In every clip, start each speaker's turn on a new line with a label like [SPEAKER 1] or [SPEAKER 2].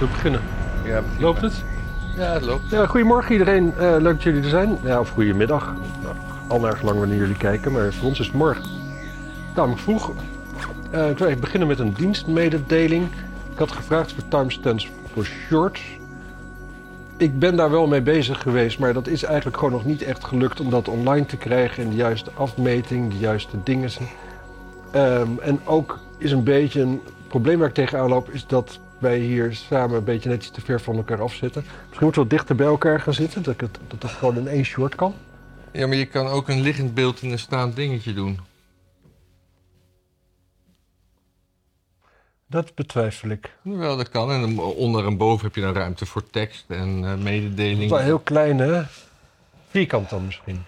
[SPEAKER 1] We beginnen.
[SPEAKER 2] Ja, begin
[SPEAKER 1] Loopt
[SPEAKER 2] maar.
[SPEAKER 1] het?
[SPEAKER 2] Ja, het loopt.
[SPEAKER 1] Ja, goedemorgen iedereen. Eh, leuk dat jullie er zijn. Ja, of goedemiddag. Nou, al naar lang wanneer jullie kijken, maar voor ons is het morgen. Tamelijk vroeg. Eh, ik wil even beginnen met een dienstmededeling. Ik had gevraagd voor timestamps voor shorts. Ik ben daar wel mee bezig geweest, maar dat is eigenlijk gewoon nog niet echt gelukt om dat online te krijgen in de juiste afmeting, de juiste dingen. Ehm, en ook is een beetje een probleem waar ik tegenaan loop, is dat wij hier samen een beetje net iets te ver van elkaar af zitten. Misschien moeten we wat dichter bij elkaar gaan zitten, dat ik het, dat het gewoon in één short kan.
[SPEAKER 2] Ja, maar je kan ook een liggend beeld en een staand dingetje doen.
[SPEAKER 1] Dat betwijfel ik.
[SPEAKER 2] Wel, dat kan. En dan onder en boven heb je dan ruimte voor tekst en eh
[SPEAKER 1] Het is
[SPEAKER 2] mededeling.
[SPEAKER 1] wel heel klein, hè? Vierkant dan misschien.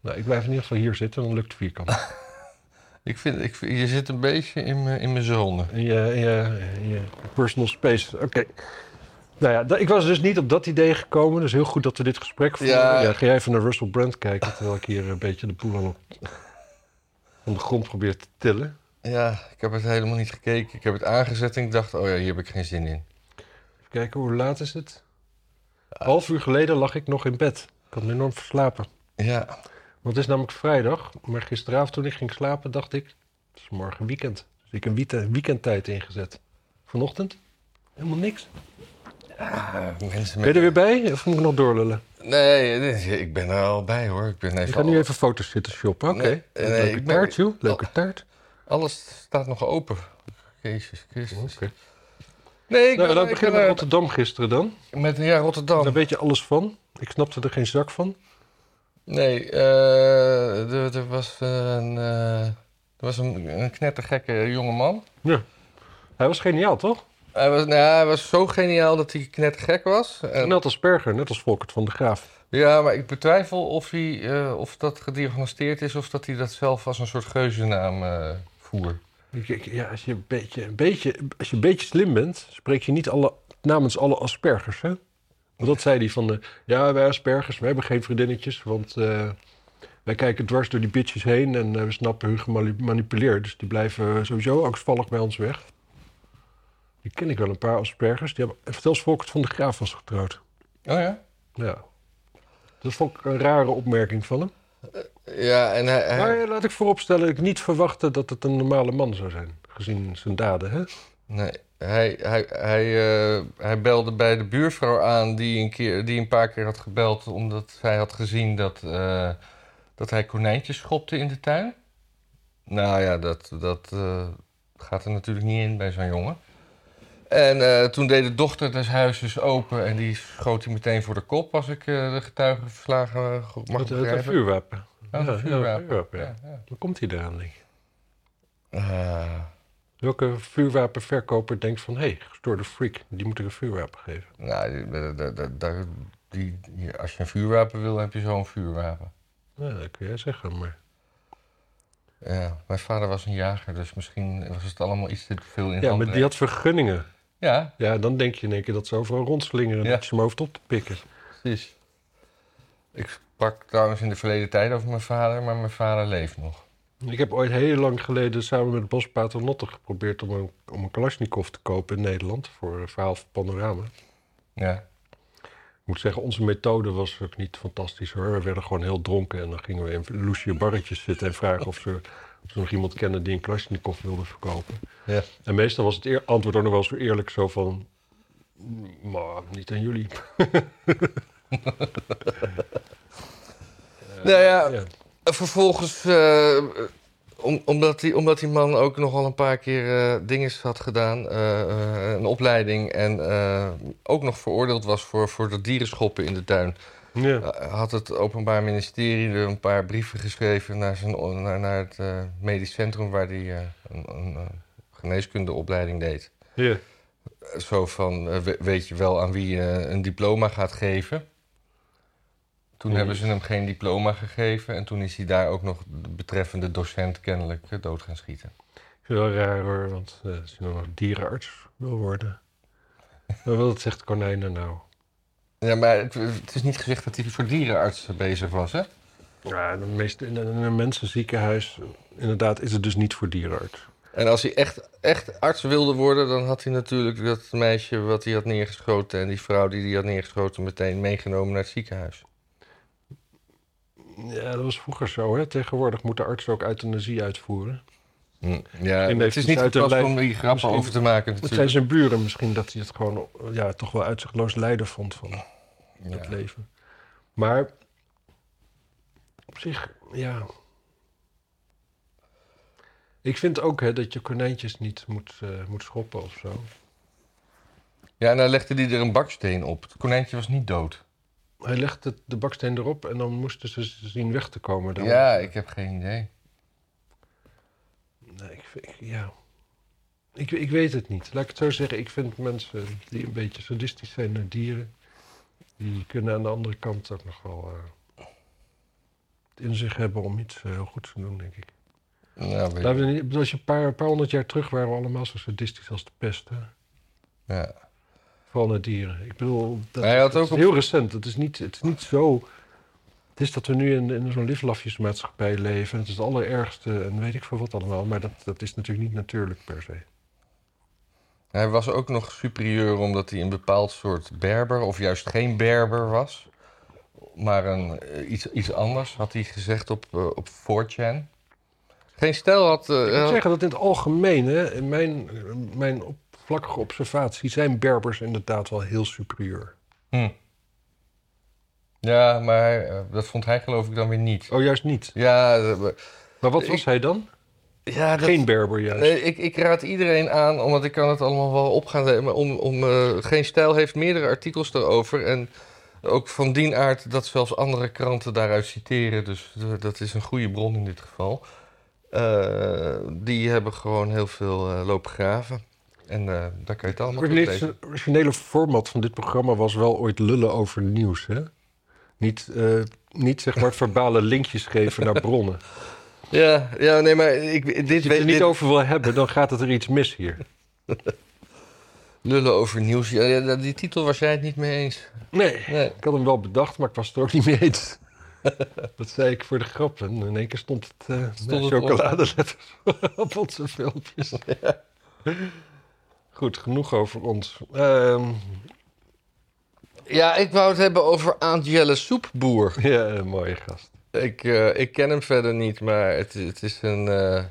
[SPEAKER 1] Nou, ik blijf in ieder geval hier zitten, dan lukt vierkant.
[SPEAKER 2] Ik vind, ik, vind- je zit een beetje in mijn, in mijn zone.
[SPEAKER 1] In je, in je, in je personal space, oké. Nou ja, da- ik was dus niet op dat idee gekomen, dus heel goed dat we dit gesprek voeren.
[SPEAKER 2] Ja.
[SPEAKER 1] Ja. ga jij even naar Russell Brand kijken, terwijl ik hier een beetje de boel aan op- aan de grond probeer te tillen.
[SPEAKER 2] Ja, ik heb het helemaal niet gekeken. Ik heb het aangezet en ik dacht, oh ja, hier heb ik geen zin in.
[SPEAKER 1] Even kijken, hoe laat is het? Een half uur geleden lag ik nog in bed. Ik had me enorm verslapen.
[SPEAKER 2] Ja,
[SPEAKER 1] Want het is namelijk vrijdag, maar gisteravond toen ik ging slapen dacht ik... Het is morgen weekend. Dus ik heb een weekendtijd ingezet. Vanochtend? Helemaal niks.
[SPEAKER 2] eh, mensen
[SPEAKER 1] Ben je
[SPEAKER 2] met...
[SPEAKER 1] er weer bij? Of moet ik nog doorlullen?
[SPEAKER 2] Nee, nee, ik ben er al bij hoor. Ik ben even
[SPEAKER 1] Ik ga nu even foto's zitten shoppen. Oké.
[SPEAKER 2] Nee, nee,
[SPEAKER 1] Leuke
[SPEAKER 2] ik ben- Oh.
[SPEAKER 1] taart, joh. Leuke taart.
[SPEAKER 2] Alles staat nog open. Jezus Christus.
[SPEAKER 1] Oké.
[SPEAKER 2] Nee, ik
[SPEAKER 1] Nou,
[SPEAKER 2] ben,
[SPEAKER 1] laten we
[SPEAKER 2] ik ben,
[SPEAKER 1] beginnen met
[SPEAKER 2] eh,
[SPEAKER 1] Rotterdam gisteren dan.
[SPEAKER 2] met ja, Rotterdam.
[SPEAKER 1] Daar weet je alles van. Ik snapte er geen zak van.
[SPEAKER 2] Nee, eh, er, er was, een, eh, er was een, een knettergekke jongeman.
[SPEAKER 1] Hij was geniaal, toch?
[SPEAKER 2] Hij was, nou, ja, hij was zo geniaal dat hij knettergek was. En-
[SPEAKER 1] Net als Perger, net als Volkert van de Graaf.
[SPEAKER 2] ja, maar ik betwijfel of, hij, eh, of dat gediagnosteerd is of dat hij dat zelf als een soort geuzennaam eh voer.
[SPEAKER 1] Ik- ik- Ja, als je een beetje, een beetje, als je een beetje slim bent, spreek je niet alle, namens alle aspergers, hè? Want dat zei hij van, eh, ja, wij aspergers, we hebben geen vriendinnetjes, want eh, wij kijken dwars door die bitches heen en eh, we snappen hun gemanipuleerd. Dus die blijven sowieso angstvallig bij ons weg. Die ken ik wel, een paar aspergers. Die hebben, en vertel eens, Volkert van de Graaf was getrouwd.
[SPEAKER 2] Oh ja?
[SPEAKER 1] Ja. Dat vond ik een rare opmerking van hem.
[SPEAKER 2] Ja, en hij, hij-
[SPEAKER 1] Maar eh, laat ik vooropstellen, ik niet verwachtte dat het een normale man zou zijn, gezien zijn daden, hè?
[SPEAKER 2] nee, hij, hij, hij, eh, hij belde bij de buurvrouw aan die een, keer, die een paar keer had gebeld omdat zij had gezien dat, eh, dat hij konijntjes schopte in de tuin. Nou ja, dat, dat eh, gaat er natuurlijk niet in bij zo'n jongen. En eh, toen deed de dochter des huizes open en die schoot hij meteen voor de kop als ik eh, de getuigen verslagen eh, goed mag
[SPEAKER 1] Met het,
[SPEAKER 2] begrijpen.
[SPEAKER 1] vuurwapen.
[SPEAKER 2] Ja, het vuurwapen.
[SPEAKER 1] ja.
[SPEAKER 2] Ja, ja.
[SPEAKER 1] Waar komt hij eraan, denk je?
[SPEAKER 2] Ah,
[SPEAKER 1] Welke vuurwapenverkoper denkt van... hé, hey, gestoorde freak, die moet ik een vuurwapen geven.
[SPEAKER 2] nou, die, daar- daar- daar- die, die- als je een vuurwapen wil, heb je zo'n vuurwapen.
[SPEAKER 1] Nou, dat kun jij zeggen, maar...
[SPEAKER 2] Ja, mijn vader was een jager, dus misschien was het allemaal iets te veel in
[SPEAKER 1] Ja,
[SPEAKER 2] handen.
[SPEAKER 1] maar die had vergunningen.
[SPEAKER 2] Ja,
[SPEAKER 1] Ja, dan denk je in één keer dat ze overal rondslingeren... en
[SPEAKER 2] Ja.
[SPEAKER 1] dat je ze mijn hoofd op te pikken.
[SPEAKER 2] precies. Ik sprak trouwens in de verleden tijd over mijn vader, maar mijn vader leeft nog.
[SPEAKER 1] Ik heb ooit heel lang geleden samen met Bas Paternotte geprobeerd... om een, om een Kalashnikov te kopen in Nederland voor een verhaal van Panorama.
[SPEAKER 2] Ja,
[SPEAKER 1] Ik moet zeggen, onze methode was ook niet fantastisch hoor. We werden gewoon heel dronken en dan gingen we in loesje barretjes zitten en vragen of ze, of ze nog iemand kennen die een Kalashnikov wilde verkopen.
[SPEAKER 2] ja.
[SPEAKER 1] En meestal was het eer- antwoord ook nog wel eens weer eerlijk zo van... "Mm, Maar niet aan jullie.
[SPEAKER 2] nou ja,
[SPEAKER 1] Ja.
[SPEAKER 2] vervolgens, eh, om, omdat, die, omdat die man ook nogal een paar keer eh dingen had gedaan, eh, eh, een opleiding en eh, ook nog veroordeeld was voor, voor dat dierenschoppen in de tuin.
[SPEAKER 1] Ja.
[SPEAKER 2] Uh, had het Openbaar Ministerie er een paar brieven geschreven naar, zijn, naar, naar het eh, medisch centrum waar hij een, een eh, geneeskundeopleiding deed.
[SPEAKER 1] Ja.
[SPEAKER 2] Eh, Zo van, eh, we- weet je wel aan wie je een diploma gaat geven? Toen
[SPEAKER 1] Nee.
[SPEAKER 2] hebben ze hem geen diploma gegeven en toen is hij daar ook nog de betreffende docent kennelijk eh, dood gaan schieten.
[SPEAKER 1] Ik vind het wel raar hoor, want eh, als je dan nog dierenarts wil worden... Maar wat zegt konijnen nou?
[SPEAKER 2] Ja, maar het, het is niet gezegd dat hij voor dierenarts bezig was, hè?
[SPEAKER 1] Ja, de meeste, in een in een mensenziekenhuis, eh, inderdaad, is het dus niet voor dierenarts.
[SPEAKER 2] En als hij echt, echt arts wilde worden, dan had hij natuurlijk dat meisje wat hij had neergeschoten en die vrouw die hij had neergeschoten meteen meegenomen naar het ziekenhuis.
[SPEAKER 1] Ja, dat was vroeger zo. Hè? Tegenwoordig moeten artsen ook euthanasie uitvoeren.
[SPEAKER 2] Hm, Ja,
[SPEAKER 1] heeft
[SPEAKER 2] het is
[SPEAKER 1] het
[SPEAKER 2] niet de
[SPEAKER 1] uit de
[SPEAKER 2] plaats
[SPEAKER 1] lijn-
[SPEAKER 2] om hier grappen
[SPEAKER 1] misschien-
[SPEAKER 2] over te maken
[SPEAKER 1] Het zijn
[SPEAKER 2] natuurlijk.
[SPEAKER 1] zijn buren misschien dat hij het gewoon ja, toch wel uitzichtloos lijden vond van dat
[SPEAKER 2] Ja.
[SPEAKER 1] leven. Maar op zich, ja. Ik vind ook hè, dat je konijntjes niet moet, eh, moet schoppen of zo.
[SPEAKER 2] Ja, en dan legde hij er een baksteen op. Het konijntje was niet dood.
[SPEAKER 1] Hij legde het- de baksteen erop en dan moesten ze zien weg te komen. Dan.
[SPEAKER 2] Ja, ik heb geen idee.
[SPEAKER 1] Nee, ik, vind- ik- ja. Ik, ik weet het niet. Laat ik het zo zeggen. Ik vind mensen die een beetje sadistisch zijn naar dieren... die kunnen aan de andere kant ook nog wel eh, het in zich hebben om iets eh, heel goeds te doen, denk ik.
[SPEAKER 2] Nou, weet
[SPEAKER 1] Laten we niet- ik bedoel, als je een paar, een paar honderd jaar terug waren we allemaal zo sadistisch als de pest. Hè?
[SPEAKER 2] ja.
[SPEAKER 1] Vooral naar dieren. Ik bedoel, dat,
[SPEAKER 2] Hij had
[SPEAKER 1] dat
[SPEAKER 2] ook
[SPEAKER 1] is
[SPEAKER 2] op-
[SPEAKER 1] heel recent. Het is niet, het is niet zo... Het is dat we nu in, in zo'n liflafjesmaatschappij leven. Het is het allerergste en weet ik veel wat allemaal. Maar dat, dat is natuurlijk niet natuurlijk per se.
[SPEAKER 2] Hij was ook nog superieur omdat hij een bepaald soort Berber, of juist geen Berber was, maar een, eh, iets, iets anders, had hij gezegd op, eh, op 4chan. Geen stijl had. eh,
[SPEAKER 1] Ik moet
[SPEAKER 2] had-
[SPEAKER 1] zeggen dat in het algemeen, hè, in mijn, mijn oppervlakkige observatie, zijn Berbers inderdaad wel heel superieur.
[SPEAKER 2] Hm. Ja, maar hij, eh, dat vond hij geloof ik dan weer niet.
[SPEAKER 1] Oh, juist niet.
[SPEAKER 2] Ja, eh,
[SPEAKER 1] Maar wat was
[SPEAKER 2] Ik-
[SPEAKER 1] hij dan?
[SPEAKER 2] ja dat,
[SPEAKER 1] Geen Berber juist.
[SPEAKER 2] Nee, Eh, ik, ik raad iedereen aan, omdat ik kan het allemaal wel op gaan nemen. Om, om, eh, Geen Stijl heeft meerdere artikels daarover. En ook van die aard dat zelfs andere kranten daaruit citeren. Dus eh, dat is een goede bron in dit geval. Eh, die hebben gewoon heel veel eh, lopen graven. En eh, daar kan je het allemaal
[SPEAKER 1] Het
[SPEAKER 2] op lezen.
[SPEAKER 1] originele- originele format van dit programma was wel ooit lullen over nieuws, hè? Niet, eh, niet zeg maar verbale linkjes geven naar bronnen.
[SPEAKER 2] Ja, ja, nee, maar ik, dit
[SPEAKER 1] Als je het
[SPEAKER 2] weet
[SPEAKER 1] er niet over wil hebben, dan gaat het er iets mis hier.
[SPEAKER 2] Lullen over nieuws. Ja, ja, die titel was jij het niet mee eens.
[SPEAKER 1] Nee.
[SPEAKER 2] Nee.
[SPEAKER 1] Ik had hem wel bedacht, maar ik was het er ook niet mee eens. Dat zei ik voor de grap. En in één keer stond het, eh met
[SPEAKER 2] het op.
[SPEAKER 1] chocoladeletters op onze filmpjes. Goed, genoeg over ons. Ehm,
[SPEAKER 2] Ja, ik wou het hebben over Angela Soepboer.
[SPEAKER 1] ja, een mooie gast.
[SPEAKER 2] Ik, eh, ik ken hem verder niet, maar het, het is een. eh,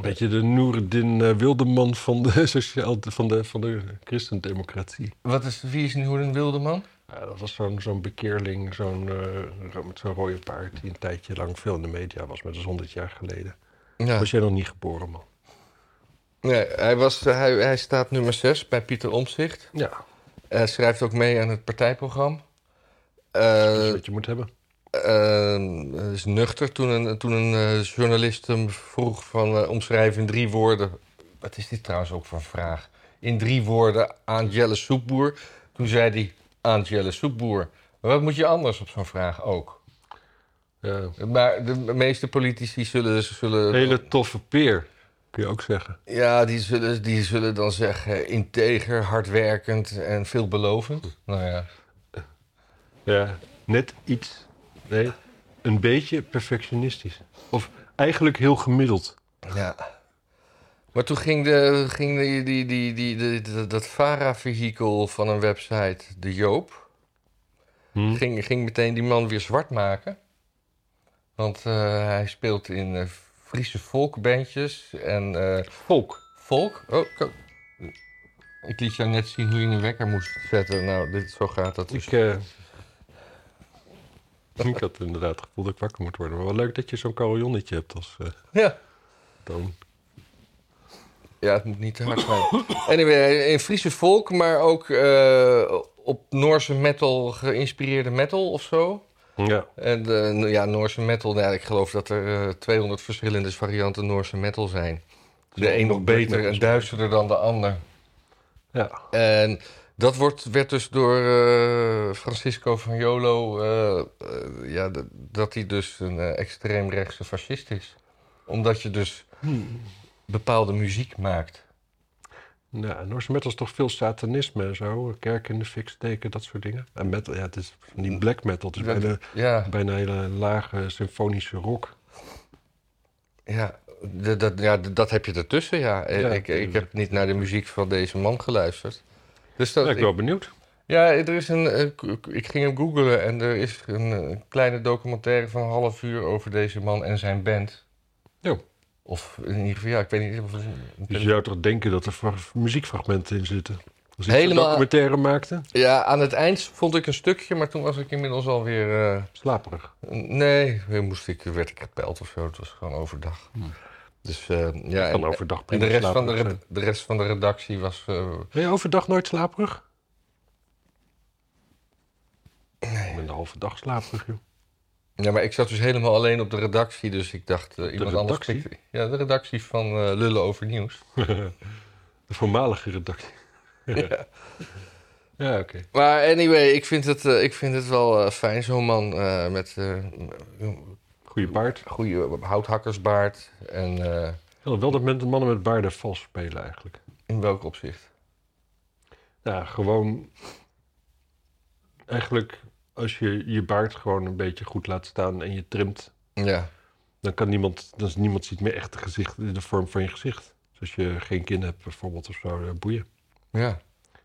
[SPEAKER 1] Beetje de Noerdin eh, Wildeman van de, sociaal, van de, van de christendemocratie.
[SPEAKER 2] wat is, wie is nu een wilde man?
[SPEAKER 1] Ja, dat was zo'n zo'n bekeerling, zo'n eh, ro- met zo'n rode paard... die een tijdje lang veel in de media was, maar dat is 100 jaar geleden.
[SPEAKER 2] Ja.
[SPEAKER 1] Was jij nog niet geboren, man?
[SPEAKER 2] Nee, hij, was, hij, hij staat nummer 6 bij Pieter Omzicht.
[SPEAKER 1] Ja,
[SPEAKER 2] Hij schrijft ook mee aan het partijprogramma.
[SPEAKER 1] dat is
[SPEAKER 2] Eh
[SPEAKER 1] wat je moet hebben.
[SPEAKER 2] eh, is nuchter. Toen een, toen een eh, journalist hem vroeg van eh, omschrijf in drie woorden. Wat is dit trouwens ook voor een vraag? In drie woorden aan Jelle Soepboer. Toen zei hij aan Jelle Soepboer. Maar wat moet je anders op zo'n vraag ook?
[SPEAKER 1] Ja.
[SPEAKER 2] Maar de meeste politici zullen, dus- zullen
[SPEAKER 1] Hele toffe peer, kun je ook zeggen.
[SPEAKER 2] Ja, die zullen, die zullen dan zeggen integer, hardwerkend en veelbelovend.
[SPEAKER 1] Hm.
[SPEAKER 2] Nou ja.
[SPEAKER 1] Ja. Net iets, nee, een beetje perfectionistisch. Of eigenlijk heel gemiddeld.
[SPEAKER 2] ja. Maar toen ging, de, ging die, die, die, die, die- die- dat VARA-vehikel van een website, de Joop,
[SPEAKER 1] Hm?
[SPEAKER 2] ging, ging meteen die man weer zwart maken. Want eh, hij speelt in eh, Friese volkbandjes en eh,
[SPEAKER 1] Volk.
[SPEAKER 2] volk. Oh, ko- ik liet jou net zien hoe je een wekker moest zetten. Nou, dit, zo gaat dat.
[SPEAKER 1] Ik, eh, ik had inderdaad het gevoel dat ik wakker moet worden. Maar wel leuk dat je zo'n carillonnetje hebt als eh
[SPEAKER 2] Ja.
[SPEAKER 1] toon.
[SPEAKER 2] Ja, het moet niet te hard zijn. Anyway, in Friese volk, maar ook eh, op Noorse metal geïnspireerde metal of zo.
[SPEAKER 1] Ja.
[SPEAKER 2] En eh, nou ja, Noorse metal, nou, ja, ik geloof dat er eh, 200 verschillende varianten Noorse metal zijn. De een nog beter en duisterder dan de ander.
[SPEAKER 1] Ja.
[SPEAKER 2] En dat wordt, werd dus door eh, Francisco van Jolo, eh, eh, ja, d- dat hij dus een eh, extreemrechtse fascist is. Omdat je dus bepaalde muziek maakt.
[SPEAKER 1] Nou, Noorse metal is toch veel satanisme en zo. Kerk in de fik steken, dat soort dingen. En metal, ja, het is niet black metal. Het is
[SPEAKER 2] Dat-
[SPEAKER 1] bijna,
[SPEAKER 2] Ja.
[SPEAKER 1] bijna hele lage symfonische rock.
[SPEAKER 2] Ja, D- dat, ja, d- dat heb je ertussen, ja. Eh,
[SPEAKER 1] Ja,
[SPEAKER 2] ik, ik
[SPEAKER 1] tuurlijk.
[SPEAKER 2] heb niet naar de muziek van deze man geluisterd. Dus dat,
[SPEAKER 1] ben ik wel benieuwd.
[SPEAKER 2] ja, er is een, eh, k- k- ik ging hem googlen en er is een eh, kleine documentaire van een half uur over deze man en zijn band.
[SPEAKER 1] Jo.
[SPEAKER 2] Of in ieder geval, ja, ik weet niet of het een- een
[SPEAKER 1] Dus je zou toch denken dat er fra- muziekfragmenten in zitten? Als ik
[SPEAKER 2] Helemaal-
[SPEAKER 1] een documentaire maakte?
[SPEAKER 2] Ja, aan het eind vond ik een stukje, maar toen was ik inmiddels alweer. eh,
[SPEAKER 1] Slaperig.
[SPEAKER 2] nee, weer moest ik, werd ik gebeld of zo. Het was gewoon overdag. Dus eh, ja,
[SPEAKER 1] Kan
[SPEAKER 2] en,
[SPEAKER 1] overdag
[SPEAKER 2] en
[SPEAKER 1] prima
[SPEAKER 2] de, rest van de,
[SPEAKER 1] slaperig
[SPEAKER 2] red- de rest van de redactie was. eh,
[SPEAKER 1] zijn. Ben je overdag nooit slaperig? Nee. Ik ben de halve dag slaperig, joh.
[SPEAKER 2] ja, maar ik zat dus helemaal alleen op de redactie, dus ik dacht. eh, iemand anders
[SPEAKER 1] redactie?
[SPEAKER 2] pikt- Ja, de redactie van eh, Lullen over Nieuws.
[SPEAKER 1] De voormalige redactie. ja, oké.
[SPEAKER 2] Maar anyway, ik vind het, eh, ik vind het wel eh, fijn, zo'n man eh, met eh, een
[SPEAKER 1] Goeie paard.
[SPEAKER 2] goede houthakkersbaard. En eh,
[SPEAKER 1] Wel dat men- mannen met baarden vals spelen eigenlijk.
[SPEAKER 2] in welk opzicht?
[SPEAKER 1] Ja, gewoon. Eigenlijk, als je je baard gewoon een beetje goed laat staan en je trimt,
[SPEAKER 2] Ja.
[SPEAKER 1] dan kan niemand, dan is niemand ziet meer echt de, gezicht, de vorm van je gezicht. Dus als je geen kin hebt bijvoorbeeld of zo, eh, boeien.
[SPEAKER 2] Ja.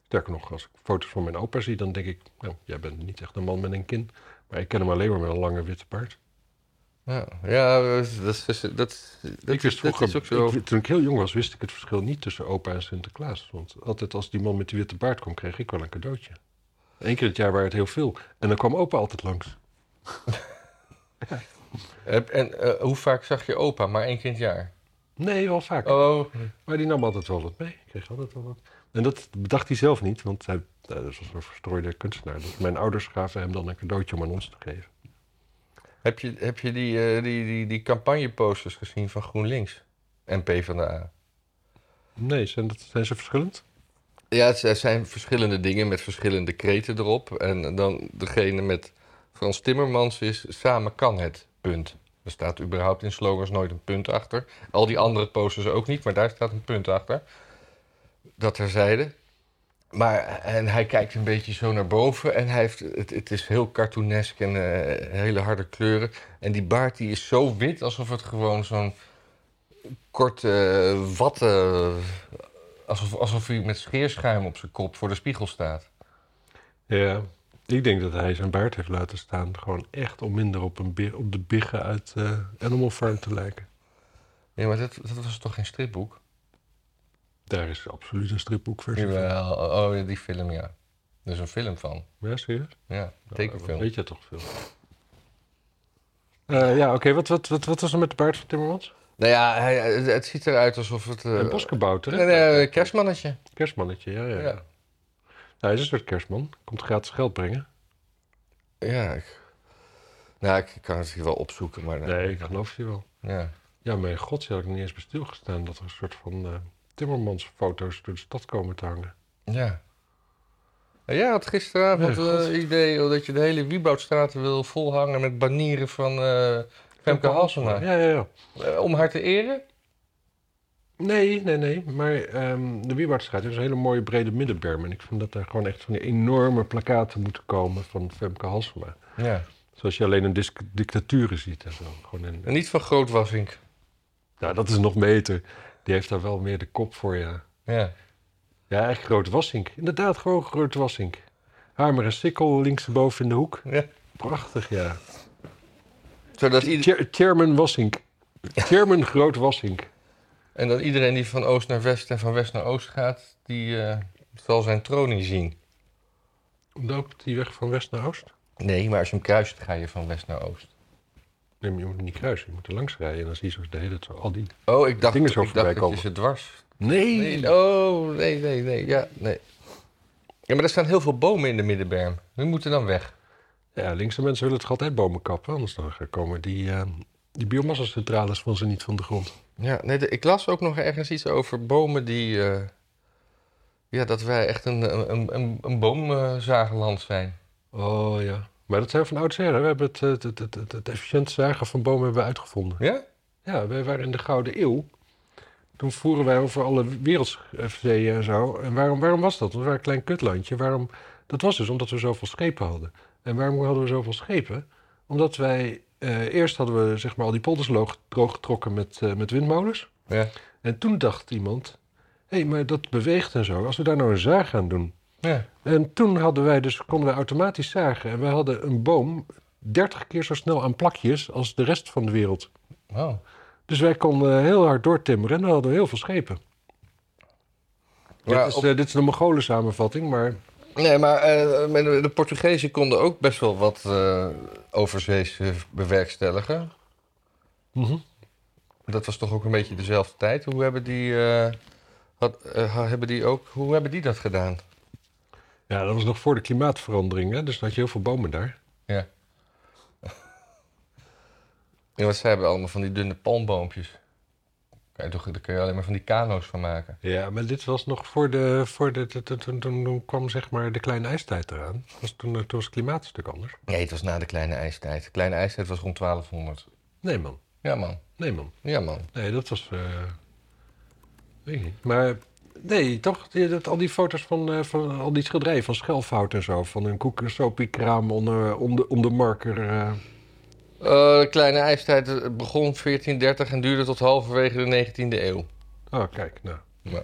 [SPEAKER 1] Sterker nog, als ik foto's van mijn opa zie, dan denk ik, nou, jij bent niet echt een man met een kin. Maar ik ken hem alleen maar met een lange witte baard.
[SPEAKER 2] Ja, ja dat, is, dat, dat,
[SPEAKER 1] ik wist vroeger,
[SPEAKER 2] dat is ook zo.
[SPEAKER 1] ik- toen ik heel jong was, wist ik het verschil niet tussen opa en Sinterklaas. Want altijd als die man met die witte baard kwam, kreeg ik wel een cadeautje. Eén keer in het jaar waren het heel veel. En dan kwam opa altijd langs.
[SPEAKER 2] Heb- En eh, hoe vaak zag je opa? Maar één keer in het jaar.
[SPEAKER 1] Nee, wel vaak.
[SPEAKER 2] Oh,
[SPEAKER 1] Maar die nam altijd wel wat mee. Ik kreeg altijd wel wat. En dat bedacht hij zelf niet, want hij nou, dat was een verstrooide kunstenaar. Dus mijn ouders gaven hem dan een cadeautje om aan ons te geven.
[SPEAKER 2] heb je, heb je die, eh, die, die, die campagneposters gezien van GroenLinks en PvdA?
[SPEAKER 1] Nee, zijn, dat, zijn ze verschillend?
[SPEAKER 2] Ja, het zijn- zijn verschillende dingen met verschillende kreten erop. En dan degene met Frans Timmermans is samen kan het, punt. Er staat überhaupt in slogans nooit een punt achter. Al die andere posters ook niet, maar daar staat een punt achter. Dat terzijde. Maar, en hij kijkt een beetje zo naar boven en hij heeft, het, het is heel cartoonesk en eh, hele harde kleuren. En die baard die is zo wit alsof het gewoon zo'n korte eh, watten Alsof, alsof hij met scheerschuim op zijn kop voor de spiegel staat.
[SPEAKER 1] Ja. Ik denk dat hij zijn baard heeft laten staan. Gewoon echt om minder op, een bi- op de biggen uit eh, Animal Farm te lijken.
[SPEAKER 2] Nee, maar dat, dat was toch geen stripboek?
[SPEAKER 1] Daar is absoluut een stripboekversie van.
[SPEAKER 2] Jawel, oh ja, die film, ja. Er is een film van.
[SPEAKER 1] Ja, serieus?
[SPEAKER 2] Ja,
[SPEAKER 1] Dat
[SPEAKER 2] tekenfilm.
[SPEAKER 1] weet je toch veel. Eh, ja, oké. Wat, wat, wat, wat was er met de baard van Timmermans?
[SPEAKER 2] Nou ja, hij, het ziet eruit alsof het... eh,
[SPEAKER 1] Een boskabouter, hè?
[SPEAKER 2] nee, nee, een eh, kerstmannetje.
[SPEAKER 1] Kerstmannetje, ja, ja. ja.
[SPEAKER 2] Ja.
[SPEAKER 1] Nou, hij is een soort kerstman. Komt gratis geld brengen.
[SPEAKER 2] ja ik, nou, ik kan het hier wel opzoeken, maar...
[SPEAKER 1] Nee, ik geloof je wel.
[SPEAKER 2] Ja.
[SPEAKER 1] Ja, mijn god, daar had ik niet eens bij stilgestaan... dat er een soort van eh Timmermans-foto's door de stad komen te hangen.
[SPEAKER 2] ja. Nou, Jij had gisteravond
[SPEAKER 1] Nee,
[SPEAKER 2] het
[SPEAKER 1] God.
[SPEAKER 2] idee dat je de hele Wieboudstraat wil volhangen met banieren van eh, Femke Halsema.
[SPEAKER 1] Ja, ja, ja.
[SPEAKER 2] Eh, Om haar te eren?
[SPEAKER 1] Nee, nee, nee. Maar ehm, de Wiebaardstraat is een hele mooie brede middenberm. En ik vind dat daar gewoon echt van die enorme plakaten moeten komen van Femke Halsema.
[SPEAKER 2] Ja.
[SPEAKER 1] Zoals je alleen in dis- dictaturen ziet en zo. Gewoon in,
[SPEAKER 2] En niet van Grootwassink.
[SPEAKER 1] nou, dat is nog beter. Die heeft daar wel meer de kop voor, ja.
[SPEAKER 2] Ja.
[SPEAKER 1] Ja, echt Groot Wassink. Inderdaad, gewoon Groot Wassink. Hamer en sikkel linksboven in de hoek.
[SPEAKER 2] ja.
[SPEAKER 1] Prachtig, ja.
[SPEAKER 2] Zodat ieder-
[SPEAKER 1] Chair- Chairman Wassink. Chairman Groot Wassink.
[SPEAKER 2] en dat iedereen die van oost naar west en van west naar oost gaat, die eh, zal zijn tronie zien.
[SPEAKER 1] Loopt die weg van west naar oost?
[SPEAKER 2] Nee, maar als je hem kruist, ga je van west naar oost.
[SPEAKER 1] Nee, maar je moet hem niet kruisen. Je moet er langs rijden en dan zie je zo de hele zo al die...
[SPEAKER 2] Oh, ik dacht,
[SPEAKER 1] Dingen
[SPEAKER 2] ik
[SPEAKER 1] zo
[SPEAKER 2] dacht
[SPEAKER 1] voorbij
[SPEAKER 2] dat je
[SPEAKER 1] komen.
[SPEAKER 2] ze dwars.
[SPEAKER 1] Nee!
[SPEAKER 2] Nee, oh, nee, nee, nee. Ja, nee. Ja, maar er staan heel veel bomen in de middenberm. Die moeten dan weg.
[SPEAKER 1] Ja, linkse mensen willen toch altijd bomen kappen? Anders dan gaan komen die, eh, die biomassa-centrales van ze niet van de grond.
[SPEAKER 2] Ja, nee, de- ik las ook nog ergens iets over bomen die... eh, ja, dat wij echt een, een, een, een boomzagenland zijn.
[SPEAKER 1] Oh ja. Maar dat zijn van oudsher. hè? We hebben het, eh, het, het, het, het efficiënt zagen van bomen hebben we uitgevonden.
[SPEAKER 2] Ja?
[SPEAKER 1] Ja, wij waren in de Gouden Eeuw. Toen voeren wij over alle wereldzeeën en zo. En waarom, waarom was dat? Want we waren een klein kutlandje. Waarom, dat was dus omdat we zoveel schepen hadden. En waarom hadden we zoveel schepen? Omdat wij eh, eerst hadden we zeg maar, al die polders lo- droog getrokken met, eh, met windmolens.
[SPEAKER 2] Ja.
[SPEAKER 1] En toen dacht iemand, hé, hey, maar dat beweegt en zo. Als we daar nou een zaag aan doen.
[SPEAKER 2] Ja.
[SPEAKER 1] En toen hadden wij dus, konden wij automatisch zagen. En we hadden een boom 30 keer zo snel aan plakjes als de rest van de wereld.
[SPEAKER 2] Oh.
[SPEAKER 1] Dus wij konden heel hard doortimmeren en dan hadden we heel veel schepen.
[SPEAKER 2] Maar
[SPEAKER 1] dit, is,
[SPEAKER 2] op-
[SPEAKER 1] eh, dit is de Mongolen samenvatting, maar
[SPEAKER 2] Nee, maar eh, met de de Portugezen konden ook best wel wat eh overzees eh, bewerkstelligen.
[SPEAKER 1] mhm.
[SPEAKER 2] Dat was toch ook een beetje dezelfde tijd. Hoe hebben die, eh, had, eh, ha- hebben die, ook, hoe hebben die dat gedaan?
[SPEAKER 1] ja, dat was nog voor de klimaatverandering. Hè? Dus dan had je heel veel bomen daar.
[SPEAKER 2] Ja, want zij hebben allemaal van die dunne palmboompjes. Kan je toch, daar kun je alleen maar van die kano's van maken.
[SPEAKER 1] Ja, maar dit was nog voor de... Voor de toen- toen, toen, toen kwam zeg maar de kleine ijstijd eraan. Dat Was toen, toen was het klimaat een stuk anders.
[SPEAKER 2] Nee, het was na de kleine ijstijd. De kleine ijstijd was rond 1200.
[SPEAKER 1] Nee man,
[SPEAKER 2] Ja, man.
[SPEAKER 1] nee man.
[SPEAKER 2] Ja, man.
[SPEAKER 1] Nee, dat was... eh, weet ik niet. Maar nee, toch? Die- Dat, al die foto's van, eh, van al die schilderijen van Schelfhout en zo. Van een koekensopiekraam onder, om, de, om de marker. eh.
[SPEAKER 2] Eh, de kleine ijstijd eh, begon 1430 en duurde tot halverwege de 19e eeuw.
[SPEAKER 1] Oh, kijk, nou.
[SPEAKER 2] Ja.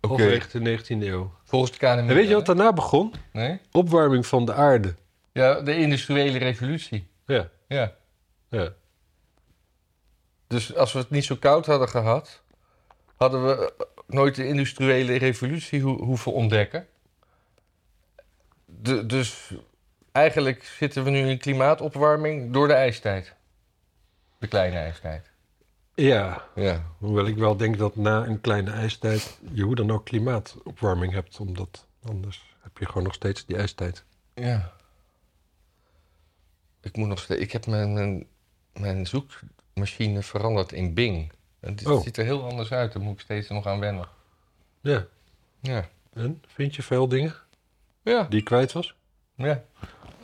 [SPEAKER 1] Halverwege de 19e eeuw.
[SPEAKER 2] Volgens de KNMI.
[SPEAKER 1] En weet je wat daarna begon?
[SPEAKER 2] Nee?
[SPEAKER 1] Opwarming van de aarde.
[SPEAKER 2] Ja, de industriële revolutie.
[SPEAKER 1] Ja,
[SPEAKER 2] Ja.
[SPEAKER 1] ja.
[SPEAKER 2] Dus als we het niet zo koud hadden gehad, hadden we eh, nooit de industriële revolutie ho- hoeven ontdekken. De- dus eigenlijk zitten we nu in klimaatopwarming door de ijstijd. De kleine ijstijd.
[SPEAKER 1] Ja,
[SPEAKER 2] Ja.
[SPEAKER 1] hoewel ik wel denk dat na een kleine ijstijd je hoe dan ook klimaatopwarming hebt. Omdat anders heb je gewoon nog steeds die ijstijd.
[SPEAKER 2] Ja. Ik moet nog steeds. Ik heb mijn, mijn, mijn zoekmachine veranderd in Bing. En dit
[SPEAKER 1] Oh.
[SPEAKER 2] ziet er heel anders uit. Daar moet ik steeds nog aan wennen.
[SPEAKER 1] Ja,
[SPEAKER 2] Ja.
[SPEAKER 1] en vind je veel dingen
[SPEAKER 2] Ja.
[SPEAKER 1] die je kwijt was?
[SPEAKER 2] Ja.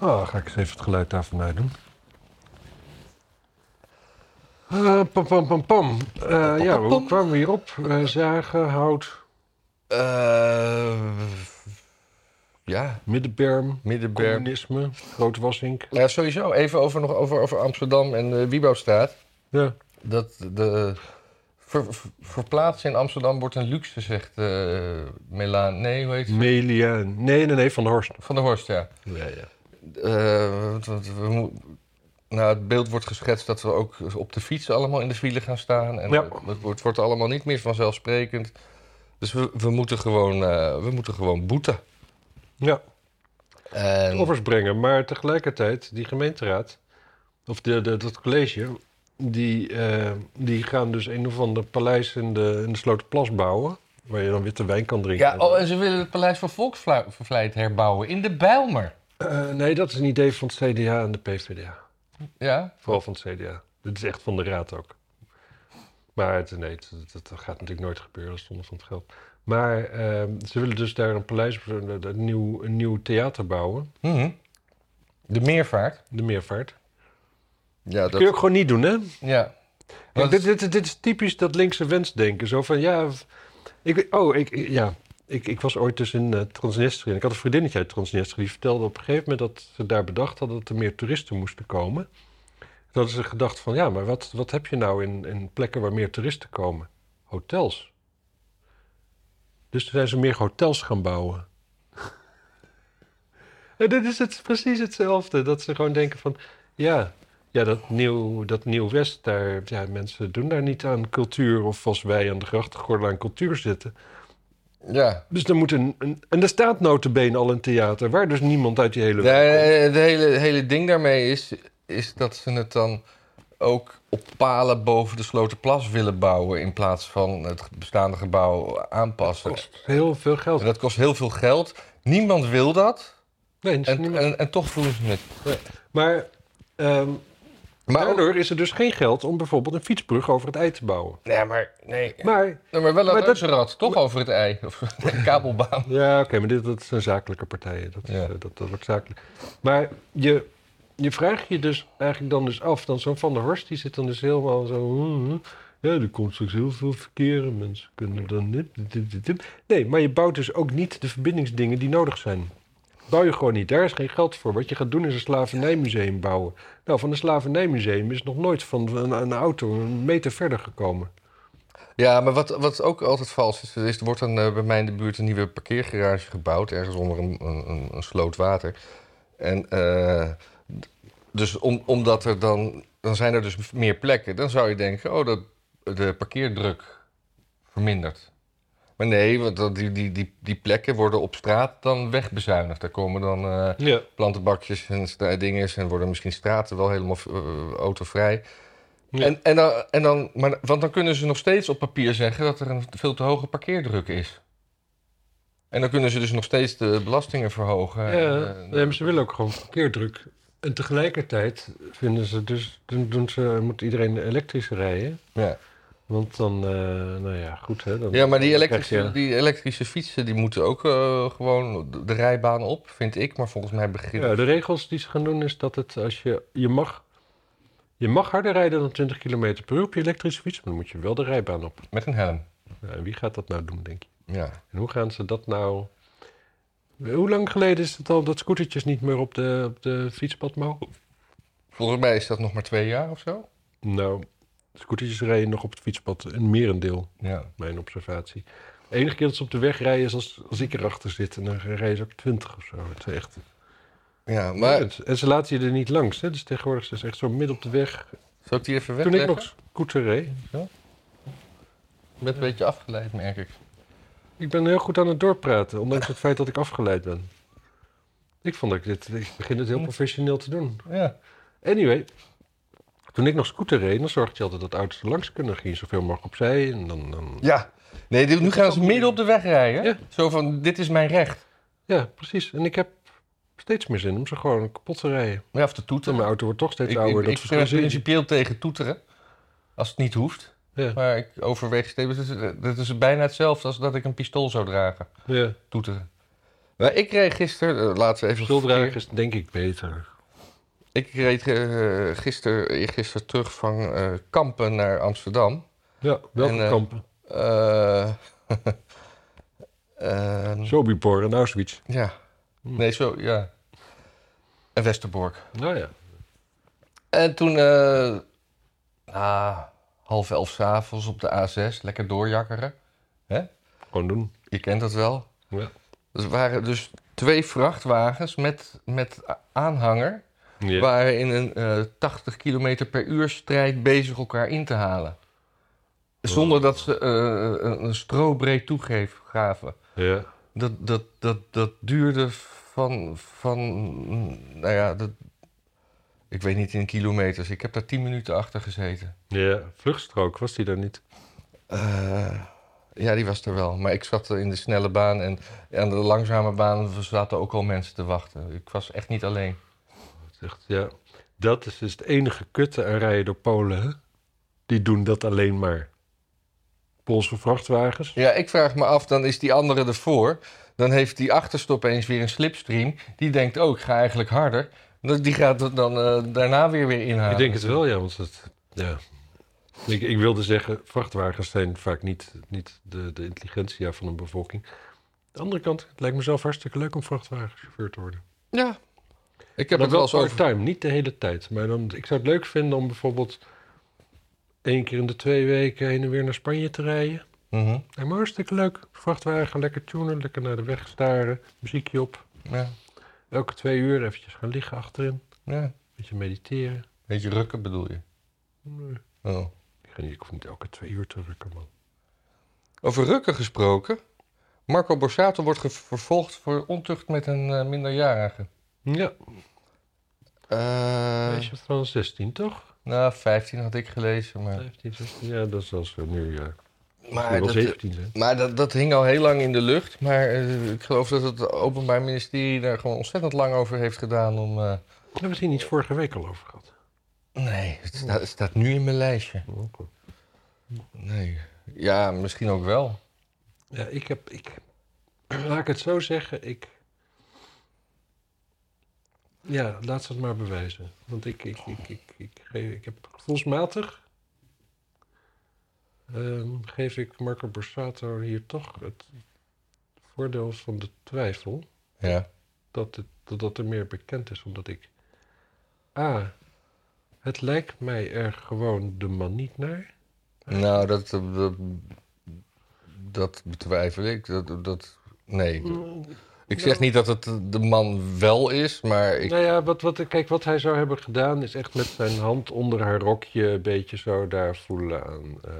[SPEAKER 1] Oh, ga ik eens even het geluid daarvan uit doen. Eh, pam, pam, pam, pam. Eh, ja, hoe kwamen we hierop? Eh, zagen, hout,
[SPEAKER 2] Eh, ja,
[SPEAKER 1] middenberm,
[SPEAKER 2] Middenberm.
[SPEAKER 1] communisme, grootwassink.
[SPEAKER 2] Nou, sowieso, even over, nog over, over Amsterdam en eh Wiebouwstraat.
[SPEAKER 1] Ja,
[SPEAKER 2] Dat de, ver- ver- verplaatsen in Amsterdam wordt een luxe, zegt eh Melaan. Nee, hoe heet ze?
[SPEAKER 1] Melia. Nee, nee, nee, van de Horst.
[SPEAKER 2] Van der Horst, ja.
[SPEAKER 1] Ja, ja.
[SPEAKER 2] Eh, want- want we mo- nou, het beeld wordt geschetst dat we ook op de fiets allemaal in de wielen gaan staan. En
[SPEAKER 1] Ja.
[SPEAKER 2] het, het wordt, wordt allemaal niet meer vanzelfsprekend. Dus we, we, moeten, gewoon, eh, we moeten gewoon boeten.
[SPEAKER 1] ja.
[SPEAKER 2] En,
[SPEAKER 1] offers brengen. Maar tegelijkertijd, die gemeenteraad, of de, de, dat college, die, eh, die gaan dus een of ander paleis in de, in de Slotenplas bouwen. Waar je dan witte wijn kan drinken.
[SPEAKER 2] Ja, oh, en ze willen het Paleis van Volksvervlijt herbouwen in de Bijlmer.
[SPEAKER 1] Eh, nee, dat is een idee van het CDA en de PvdA.
[SPEAKER 2] Ja,
[SPEAKER 1] Vooral van het CDA. Dit is echt van de raad ook. Maar het, nee, het- het- dat gaat natuurlijk nooit gebeuren zonder van het geld. Maar eh, ze willen dus daar een paleis, een, een nieuw, een nieuw theater bouwen.
[SPEAKER 2] Mhm. De meervaart.
[SPEAKER 1] De meervaart.
[SPEAKER 2] Ja,
[SPEAKER 1] Dat kun je ook gewoon niet doen, hè?
[SPEAKER 2] ja.
[SPEAKER 1] Kijk,
[SPEAKER 2] Want-
[SPEAKER 1] dit, dit, dit is typisch dat linkse wensdenken. Zo van, ja... v- Ik, oh, ik, ik- ja, ik, ik was ooit dus in eh, Transnistrië. En ik had een vriendinnetje uit Transnistrië. Die vertelde op een gegeven moment dat ze daar bedacht hadden... dat er meer toeristen moesten komen. Toen hadden ze gedacht van... ja, maar wat, wat heb je nou in, in plekken waar meer toeristen komen? Hotels. Dus toen zijn ze meer hotels gaan bouwen. en dit is het, precies hetzelfde. Dat ze gewoon denken van... ja, ja, dat Nieuw, dat nieuw West, daar, ja, mensen doen daar niet aan cultuur. Of als wij aan de grachtengordel aan cultuur zitten.
[SPEAKER 2] ja.
[SPEAKER 1] Dus er moet een, een- En er staat notabene al een theater, waar dus niemand uit die hele...
[SPEAKER 2] Ja, eh, Het hele, hele ding daarmee is, is dat ze het dan ook op palen boven de Sloterplas willen bouwen... in plaats van het bestaande gebouw aanpassen.
[SPEAKER 1] kost heel veel geld.
[SPEAKER 2] En dat kost heel veel geld. Niemand wil dat.
[SPEAKER 1] Nee, dat is
[SPEAKER 2] En,
[SPEAKER 1] niemand.
[SPEAKER 2] en, en toch doen ze het.
[SPEAKER 1] Maar ehm
[SPEAKER 2] Maar,
[SPEAKER 1] daardoor is er dus geen geld om bijvoorbeeld een fietsbrug over het ei te bouwen.
[SPEAKER 2] nee, maar, nee.
[SPEAKER 1] Maar,
[SPEAKER 2] Nee, maar wel een
[SPEAKER 1] Maar dat-
[SPEAKER 2] reuzenrad, toch over het ei. Of een kabelbaan.
[SPEAKER 1] ja, oké, maar dit, dat zijn zakelijke partijen. Dat, is,
[SPEAKER 2] Ja.
[SPEAKER 1] eh, dat, dat wordt zakelijk. Maar je, je vraagt je dus eigenlijk dan dus af. Dan zo'n Van der Horst, die zit dan dus helemaal zo... hmm, Ja, er komt straks heel veel verkeer en mensen kunnen dan dit, dit, dit, dit. Nee, maar je bouwt dus ook niet de verbindingsdingen die nodig zijn. bouw je gewoon niet. Daar is geen geld voor. Wat je gaat doen is een slavernijmuseum bouwen. Nou, van een slavernijmuseum is nog nooit van een, een auto een meter verder gekomen.
[SPEAKER 2] Ja, maar wat, wat ook altijd vals is, is er wordt dan eh, bij mij in de buurt een nieuwe parkeergarage gebouwd, ergens onder een, een, een sloot water. En eh, d- dus om, omdat er dan, dan zijn er dus meer plekken, dan zou je denken, oh, dat, de parkeerdruk vermindert. Maar nee, want dat- die, die, die, die plekken worden op straat dan wegbezuinigd. Daar komen dan eh,
[SPEAKER 1] Ja.
[SPEAKER 2] plantenbakjes en sta- dingen is en worden misschien straten wel helemaal eh, autovrij.
[SPEAKER 1] Ja.
[SPEAKER 2] En, en dan, en dan, maar, want dan kunnen ze nog steeds op papier zeggen dat er een veel te hoge parkeerdruk is. En dan kunnen ze dus nog steeds de belastingen verhogen.
[SPEAKER 1] Ja,
[SPEAKER 2] En, eh,
[SPEAKER 1] nee, maar ze willen ook gewoon verkeerdruk. En tegelijkertijd vinden ze dus, dan doen ze, moet iedereen elektrisch rijden.
[SPEAKER 2] ja.
[SPEAKER 1] Want dan, eh, nou ja, goed hè. Dan
[SPEAKER 2] ja, maar die
[SPEAKER 1] dan
[SPEAKER 2] elektrische,
[SPEAKER 1] krijg je-
[SPEAKER 2] die elektrische fietsen die moeten ook eh, gewoon de- de rijbaan op, vind ik. Maar volgens mij begint
[SPEAKER 1] Ja, de regels die ze gaan doen is dat het als je, je mag, je mag harder rijden dan 20 km per uur op je elektrische fiets, maar dan moet je wel de rijbaan op.
[SPEAKER 2] met een helm.
[SPEAKER 1] Nou, en wie gaat dat nou doen, denk je?
[SPEAKER 2] Ja.
[SPEAKER 1] En hoe gaan ze dat nou... Hoe lang geleden is het al dat scootertjes niet meer op de, op de fietspad mogen?
[SPEAKER 2] Volgens mij is dat nog maar twee jaar of zo.
[SPEAKER 1] Nou, scootertjes rijden nog op het fietspad, een merendeel.
[SPEAKER 2] Ja.
[SPEAKER 1] mijn observatie. De enige keer dat ze op de weg rijden is als, als ik erachter zit. En dan rijden ze ook 20 of zo. Het is echt...
[SPEAKER 2] ja maar
[SPEAKER 1] En- En ze laten je er niet langs. Hè? Dus tegenwoordig is het echt zo midden op de weg.
[SPEAKER 2] zal ik die even
[SPEAKER 1] Toen ik
[SPEAKER 2] wegleggen?
[SPEAKER 1] nog scooter reed.
[SPEAKER 2] Ik ben een beetje afgeleid, merk ik.
[SPEAKER 1] Ik ben heel goed aan het doorpraten. Ondanks het feit dat ik afgeleid ben. Ik vond dat ik dit... Ik begin het heel professioneel te doen.
[SPEAKER 2] Ja.
[SPEAKER 1] Anyway. Toen ik nog scooter reed, dan zorgde je altijd dat auto's er langs kunnen. Dan ging je zoveel mogelijk opzij. En dan... dan...
[SPEAKER 2] Ja. Nee, dit- nu gaan ze midden op de weg rijden.
[SPEAKER 1] Ja.
[SPEAKER 2] Zo van, dit is mijn recht.
[SPEAKER 1] Ja, precies. En ik heb steeds meer zin om ze gewoon kapot te rijden.
[SPEAKER 2] Ja, of te
[SPEAKER 1] Want
[SPEAKER 2] toeteren.
[SPEAKER 1] Mijn auto wordt toch steeds
[SPEAKER 2] Ik,
[SPEAKER 1] ouder.
[SPEAKER 2] ik,
[SPEAKER 1] dat
[SPEAKER 2] ik
[SPEAKER 1] is
[SPEAKER 2] ben
[SPEAKER 1] waanzinnig.
[SPEAKER 2] principieel tegen toeteren. Als het niet hoeft.
[SPEAKER 1] Ja.
[SPEAKER 2] Maar ik overweeg steeds... Dat is, dat is bijna hetzelfde als dat ik een pistool zou dragen.
[SPEAKER 1] Ja,
[SPEAKER 2] Toeteren. Maar ik reed gisteren... eh, laten we even...
[SPEAKER 1] schuldragen is denk ik beter.
[SPEAKER 2] Ik reed eh, gister, gisteren terug van eh, Kampen naar Amsterdam.
[SPEAKER 1] Ja, welke
[SPEAKER 2] En, eh,
[SPEAKER 1] kampen?
[SPEAKER 2] Eh, ehm,
[SPEAKER 1] Sobibor en Auschwitz.
[SPEAKER 2] ja. Nee, zo, ja. En Westerbork.
[SPEAKER 1] Nou ja.
[SPEAKER 2] En toen, eh, na half elf s'avonds op de A6, lekker doorjakkeren.
[SPEAKER 1] Gewoon doen.
[SPEAKER 2] Je kent dat wel.
[SPEAKER 1] Ja.
[SPEAKER 2] Er waren dus twee vrachtwagens met, met a- aanhanger.
[SPEAKER 1] Ja.
[SPEAKER 2] waren in een eh 80 km per uur strijd bezig elkaar in te halen. Zonder dat ze eh, een, een strobreed toegeef gaven.
[SPEAKER 1] ja.
[SPEAKER 2] Dat, dat, dat, dat duurde van, van, nou ja, dat, ik weet niet in kilometers. Ik heb daar 10 minuten achter gezeten.
[SPEAKER 1] Ja. Vluchtstrook, was die daar niet?
[SPEAKER 2] Eh, ja, die was er wel. Maar ik zat in de snelle baan en aan de langzame baan zaten ook al mensen te wachten. Ik was echt niet alleen.
[SPEAKER 1] Dat is echt- ja. Dat is dus het enige kutte aan rijden door Polen. Hè? Die doen dat alleen maar. Poolse vrachtwagens.
[SPEAKER 2] Ja, ik vraag me af, dan is die andere ervoor. Dan heeft die achterste opeens weer een slipstream. Die denkt, oh, ik ga eigenlijk harder. Dat- Die gaat het dan eh, daarna weer weer inhalen.
[SPEAKER 1] Ik denk het wel, ja. Want het, ja. Ik, ik wilde zeggen, vrachtwagens zijn vaak niet, niet de, de intelligentia van een bevolking. Aan de andere kant, het lijkt mezelf hartstikke leuk om vrachtwagenchauffeur te worden.
[SPEAKER 2] Ja. Ik
[SPEAKER 1] Ik
[SPEAKER 2] heb het wel eens over...
[SPEAKER 1] part-time, niet de hele tijd. Maar dan, ik zou het leuk vinden om bijvoorbeeld één keer in de twee weken heen en weer naar Spanje te rijden.
[SPEAKER 2] Mhm,
[SPEAKER 1] Lijkt me hartstikke leuk. Vrachtwagen, lekker tunen, lekker naar de weg staren, muziekje op.
[SPEAKER 2] ja.
[SPEAKER 1] Elke twee uur eventjes gaan liggen achterin,
[SPEAKER 2] ja.
[SPEAKER 1] een beetje mediteren.
[SPEAKER 2] Beetje rukken bedoel je?
[SPEAKER 1] Nee,
[SPEAKER 2] Oh.
[SPEAKER 1] Ik, ga niet, ik hoef niet elke twee uur te rukken, man.
[SPEAKER 2] Over rukken gesproken. Marco Borsato wordt ge- vervolgd voor ontucht met een eh, minderjarige.
[SPEAKER 1] Ja,
[SPEAKER 2] Eh,
[SPEAKER 1] meisje van 16, toch?
[SPEAKER 2] nou, 15 had ik gelezen, maar...
[SPEAKER 1] 15, 16, ja, dat is als we nu, ja, nu
[SPEAKER 2] Maar
[SPEAKER 1] wel
[SPEAKER 2] dat, eh,
[SPEAKER 1] 17 zijn.
[SPEAKER 2] Maar dat, dat hing al heel lang in de lucht. Maar eh, ik geloof dat het Openbaar Ministerie daar gewoon ontzettend lang over heeft gedaan om. eh,
[SPEAKER 1] Daar hebben we het hier niet vorige week al over gehad.
[SPEAKER 2] nee, het sta- het staat nu in mijn lijstje. Nee. Ja, misschien ook wel.
[SPEAKER 1] Ja, ik heb. Ik, laat ik het zo zeggen, ik. Ja, laat ze het maar bewijzen. Want ik, ik, ik, ik, ik, geef- ik heb gevoelsmatig. ehm, geef ik Marco Borsato hier toch het voordeel van de twijfel.
[SPEAKER 2] Ja.
[SPEAKER 1] dat, het, dat, dat er meer bekend is, omdat ik... A, het lijkt mij er gewoon de man niet naar.
[SPEAKER 2] Nou, dat, eh, dat, dat betwijfel ik. Dat, dat, nee. Ik zeg niet dat het de man wel is, maar ik,
[SPEAKER 1] Nou ja, wat, wat, kijk, wat hij zou hebben gedaan is echt met zijn hand onder haar rokje een beetje zo daar voelen aan. eh,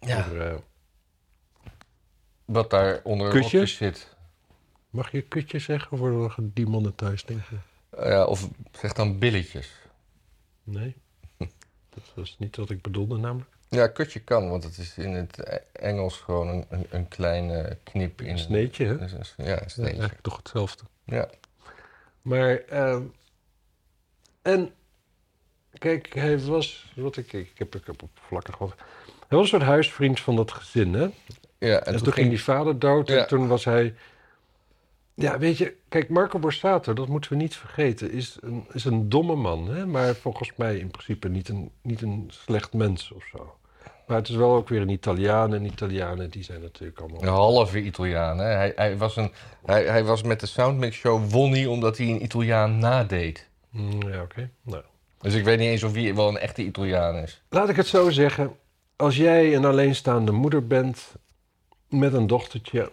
[SPEAKER 2] Ja.
[SPEAKER 1] onder, eh,
[SPEAKER 2] wat daar onder
[SPEAKER 1] Kusjes?
[SPEAKER 2] rokjes zit.
[SPEAKER 1] mag je kutje zeggen of worden we gedemonetized, denk je?
[SPEAKER 2] Ja, of zeg dan billetjes.
[SPEAKER 1] Nee. Dat was niet wat ik bedoelde namelijk.
[SPEAKER 2] Ja, kutje kan, want het is in het E- Engels gewoon een, een, een kleine knip in
[SPEAKER 1] Een sneetje, hè?
[SPEAKER 2] een- een- een- Ja, een
[SPEAKER 1] Ja,
[SPEAKER 2] sneetje.
[SPEAKER 1] eigenlijk toch hetzelfde.
[SPEAKER 2] Ja.
[SPEAKER 1] Maar, ehm, en, kijk, hij was, wat ik, ik heb, ik heb oppervlakkig wat. Hij was een soort huisvriend van dat gezin, hè?
[SPEAKER 2] ja,
[SPEAKER 1] En, toen ging die vader dood
[SPEAKER 2] Ja.
[SPEAKER 1] en toen was hij... Ja, weet je, kijk, Marco Borsato, dat moeten we niet vergeten, is een, is een domme man. Hè? Maar volgens mij in principe niet een, niet een slecht mens of zo. Maar het is wel ook weer een Italiaan en Italianen, die zijn natuurlijk allemaal...
[SPEAKER 2] Een halve Italiaan. Hè? Hij, hij, was een, hij, hij was met de Soundmix Show won hij omdat hij een Italiaan nadeed.
[SPEAKER 1] Mm, ja oké. Nou.
[SPEAKER 2] Dus ik weet niet eens of hij wel een echte Italiaan is.
[SPEAKER 1] Laat ik het zo zeggen. Als jij een alleenstaande moeder bent met een dochtertje...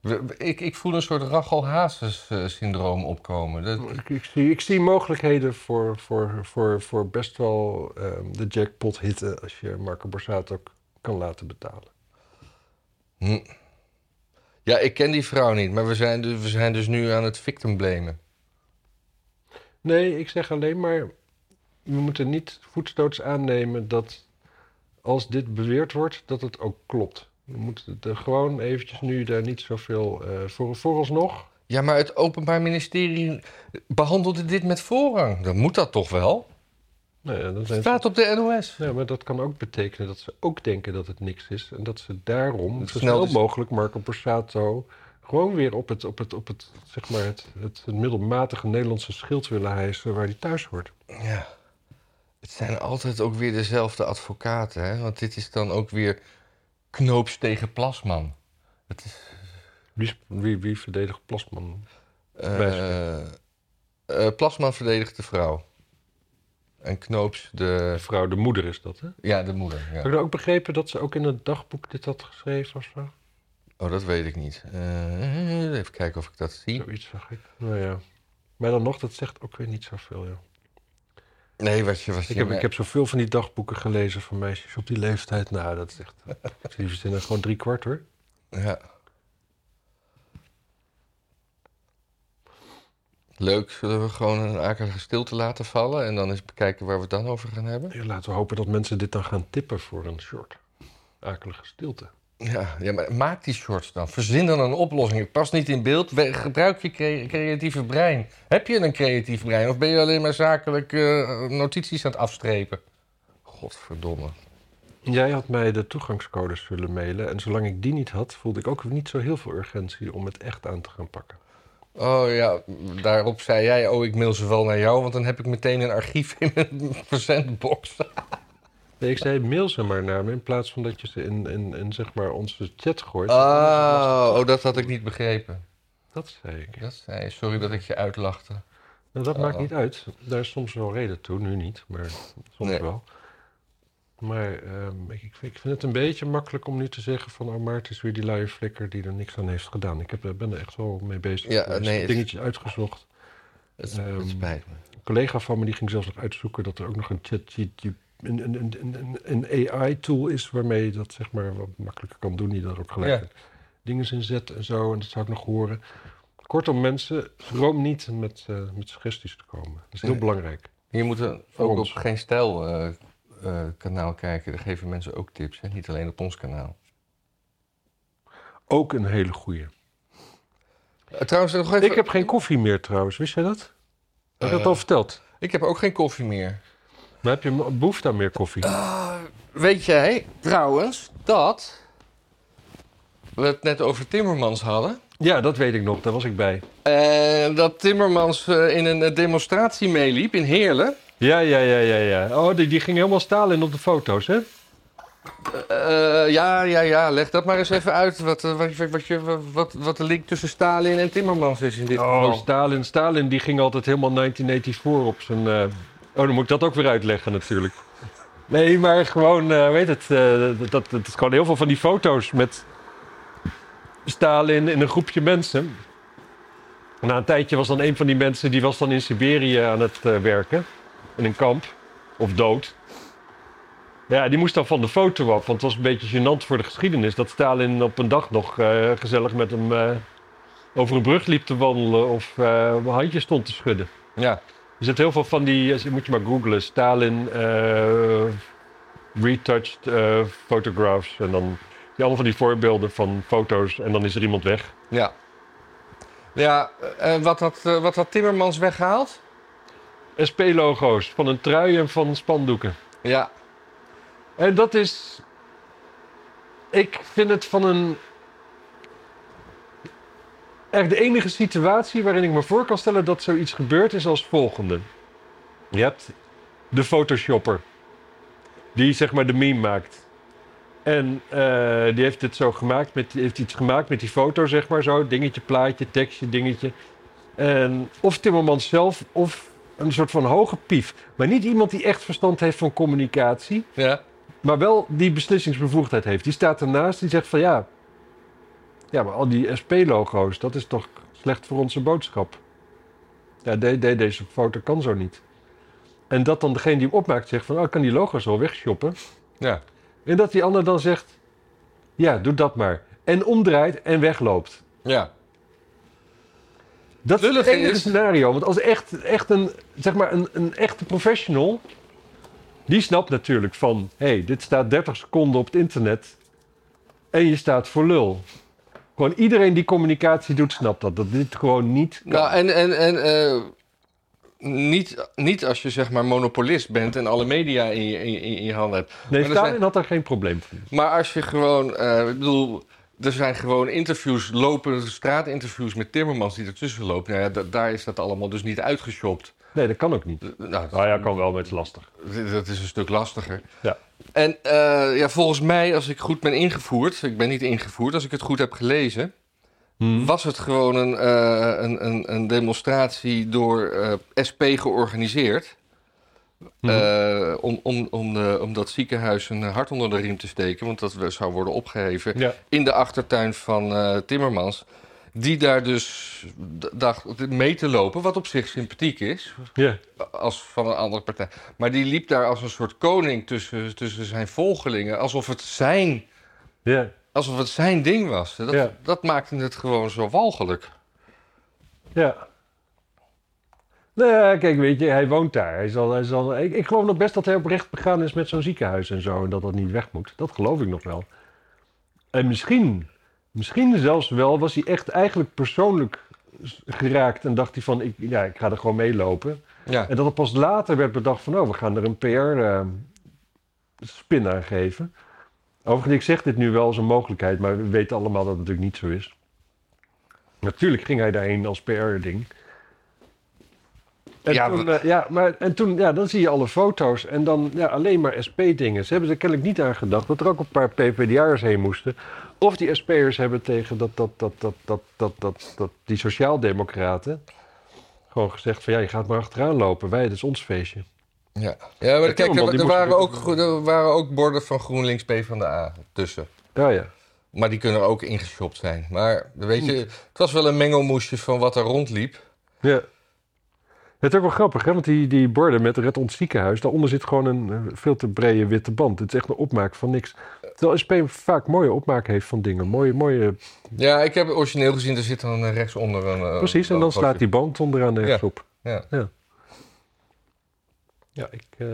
[SPEAKER 2] We- we- Ik, ik voel een soort Rachel Hazes eh, syndroom opkomen. Dat,
[SPEAKER 1] Ik, ik zie, ik zie mogelijkheden voor, voor, voor, voor best wel ehm, de jackpot hitten... als je Marco Borsato k- kan laten betalen.
[SPEAKER 2] hm. Ja, ik ken die vrouw niet, maar we zijn, dus, we zijn dus nu aan het victim blamen.
[SPEAKER 1] Nee, ik zeg alleen maar... we moeten niet voetstoots aannemen dat... als dit beweerd wordt, dat het ook klopt. We moeten het er gewoon eventjes nu daar niet zoveel... eh voor, vooralsnog...
[SPEAKER 2] Ja, maar het Openbaar Ministerie behandelde dit met voorrang. Dan moet dat toch wel?
[SPEAKER 1] Nou ja, dan zijn
[SPEAKER 2] Het
[SPEAKER 1] ze-
[SPEAKER 2] staat op de NOS.
[SPEAKER 1] Ja, maar dat kan ook betekenen dat ze ook denken dat het niks is. En dat ze daarom
[SPEAKER 2] Dat
[SPEAKER 1] zo
[SPEAKER 2] snel
[SPEAKER 1] snel
[SPEAKER 2] is-
[SPEAKER 1] mogelijk Marco Borsato gewoon weer op het, op het, op het, zeg maar het, het, het middelmatige Nederlandse schild willen hijsen waar hij thuis hoort.
[SPEAKER 2] Ja. Het zijn altijd ook weer dezelfde advocaten, hè? Want dit is dan ook weer knoops tegen Plasman. Het is...
[SPEAKER 1] Wie, is- wie, wie verdedigt Plasman?
[SPEAKER 2] eh,
[SPEAKER 1] Wijsgeer.
[SPEAKER 2] eh, Plasman verdedigt de vrouw. En knoops de...
[SPEAKER 1] De Eh, vrouw, de moeder is dat, hè?
[SPEAKER 2] Ja, de moeder.
[SPEAKER 1] Heb
[SPEAKER 2] Ja.
[SPEAKER 1] ik nou ook begrepen dat ze ook in het dagboek dit had geschreven of zo?
[SPEAKER 2] Oh, dat weet ik niet. Eh, even kijken of ik dat zie.
[SPEAKER 1] Zoiets zag ik. Nou ja. Maar dan nog, dat zegt ook weer niet zoveel, ja.
[SPEAKER 2] Nee, wat je... Wat je
[SPEAKER 1] Ik heb, ik heb zoveel van die dagboeken gelezen van meisjes op die leeftijd. Nou, dat is echt... Ik zie verzinnen gewoon drie kwart, hoor.
[SPEAKER 2] Ja. Leuk, zullen we gewoon een akelige stilte laten vallen en dan eens bekijken waar we het dan over gaan hebben?
[SPEAKER 1] Ja, laten we hopen dat mensen dit dan gaan tippen voor een short. Akelige stilte.
[SPEAKER 2] Ja, ja maar maak die shorts dan. Verzin dan een oplossing. Het past niet in beeld. We- gebruik je cre- creatieve brein. Heb je een creatief brein of ben je alleen maar zakelijk eh, notities aan het afstrepen? Godverdomme.
[SPEAKER 1] Jij had mij de toegangscodes zullen mailen. En zolang ik die niet had, voelde ik ook niet zo heel veel urgentie om het echt aan te gaan pakken.
[SPEAKER 2] Oh ja, daarop zei jij, oh ik mail ze wel naar jou, want dan heb ik meteen een archief in mijn verzendbox.
[SPEAKER 1] Nee, ik zei mail ze maar naar me in plaats van dat je ze in, in, in zeg maar onze chat gooit.
[SPEAKER 2] Oh, oh, dat had ik niet begrepen.
[SPEAKER 1] Dat zei ik.
[SPEAKER 2] Dat zei, sorry dat ik je uitlachte.
[SPEAKER 1] Nou, dat
[SPEAKER 2] Oh.
[SPEAKER 1] maakt niet uit. Daar is soms wel reden toe. Nu niet, maar soms
[SPEAKER 2] Nee.
[SPEAKER 1] wel. Maar ehm, ik, ik vind ik vind het een beetje makkelijk om nu te zeggen van... oh, maar het is weer die luie flikker die er niks aan heeft gedaan. Ik heb, eh, ben er echt wel mee bezig.
[SPEAKER 2] Ja,
[SPEAKER 1] geweest.
[SPEAKER 2] nee, het-
[SPEAKER 1] Dingetjes uitgezocht.
[SPEAKER 2] Het,
[SPEAKER 1] Ehm,
[SPEAKER 2] het spijt me.
[SPEAKER 1] Een collega van me die ging zelfs nog uitzoeken... dat er ook nog een chat, een, een, een, een, een AI-tool is... waarmee je dat zeg maar wat makkelijker kan doen. Die daar ook gelijk
[SPEAKER 2] Ja.
[SPEAKER 1] dingen in zet en zo. En dat zou ik nog horen. Kortom, mensen, schroom niet met, eh, met suggesties te komen. Dat is heel
[SPEAKER 2] Nee.
[SPEAKER 1] belangrijk.
[SPEAKER 2] Je moet er
[SPEAKER 1] Voor
[SPEAKER 2] ook
[SPEAKER 1] ons.
[SPEAKER 2] op geen stijl eh, eh, kanaal kijken. Daar geven mensen ook tips, hè? niet alleen op ons kanaal.
[SPEAKER 1] Ook een hele goeie.
[SPEAKER 2] Eh, trouwens, nog even,
[SPEAKER 1] Ik heb geen koffie meer trouwens, wist jij dat? Heb ik dat
[SPEAKER 2] Eh.
[SPEAKER 1] al verteld?
[SPEAKER 2] ik heb ook geen koffie meer.
[SPEAKER 1] Maar heb je mo- behoefte aan meer koffie?
[SPEAKER 2] Weet jij trouwens dat we het net over Timmermans hadden?
[SPEAKER 1] Ja, dat weet ik nog, daar was ik bij.
[SPEAKER 2] En Eh, dat Timmermans eh, in een eh, demonstratie meeliep in Heerlen.
[SPEAKER 1] Ja, ja, ja, ja, ja. Oh, die, die ging helemaal stalen op de foto's, hè?
[SPEAKER 2] Eh, ja, ja, ja. Leg dat maar eens even uit. Wat, eh, wat, je- wat, je- wat, wat de link tussen Stalin en Timmermans is in dit
[SPEAKER 1] Oh,
[SPEAKER 2] geval.
[SPEAKER 1] Stalin. Stalin die ging altijd helemaal 1984 op zijn... eh, Oh, dan moet ik dat ook weer uitleggen natuurlijk. Nee, maar gewoon, eh, weet het, eh, dat, dat, dat is gewoon heel veel van die foto's met Stalin in een groepje mensen. Na een tijdje was dan een van die mensen, die was dan in Siberië aan het eh, werken. In een kamp. Of dood. Ja, die moest dan van de foto af, want het was een beetje gênant voor de geschiedenis. Dat Stalin op een dag nog eh, gezellig met hem eh, over een brug liep te wandelen of eh een handje stond te schudden.
[SPEAKER 2] Ja.
[SPEAKER 1] Er zit heel veel van die, eh, moet je maar googlen, Stalin eh, retouched eh, photographs. En dan die allemaal van die voorbeelden van foto's en dan is er iemand weg.
[SPEAKER 2] Ja. Ja, eh, wat, had, eh, wat had Timmermans weggehaald?
[SPEAKER 1] SP-logo's van een trui en van spandoeken.
[SPEAKER 2] Ja.
[SPEAKER 1] En dat is. Ik vind het van een. Echt de enige situatie waarin ik me voor kan stellen dat zoiets gebeurt is als volgende. Je hebt de photoshopper. Die zeg maar de meme maakt. En eh, die heeft dit zo gemaakt. Met, die heeft iets gemaakt met die foto zeg maar zo. Dingetje, plaatje, tekstje, dingetje. En of Timmermans zelf of een soort van hoge pief. Maar niet iemand die echt verstand heeft van communicatie
[SPEAKER 2] Ja.
[SPEAKER 1] maar wel die beslissingsbevoegdheid heeft. Die staat ernaast, die zegt van ja, ja maar al die SP-logo's, dat is toch slecht voor onze boodschap. Ja, de, de- deze foto kan zo niet. En dat dan degene die hem opmaakt zegt van, oh, ik kan die logo's wel wegshoppen.
[SPEAKER 2] Ja.
[SPEAKER 1] En dat die ander dan zegt, ja, doe dat maar. En omdraait en wegloopt.
[SPEAKER 2] Ja.
[SPEAKER 1] Dat is het
[SPEAKER 2] Lullig
[SPEAKER 1] enige
[SPEAKER 2] is-
[SPEAKER 1] scenario. Want als echt, echt een, zeg maar een, een echte professional. die snapt natuurlijk van. hé, hey, dit staat 30 seconden op het internet. en je staat voor lul. Gewoon iedereen die communicatie doet, snapt dat. Dat dit gewoon niet. kan.
[SPEAKER 2] Nou, en, en, en eh, niet, niet als je zeg maar monopolist bent en alle media in je, in, in je handen hebt.
[SPEAKER 1] nee,
[SPEAKER 2] maar er
[SPEAKER 1] Stalin
[SPEAKER 2] zijn-
[SPEAKER 1] had daar geen probleem van.
[SPEAKER 2] Maar als je gewoon, eh, ik bedoel, er zijn gewoon interviews, lopende straatinterviews met Timmermans die ertussen lopen. Nou ja, da- daar is dat allemaal dus niet uitgeshopt.
[SPEAKER 1] Nee, dat kan ook niet.
[SPEAKER 2] D- Nou,
[SPEAKER 1] Nou ja, kan wel, maar het is lastig.
[SPEAKER 2] d- dat is een stuk lastiger.
[SPEAKER 1] Ja.
[SPEAKER 2] En eh, ja, volgens mij, als ik goed ben ingevoerd, ik ben niet ingevoerd, als ik het goed heb gelezen,
[SPEAKER 1] Hm. Mhm.
[SPEAKER 2] was het gewoon een, eh, een, een, een demonstratie door eh, SP georganiseerd.
[SPEAKER 1] Mhm.
[SPEAKER 2] eh, om, om, om, de, om dat ziekenhuis een hart onder de riem te steken, want dat we- zou worden opgeheven
[SPEAKER 1] Ja.
[SPEAKER 2] in de achtertuin van eh, Timmermans. Die daar dus d- dacht mee te lopen, wat op zich sympathiek is
[SPEAKER 1] Ja.
[SPEAKER 2] als van een andere partij. Maar die liep daar als een soort koning tussen, tussen zijn volgelingen. Alsof het zijn,
[SPEAKER 1] ja.
[SPEAKER 2] alsof het zijn ding was. Dat,
[SPEAKER 1] Ja.
[SPEAKER 2] dat maakte het gewoon zo walgelijk.
[SPEAKER 1] Ja. Nou ja, kijk, weet je, hij woont daar. Hij zal, hij zal, ik, ik geloof nog best dat hij oprecht begaan is met zo'n ziekenhuis en zo. En dat dat niet weg moet. Dat geloof ik nog wel. En misschien, misschien zelfs wel, was hij echt eigenlijk persoonlijk s- geraakt. En dacht hij van, ik, ja, ik ga er gewoon meelopen.
[SPEAKER 2] Ja,
[SPEAKER 1] En dat het pas later werd bedacht van, oh, we gaan er een PR-spin aan geven. Overigens, ik zeg dit nu wel als een mogelijkheid, maar we weten allemaal dat het natuurlijk niet zo is. Natuurlijk ging hij daarheen als PR-ding. En,
[SPEAKER 2] Ja,
[SPEAKER 1] toen,
[SPEAKER 2] we-
[SPEAKER 1] eh, ja, maar, en toen, ja, dan zie je alle foto's en dan ja, alleen maar SP-dingen. Ze hebben er kennelijk niet aan gedacht dat er ook een paar PPDA'ers heen moesten. Of die SP'ers hebben tegen dat, dat, dat, dat, dat, dat, dat, dat, die sociaaldemocraten gewoon gezegd van ja, je gaat maar achteraan lopen. Wij, dat is ons feestje.
[SPEAKER 2] ja. ja maar kijk,
[SPEAKER 1] Timmermans,
[SPEAKER 2] er,
[SPEAKER 1] die
[SPEAKER 2] er
[SPEAKER 1] moest
[SPEAKER 2] waren ook,
[SPEAKER 1] natuurlijk-
[SPEAKER 2] gro- er waren ook borden van GroenLinks PvdA tussen.
[SPEAKER 1] Ja, ja.
[SPEAKER 2] Maar die kunnen er ook ingeshopt zijn. Maar weet
[SPEAKER 1] Hmm.
[SPEAKER 2] je, het was wel een mengelmoesje van wat er rondliep.
[SPEAKER 1] ja. Het is ook wel grappig, hè? want die, die borden met Red Ons Ziekenhuis, daaronder zit gewoon een eh, veel te brede witte band. Het is echt een opmaak van niks. Terwijl SP vaak mooie opmaak heeft van dingen. Mooie, mooie...
[SPEAKER 2] Ja, ik heb origineel gezien, er zit dan eh, rechtsonder een... eh,
[SPEAKER 1] Precies, en dan
[SPEAKER 2] logootje.
[SPEAKER 1] slaat die band onderaan ergens
[SPEAKER 2] Ja.
[SPEAKER 1] op.
[SPEAKER 2] Ja.
[SPEAKER 1] Ja, ik, eh,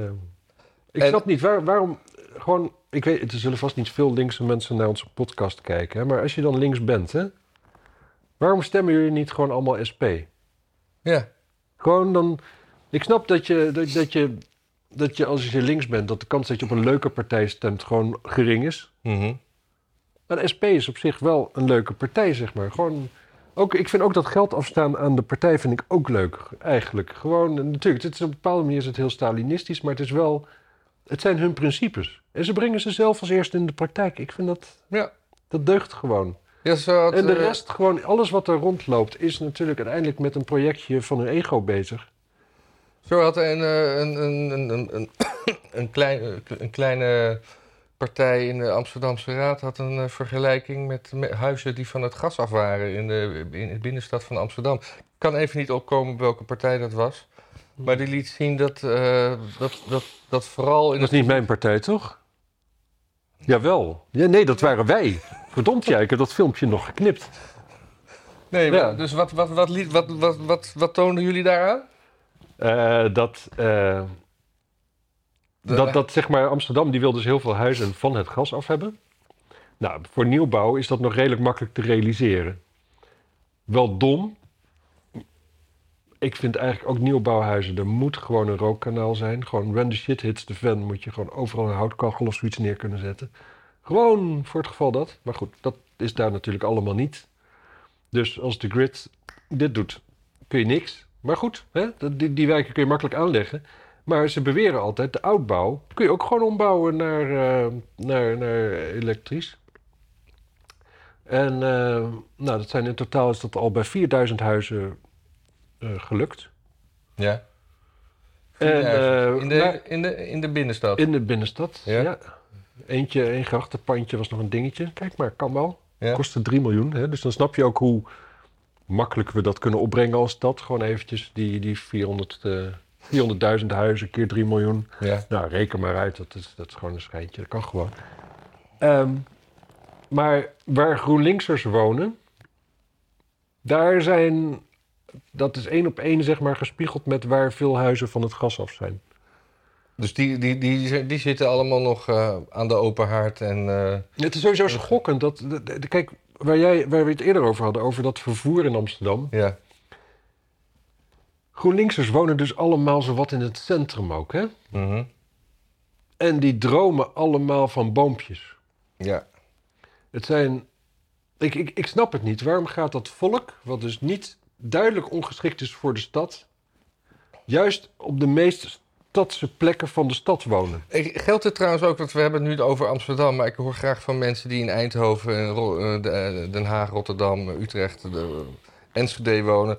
[SPEAKER 1] ik
[SPEAKER 2] En-
[SPEAKER 1] snap niet waar, waarom. Gewoon, ik weet, er zullen vast niet veel linkse mensen naar onze podcast kijken. Hè, maar als je dan links bent, hè, waarom stemmen jullie niet gewoon allemaal SP?
[SPEAKER 2] ja.
[SPEAKER 1] Gewoon dan. Ik snap dat je, dat, dat je, dat je als je links bent, dat de kans dat je op een leuke partij stemt gewoon gering is.
[SPEAKER 2] Mhm.
[SPEAKER 1] Maar de SP is op zich wel een leuke partij, zeg maar. Gewoon, ook, ik vind ook dat geld afstaan aan de partij vind ik ook leuk, eigenlijk. Gewoon, en natuurlijk, het is op een bepaalde manier is het heel Stalinistisch, maar het is wel... Het zijn hun principes. En ze brengen ze zelf als eerste in de praktijk. Ik vind dat...
[SPEAKER 2] Ja.
[SPEAKER 1] Dat deugt gewoon.
[SPEAKER 2] Ja, ze had,
[SPEAKER 1] en de
[SPEAKER 2] eh,
[SPEAKER 1] rest, gewoon alles wat er rondloopt, is natuurlijk uiteindelijk met een projectje van hun ego bezig.
[SPEAKER 2] Zo had een, eh, een, een, een, een, een, een klein, eh, een kleine partij in de Amsterdamse Raad had een eh, vergelijking met, met huizen die van het gas af waren in de in de binnenstad van Amsterdam. Ik kan even niet opkomen welke partij dat was. Maar die liet zien dat, eh, dat, dat, dat vooral in
[SPEAKER 1] Dat is
[SPEAKER 2] het...
[SPEAKER 1] niet mijn partij, toch? Jawel. Ja, nee, dat waren wij. Verdomd, jij, ik heb dat filmpje nog geknipt.
[SPEAKER 2] Nee,
[SPEAKER 1] Ja.
[SPEAKER 2] maar- dus wat, wat, wat, liet- wat, wat, wat, wat toonden jullie daaraan?
[SPEAKER 1] Eh, dat, eh, dat, dat, zeg maar, Amsterdam die wil dus heel veel huizen van het gas af hebben. Nou, voor nieuwbouw is dat nog redelijk makkelijk te realiseren. Wel dom. Ik vind eigenlijk ook nieuwbouwhuizen, er moet gewoon een rookkanaal zijn. Gewoon when the shit hits the fan moet je gewoon overal een houtkachel of zoiets neer kunnen zetten. Gewoon voor het geval dat. Maar goed, dat is daar natuurlijk allemaal niet. Dus als de grid dit doet, kun je niks. Maar goed, hè? dat- Die, die wijken kun je makkelijk aanleggen. Maar ze beweren altijd, de oudbouw kun je ook gewoon ombouwen naar, eh, naar, naar elektrisch. En eh, nou, dat zijn in totaal is dat al bij 4000 huizen eh, gelukt.
[SPEAKER 2] Ja.
[SPEAKER 1] En,
[SPEAKER 2] Ja,
[SPEAKER 1] eh,
[SPEAKER 2] in, de,
[SPEAKER 1] maar-
[SPEAKER 2] in, de, in de binnenstad.
[SPEAKER 1] in de binnenstad,
[SPEAKER 2] Ja.
[SPEAKER 1] ja. Eentje, een grachtenpandje was nog een dingetje. Kijk maar, kan wel.
[SPEAKER 2] Ja.
[SPEAKER 1] Kostte 3 miljoen. Hè? Dus dan snap je ook hoe makkelijk we dat kunnen opbrengen als stad. Gewoon eventjes die, die 400, eh, 400.000 huizen keer 3 miljoen.
[SPEAKER 2] Ja.
[SPEAKER 1] Nou, reken maar uit. Dat is, dat is gewoon een schijntje. Dat kan gewoon. Ehm, maar waar GroenLinksers wonen, daar zijn... Dat is één op één, zeg maar, gespiegeld met waar veel huizen van het gas af zijn.
[SPEAKER 2] Dus die, die, die, die, zitten allemaal nog eh, aan de open haard en... eh,
[SPEAKER 1] Het is sowieso schokkend dat. de- de- de- Kijk, waar, jij, waar we het eerder over hadden, over dat vervoer in Amsterdam.
[SPEAKER 2] Ja,
[SPEAKER 1] GroenLinksers wonen dus allemaal zowat in het centrum ook, hè?
[SPEAKER 2] mhm.
[SPEAKER 1] En die dromen allemaal van boompjes.
[SPEAKER 2] ja.
[SPEAKER 1] Het zijn. Ik, ik, ik snap het niet. Waarom gaat dat volk, wat dus niet duidelijk ongeschikt is voor de stad, juist op de meest stadse plekken van de stad wonen?
[SPEAKER 2] Ik, geldt het trouwens ook, want we hebben het nu over Amsterdam, maar ik hoor graag van mensen die in Eindhoven, en Ro- eh, de- eh, Den Haag, Rotterdam, eh, Utrecht, de, eh, Enschede wonen.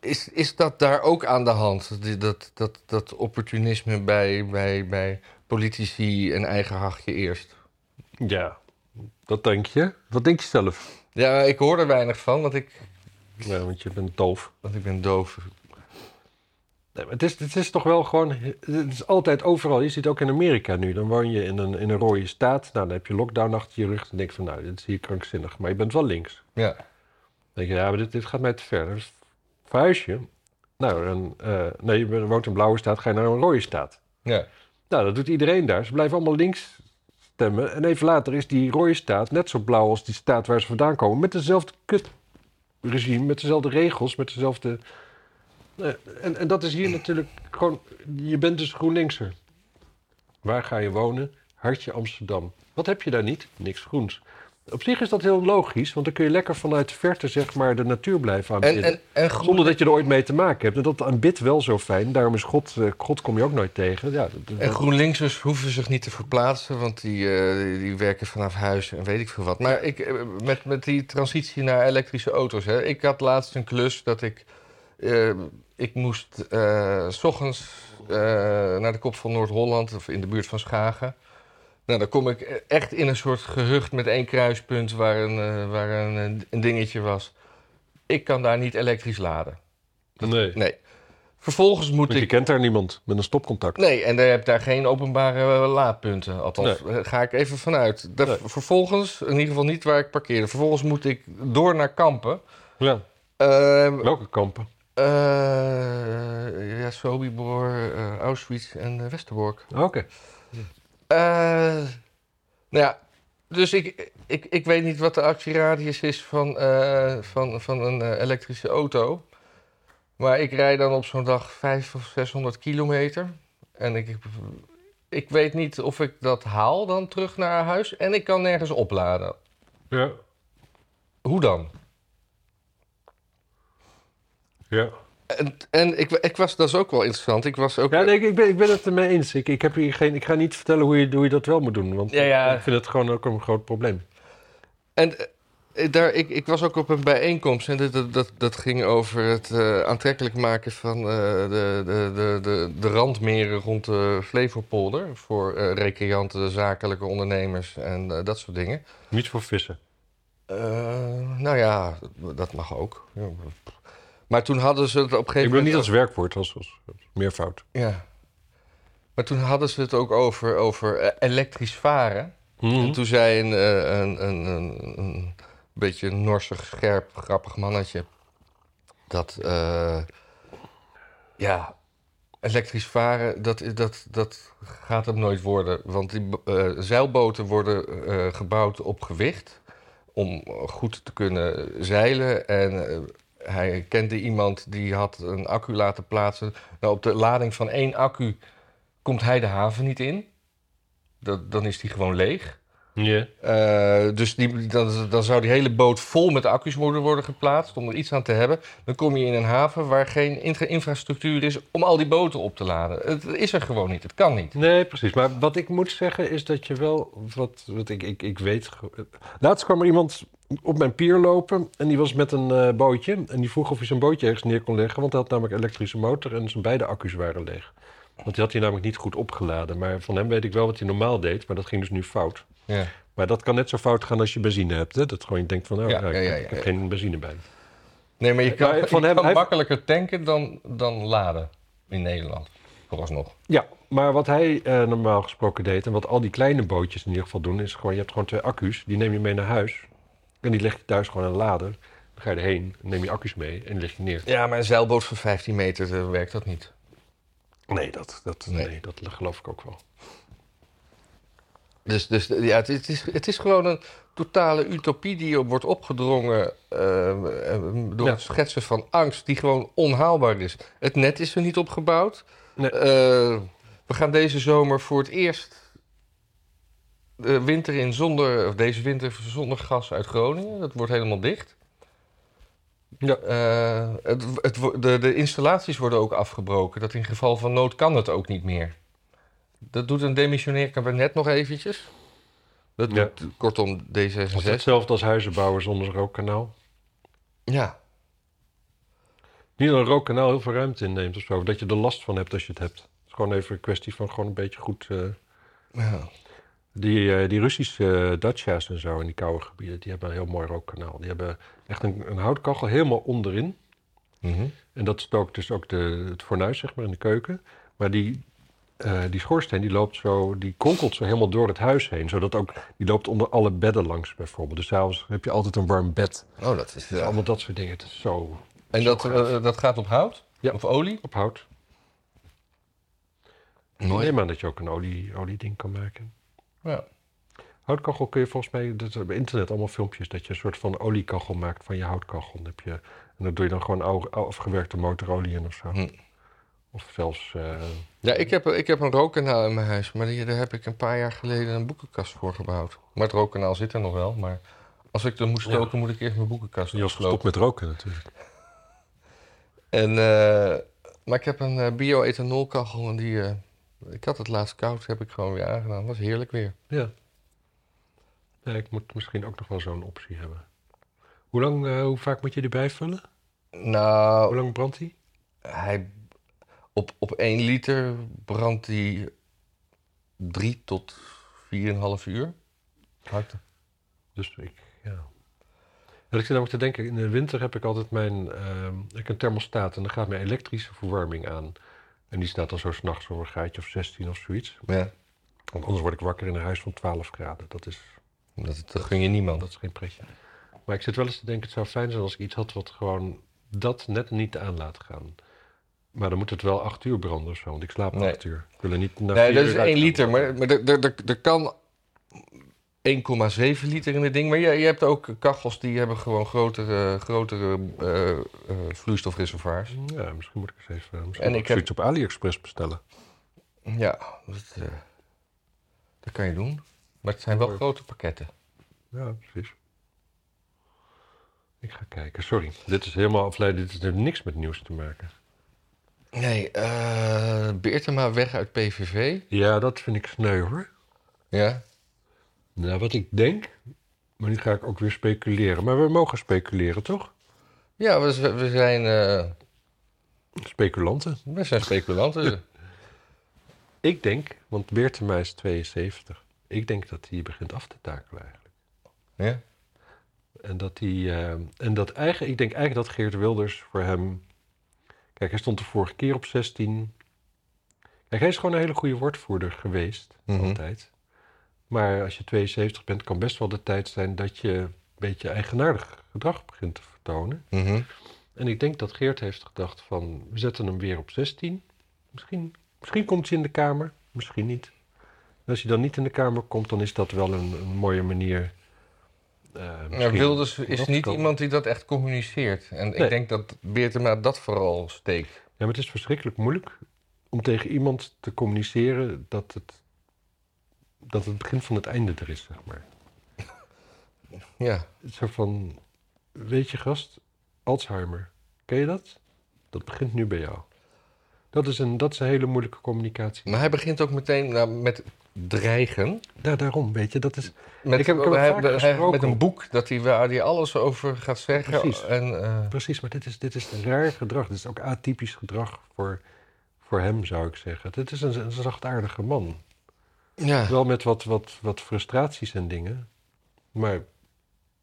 [SPEAKER 2] Is, is dat daar ook aan de hand? Die- Dat, dat, dat opportunisme bij, bij, bij politici en eigen hachje eerst?
[SPEAKER 1] Ja, dat denk je. Wat denk je zelf?
[SPEAKER 2] Ja, ik hoor er weinig van, want ik,
[SPEAKER 1] Ja, want je bent doof.
[SPEAKER 2] want ik ben doof.
[SPEAKER 1] Nee, maar het, is, het is toch wel gewoon. Het is altijd overal. Je ziet het ook in Amerika nu. Dan woon je in een, in een rode staat. Nou, dan heb je lockdown achter je rug. Dan denk je van, nou, dit is hier krankzinnig. Maar je bent wel links.
[SPEAKER 2] Ja,
[SPEAKER 1] Dan denk je, ja, maar dit, dit gaat mij te ver. Dus verhuis je. Nou, en, eh, nee, je woont in een blauwe staat. Ga je naar een rode staat.
[SPEAKER 2] ja.
[SPEAKER 1] Nou, dat doet iedereen daar. Ze blijven allemaal links stemmen. En even later is die rode staat net zo blauw als die staat waar ze vandaan komen. Met dezelfde kutregime, met dezelfde regels, met dezelfde... Eh, En, en dat is hier natuurlijk gewoon... Je bent dus GroenLinkser. Waar ga je wonen? Hartje Amsterdam. Wat heb je daar niet? Niks groens. Op zich is dat heel logisch, want dan kun je lekker vanuit de verte zeg maar, de natuur blijven
[SPEAKER 2] En,
[SPEAKER 1] aanbidden.
[SPEAKER 2] en, en groen-
[SPEAKER 1] Zonder dat je er ooit mee te maken hebt. En dat aanbidt wel zo fijn. Daarom is God, eh, God kom je ook nooit tegen. Ja, dat-
[SPEAKER 2] En GroenLinksers hoeven zich niet te verplaatsen, want die, eh, die- die werken vanaf huis en weet ik veel wat. Maar ik, eh, met, met die transitie naar elektrische auto's. Hè, ik had laatst een klus dat ik. eh, ik moest eh, s ochtends eh, naar de kop van Noord-Holland of in de buurt van Schagen. Nou, dan kom ik echt in een soort gehucht met één kruispunt waar een, eh, waar een, een dingetje was. Ik kan daar niet elektrisch laden.
[SPEAKER 1] nee.
[SPEAKER 2] Nee. Vervolgens moet
[SPEAKER 1] Want
[SPEAKER 2] ik
[SPEAKER 1] je kent daar niemand met een stopcontact.
[SPEAKER 2] Nee, en daar heb daar geen openbare eh, laadpunten. Althans, eh, ga ik even vanuit. Daar-
[SPEAKER 1] Nee.
[SPEAKER 2] Vervolgens, in ieder geval niet waar ik parkeerde. Vervolgens moet ik door naar Kampen.
[SPEAKER 1] Ja.
[SPEAKER 2] Ehm
[SPEAKER 1] Welke kampen?
[SPEAKER 2] eh, ja, Sobibor, eh, Auschwitz en eh, Westerbork.
[SPEAKER 1] Ah, Oké.
[SPEAKER 2] Eh, nou ja, dus ik, ik, ik weet niet wat de actieradius is van, eh, van, van een eh, elektrische auto. Maar ik rijd dan op zo'n dag 500 of 600 kilometer. En ik, ik weet niet of ik dat haal dan terug naar huis. En ik kan nergens opladen.
[SPEAKER 1] Ja.
[SPEAKER 2] Hoe dan?
[SPEAKER 1] Ja.
[SPEAKER 2] En, en ik, ik was, dat is ook wel interessant. Ik was ook.
[SPEAKER 1] Ja, nee, ik- ik ben, ik ben het ermee eens. Ik, ik, heb hier geen, ik ga niet vertellen hoe je, hoe je dat wel moet doen. Want
[SPEAKER 2] Ja, ja.
[SPEAKER 1] ik vind het gewoon ook een groot probleem.
[SPEAKER 2] En eh, daar, ik, ik was ook op een bijeenkomst en dat- dat, dat, dat ging over het eh, aantrekkelijk maken van eh, de, de, de, de, de randmeren rond de Flevopolder. Voor eh, recreanten, zakelijke ondernemers en eh, dat soort dingen.
[SPEAKER 1] Niet voor vissen.
[SPEAKER 2] Eh, nou ja, dat, dat mag ook. Ja, maar- Maar toen hadden ze het op een gegeven
[SPEAKER 1] Ik bedoel
[SPEAKER 2] moment.
[SPEAKER 1] niet als werkwoord, als, als, als meervoud.
[SPEAKER 2] Ja. Maar toen hadden ze het ook over, over eh, elektrisch varen.
[SPEAKER 1] Mhm.
[SPEAKER 2] En toen zei een, eh, een, een, een, een beetje norsig, scherp, grappig mannetje... dat, eh, ja, elektrisch varen, dat, i- dat, dat gaat hem nooit worden. Want die b- eh, zeilboten worden eh, gebouwd op gewicht... om goed te kunnen zeilen. En eh, hij kende iemand die had een accu laten plaatsen. Nou, op de lading van één accu komt hij de haven niet in. Dat, dan is die gewoon leeg.
[SPEAKER 1] Ja.
[SPEAKER 2] Eh, dus die, dan, dan zou die hele boot vol met accu's moeten worden geplaatst om er iets aan te hebben. Dan kom je in een haven waar geen intra- infrastructuur is om al die boten op te laden. Het is er gewoon niet, het kan niet.
[SPEAKER 1] Nee, precies. Maar wat ik moet zeggen is dat je wel. Wat, wat ik, ik, ik weet. ge- Laatst kwam er iemand op mijn pier lopen. En die was met een eh, bootje. En die vroeg of hij zijn bootje ergens neer kon leggen. Want hij had namelijk een elektrische motor. En zijn beide accu's waren leeg. Want die had hij namelijk niet goed opgeladen. Maar van hem weet ik wel wat hij normaal deed. Maar dat ging dus nu fout.
[SPEAKER 2] Ja.
[SPEAKER 1] Maar dat kan net zo fout gaan als je benzine hebt. Hè? Dat gewoon je denkt van. Oh,
[SPEAKER 2] Ja,
[SPEAKER 1] ja, ik,
[SPEAKER 2] ja, ja,
[SPEAKER 1] ik heb
[SPEAKER 2] ja.
[SPEAKER 1] geen benzine bij. me.
[SPEAKER 2] Nee, maar je kan,
[SPEAKER 1] Maar Eh, van
[SPEAKER 2] je
[SPEAKER 1] hem-
[SPEAKER 2] kan
[SPEAKER 1] hij-
[SPEAKER 2] makkelijker tanken dan, dan laden in Nederland. Vooralsnog.
[SPEAKER 1] Ja, maar wat hij eh, normaal gesproken deed en wat al die kleine bootjes in ieder geval doen, is gewoon: je hebt gewoon twee accu's, die neem je mee naar huis. En die leg je thuis gewoon aan de lader. Dan ga je erheen, dan neem je accu's mee en die leg je neer.
[SPEAKER 2] Ja, maar een zeilboot van 15 meter eh, werkt dat niet.
[SPEAKER 1] Nee, dat, dat,
[SPEAKER 2] Nee.
[SPEAKER 1] nee. dat geloof ik ook wel.
[SPEAKER 2] Dus, dus ja, het, het, is, het is gewoon een totale utopie die wordt opgedrongen eh, eh, door
[SPEAKER 1] Ja.
[SPEAKER 2] het schetsen van angst, die gewoon onhaalbaar is. Het net is er niet opgebouwd.
[SPEAKER 1] Nee.
[SPEAKER 2] Eh, we gaan deze zomer voor het eerst de winter in zonder, of deze winter zonder gas uit Groningen. Dat wordt helemaal dicht.
[SPEAKER 1] Ja.
[SPEAKER 2] Eh, het, het, wo- de, de installaties worden ook afgebroken. Dat in geval van nood kan het ook niet meer. Dat doet een demissionair kabinet nog eventjes. Dat
[SPEAKER 1] Ja.
[SPEAKER 2] doet kortom
[SPEAKER 1] Het is
[SPEAKER 2] D66.
[SPEAKER 1] hetzelfde als huizen bouwen zonder rookkanaal.
[SPEAKER 2] Ja,
[SPEAKER 1] Niet dat een rookkanaal heel veel ruimte inneemt of zo, dat je er last van hebt als je het hebt. Het is gewoon even een kwestie van gewoon een beetje goed. eh,
[SPEAKER 2] ja.
[SPEAKER 1] Die, eh, die Russische eh Dacia's en zo in die koude gebieden, die hebben een heel mooi rookkanaal. Die hebben echt een, een houtkachel helemaal onderin.
[SPEAKER 2] Mhm.
[SPEAKER 1] En dat stookt dus ook de, het fornuis, zeg maar, in de keuken. Maar die, eh, die schoorsteen, die loopt zo, die kronkelt zo helemaal door het huis heen. Zodat ook, die loopt onder alle bedden langs bijvoorbeeld. Dus s'avonds heb je altijd een warm bed.
[SPEAKER 2] Oh, dat is...
[SPEAKER 1] Dus
[SPEAKER 2] Ja.
[SPEAKER 1] allemaal dat soort dingen. Het is zo
[SPEAKER 2] En dat, eh, dat gaat op hout?
[SPEAKER 1] Ja.
[SPEAKER 2] Of olie?
[SPEAKER 1] op hout.
[SPEAKER 2] Mooi.
[SPEAKER 1] Neem aan dat je ook een olie, olieding kan maken.
[SPEAKER 2] Ja.
[SPEAKER 1] Houtkachel kun je volgens mij, dat is op internet allemaal filmpjes, dat je een soort van oliekachel maakt van je houtkachel. Dan heb je, en dan doe je dan gewoon oude, oude afgewerkte motorolie in of zo.
[SPEAKER 2] Hm.
[SPEAKER 1] Of zelfs, eh,
[SPEAKER 2] Ja, ik heb, ik heb een rookkanaal in mijn huis, maar die, daar heb ik een paar jaar geleden een boekenkast voor gebouwd. Maar het rookkanaal zit er nog wel, maar als ik er moet stoken, moet ik eerst mijn boekenkast
[SPEAKER 1] Jos
[SPEAKER 2] opslopen.
[SPEAKER 1] gestopt met roken natuurlijk.
[SPEAKER 2] En, eh, maar ik heb een eh, bio-ethanolkachel en die, eh, ik had het laatst koud, heb ik gewoon weer aangedaan. Was heerlijk weer.
[SPEAKER 1] Ja. ja. Ik moet misschien ook nog wel zo'n optie hebben. Hoe, lang, eh, hoe vaak moet je die bijvullen?
[SPEAKER 2] Nou,
[SPEAKER 1] Hoe lang brandt die?
[SPEAKER 2] hij, op, op 1 liter brandt hij 3 tot 4,5 uur. Hard.
[SPEAKER 1] Dus ik, ja. En ik zit namelijk te denken, in de winter heb ik altijd mijn, ehm, ik heb een thermostaat en dan gaat mijn elektrische verwarming aan. En die staat dan zo s'nachts om een gaatje of 16 of zoiets.
[SPEAKER 2] Ja,
[SPEAKER 1] Want anders word ik wakker in een huis van 12 graden. Dat is,
[SPEAKER 2] dat, dat gun je niemand.
[SPEAKER 1] dat is geen pretje. Maar ik zit wel eens te denken, het zou fijn zijn als ik iets had wat gewoon dat net niet aan laat gaan. Maar dan moet het wel acht uur branden of zo, want ik slaap
[SPEAKER 2] Nee.
[SPEAKER 1] acht uur. Ik wil er niet naar
[SPEAKER 2] Nee,
[SPEAKER 1] vier
[SPEAKER 2] dat
[SPEAKER 1] uur
[SPEAKER 2] is
[SPEAKER 1] uit
[SPEAKER 2] 1
[SPEAKER 1] gaan.
[SPEAKER 2] liter, maar, maar er, er, er, er kan 1,7 liter in het ding. Maar je, je hebt ook kachels die hebben gewoon grotere, grotere eh, eh, vloeistofreservoirs.
[SPEAKER 1] Ja, misschien moet ik eens even misschien
[SPEAKER 2] En
[SPEAKER 1] moet
[SPEAKER 2] ik
[SPEAKER 1] ik
[SPEAKER 2] heb-
[SPEAKER 1] zoiets op AliExpress bestellen.
[SPEAKER 2] Ja, dat, eh, dat kan je doen. Maar het zijn wel
[SPEAKER 1] Mooi.
[SPEAKER 2] grote pakketten.
[SPEAKER 1] Ja, precies. Ik ga kijken, sorry. Dit is helemaal afleidend. Dit heeft niks met nieuws te maken.
[SPEAKER 2] Nee, eh Beertema weg uit PVV.
[SPEAKER 1] Ja, dat vind ik sneu hoor.
[SPEAKER 2] Ja.
[SPEAKER 1] Nou, wat ik denk. Maar nu ga ik ook weer speculeren. Maar we mogen speculeren, toch?
[SPEAKER 2] Ja, we, z- we zijn, eh,
[SPEAKER 1] Speculanten.
[SPEAKER 2] we zijn speculanten.
[SPEAKER 1] Ik denk, want Beertema is 72. Ik denk dat hij begint af te takelen eigenlijk.
[SPEAKER 2] ja.
[SPEAKER 1] En dat hij. eh, en dat eigen, ik denk eigenlijk dat Geert Wilders voor hem. Kijk, hij stond de vorige keer op 16. Kijk, hij is gewoon een hele goede woordvoerder geweest,
[SPEAKER 2] Mhm.
[SPEAKER 1] altijd. Maar als je 72 bent, kan best wel de tijd zijn dat je een beetje eigenaardig gedrag begint te vertonen.
[SPEAKER 2] Mhm.
[SPEAKER 1] En ik denk dat Geert heeft gedacht van, we zetten hem weer op 16. Misschien, misschien komt hij in de Kamer, misschien niet. En als hij dan niet in de Kamer komt, dan is dat wel een, een mooie manier. eh,
[SPEAKER 2] Maar
[SPEAKER 1] misschien-
[SPEAKER 2] Wilders is
[SPEAKER 1] dat
[SPEAKER 2] niet
[SPEAKER 1] kan.
[SPEAKER 2] iemand die dat echt communiceert. En
[SPEAKER 1] Nee.
[SPEAKER 2] ik denk dat Beertema dat vooral steekt.
[SPEAKER 1] Ja, maar het is verschrikkelijk moeilijk om tegen iemand te communiceren dat het, dat het begin van het einde er is, zeg maar.
[SPEAKER 2] Ja.
[SPEAKER 1] Het is Zo van, weet je gast, Alzheimer, ken je dat? Dat begint nu bij jou. Dat is een, dat is een hele moeilijke communicatie.
[SPEAKER 2] Maar hij begint ook meteen nou, met dreigen.
[SPEAKER 1] Daar, daarom, weet je, dat is...
[SPEAKER 2] Met,
[SPEAKER 1] Ik heb- ik heb hem
[SPEAKER 2] hij-
[SPEAKER 1] vaak
[SPEAKER 2] hij-
[SPEAKER 1] gesproken.
[SPEAKER 2] met een boek dat hij, waar hij alles over gaat zeggen.
[SPEAKER 1] Precies.
[SPEAKER 2] En, eh,
[SPEAKER 1] Precies, maar dit is, dit is een raar gedrag. Dit is ook atypisch gedrag voor, voor hem, zou ik zeggen. Dit is een, een zachtaardige man.
[SPEAKER 2] ja.
[SPEAKER 1] Wel met wat, wat, wat frustraties en dingen. Maar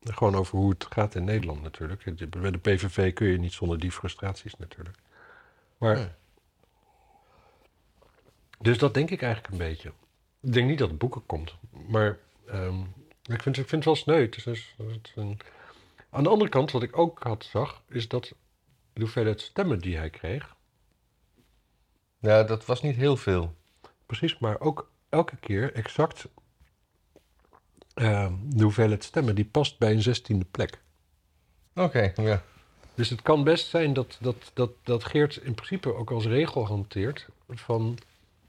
[SPEAKER 1] gewoon over hoe het gaat in Nederland natuurlijk. De- Bij de PVV kun je niet zonder die frustraties natuurlijk. Maar.
[SPEAKER 2] Nee.
[SPEAKER 1] Dus dat denk ik eigenlijk een beetje. Ik denk niet dat het boeken komt. Maar ehm, ik, vind, ik vind het wel sneu. Het is- dus, het is- het is een- Aan de andere kant, wat ik ook had zag, is dat de hoeveelheid stemmen die hij kreeg.
[SPEAKER 2] ja, dat was niet heel veel.
[SPEAKER 1] Precies, maar ook elke keer exact eh, de hoeveelheid stemmen die past bij een zestiende plek.
[SPEAKER 2] Oké, ja.
[SPEAKER 1] Dus het kan best zijn dat, dat, dat, dat Geert in principe ook als regel hanteert van...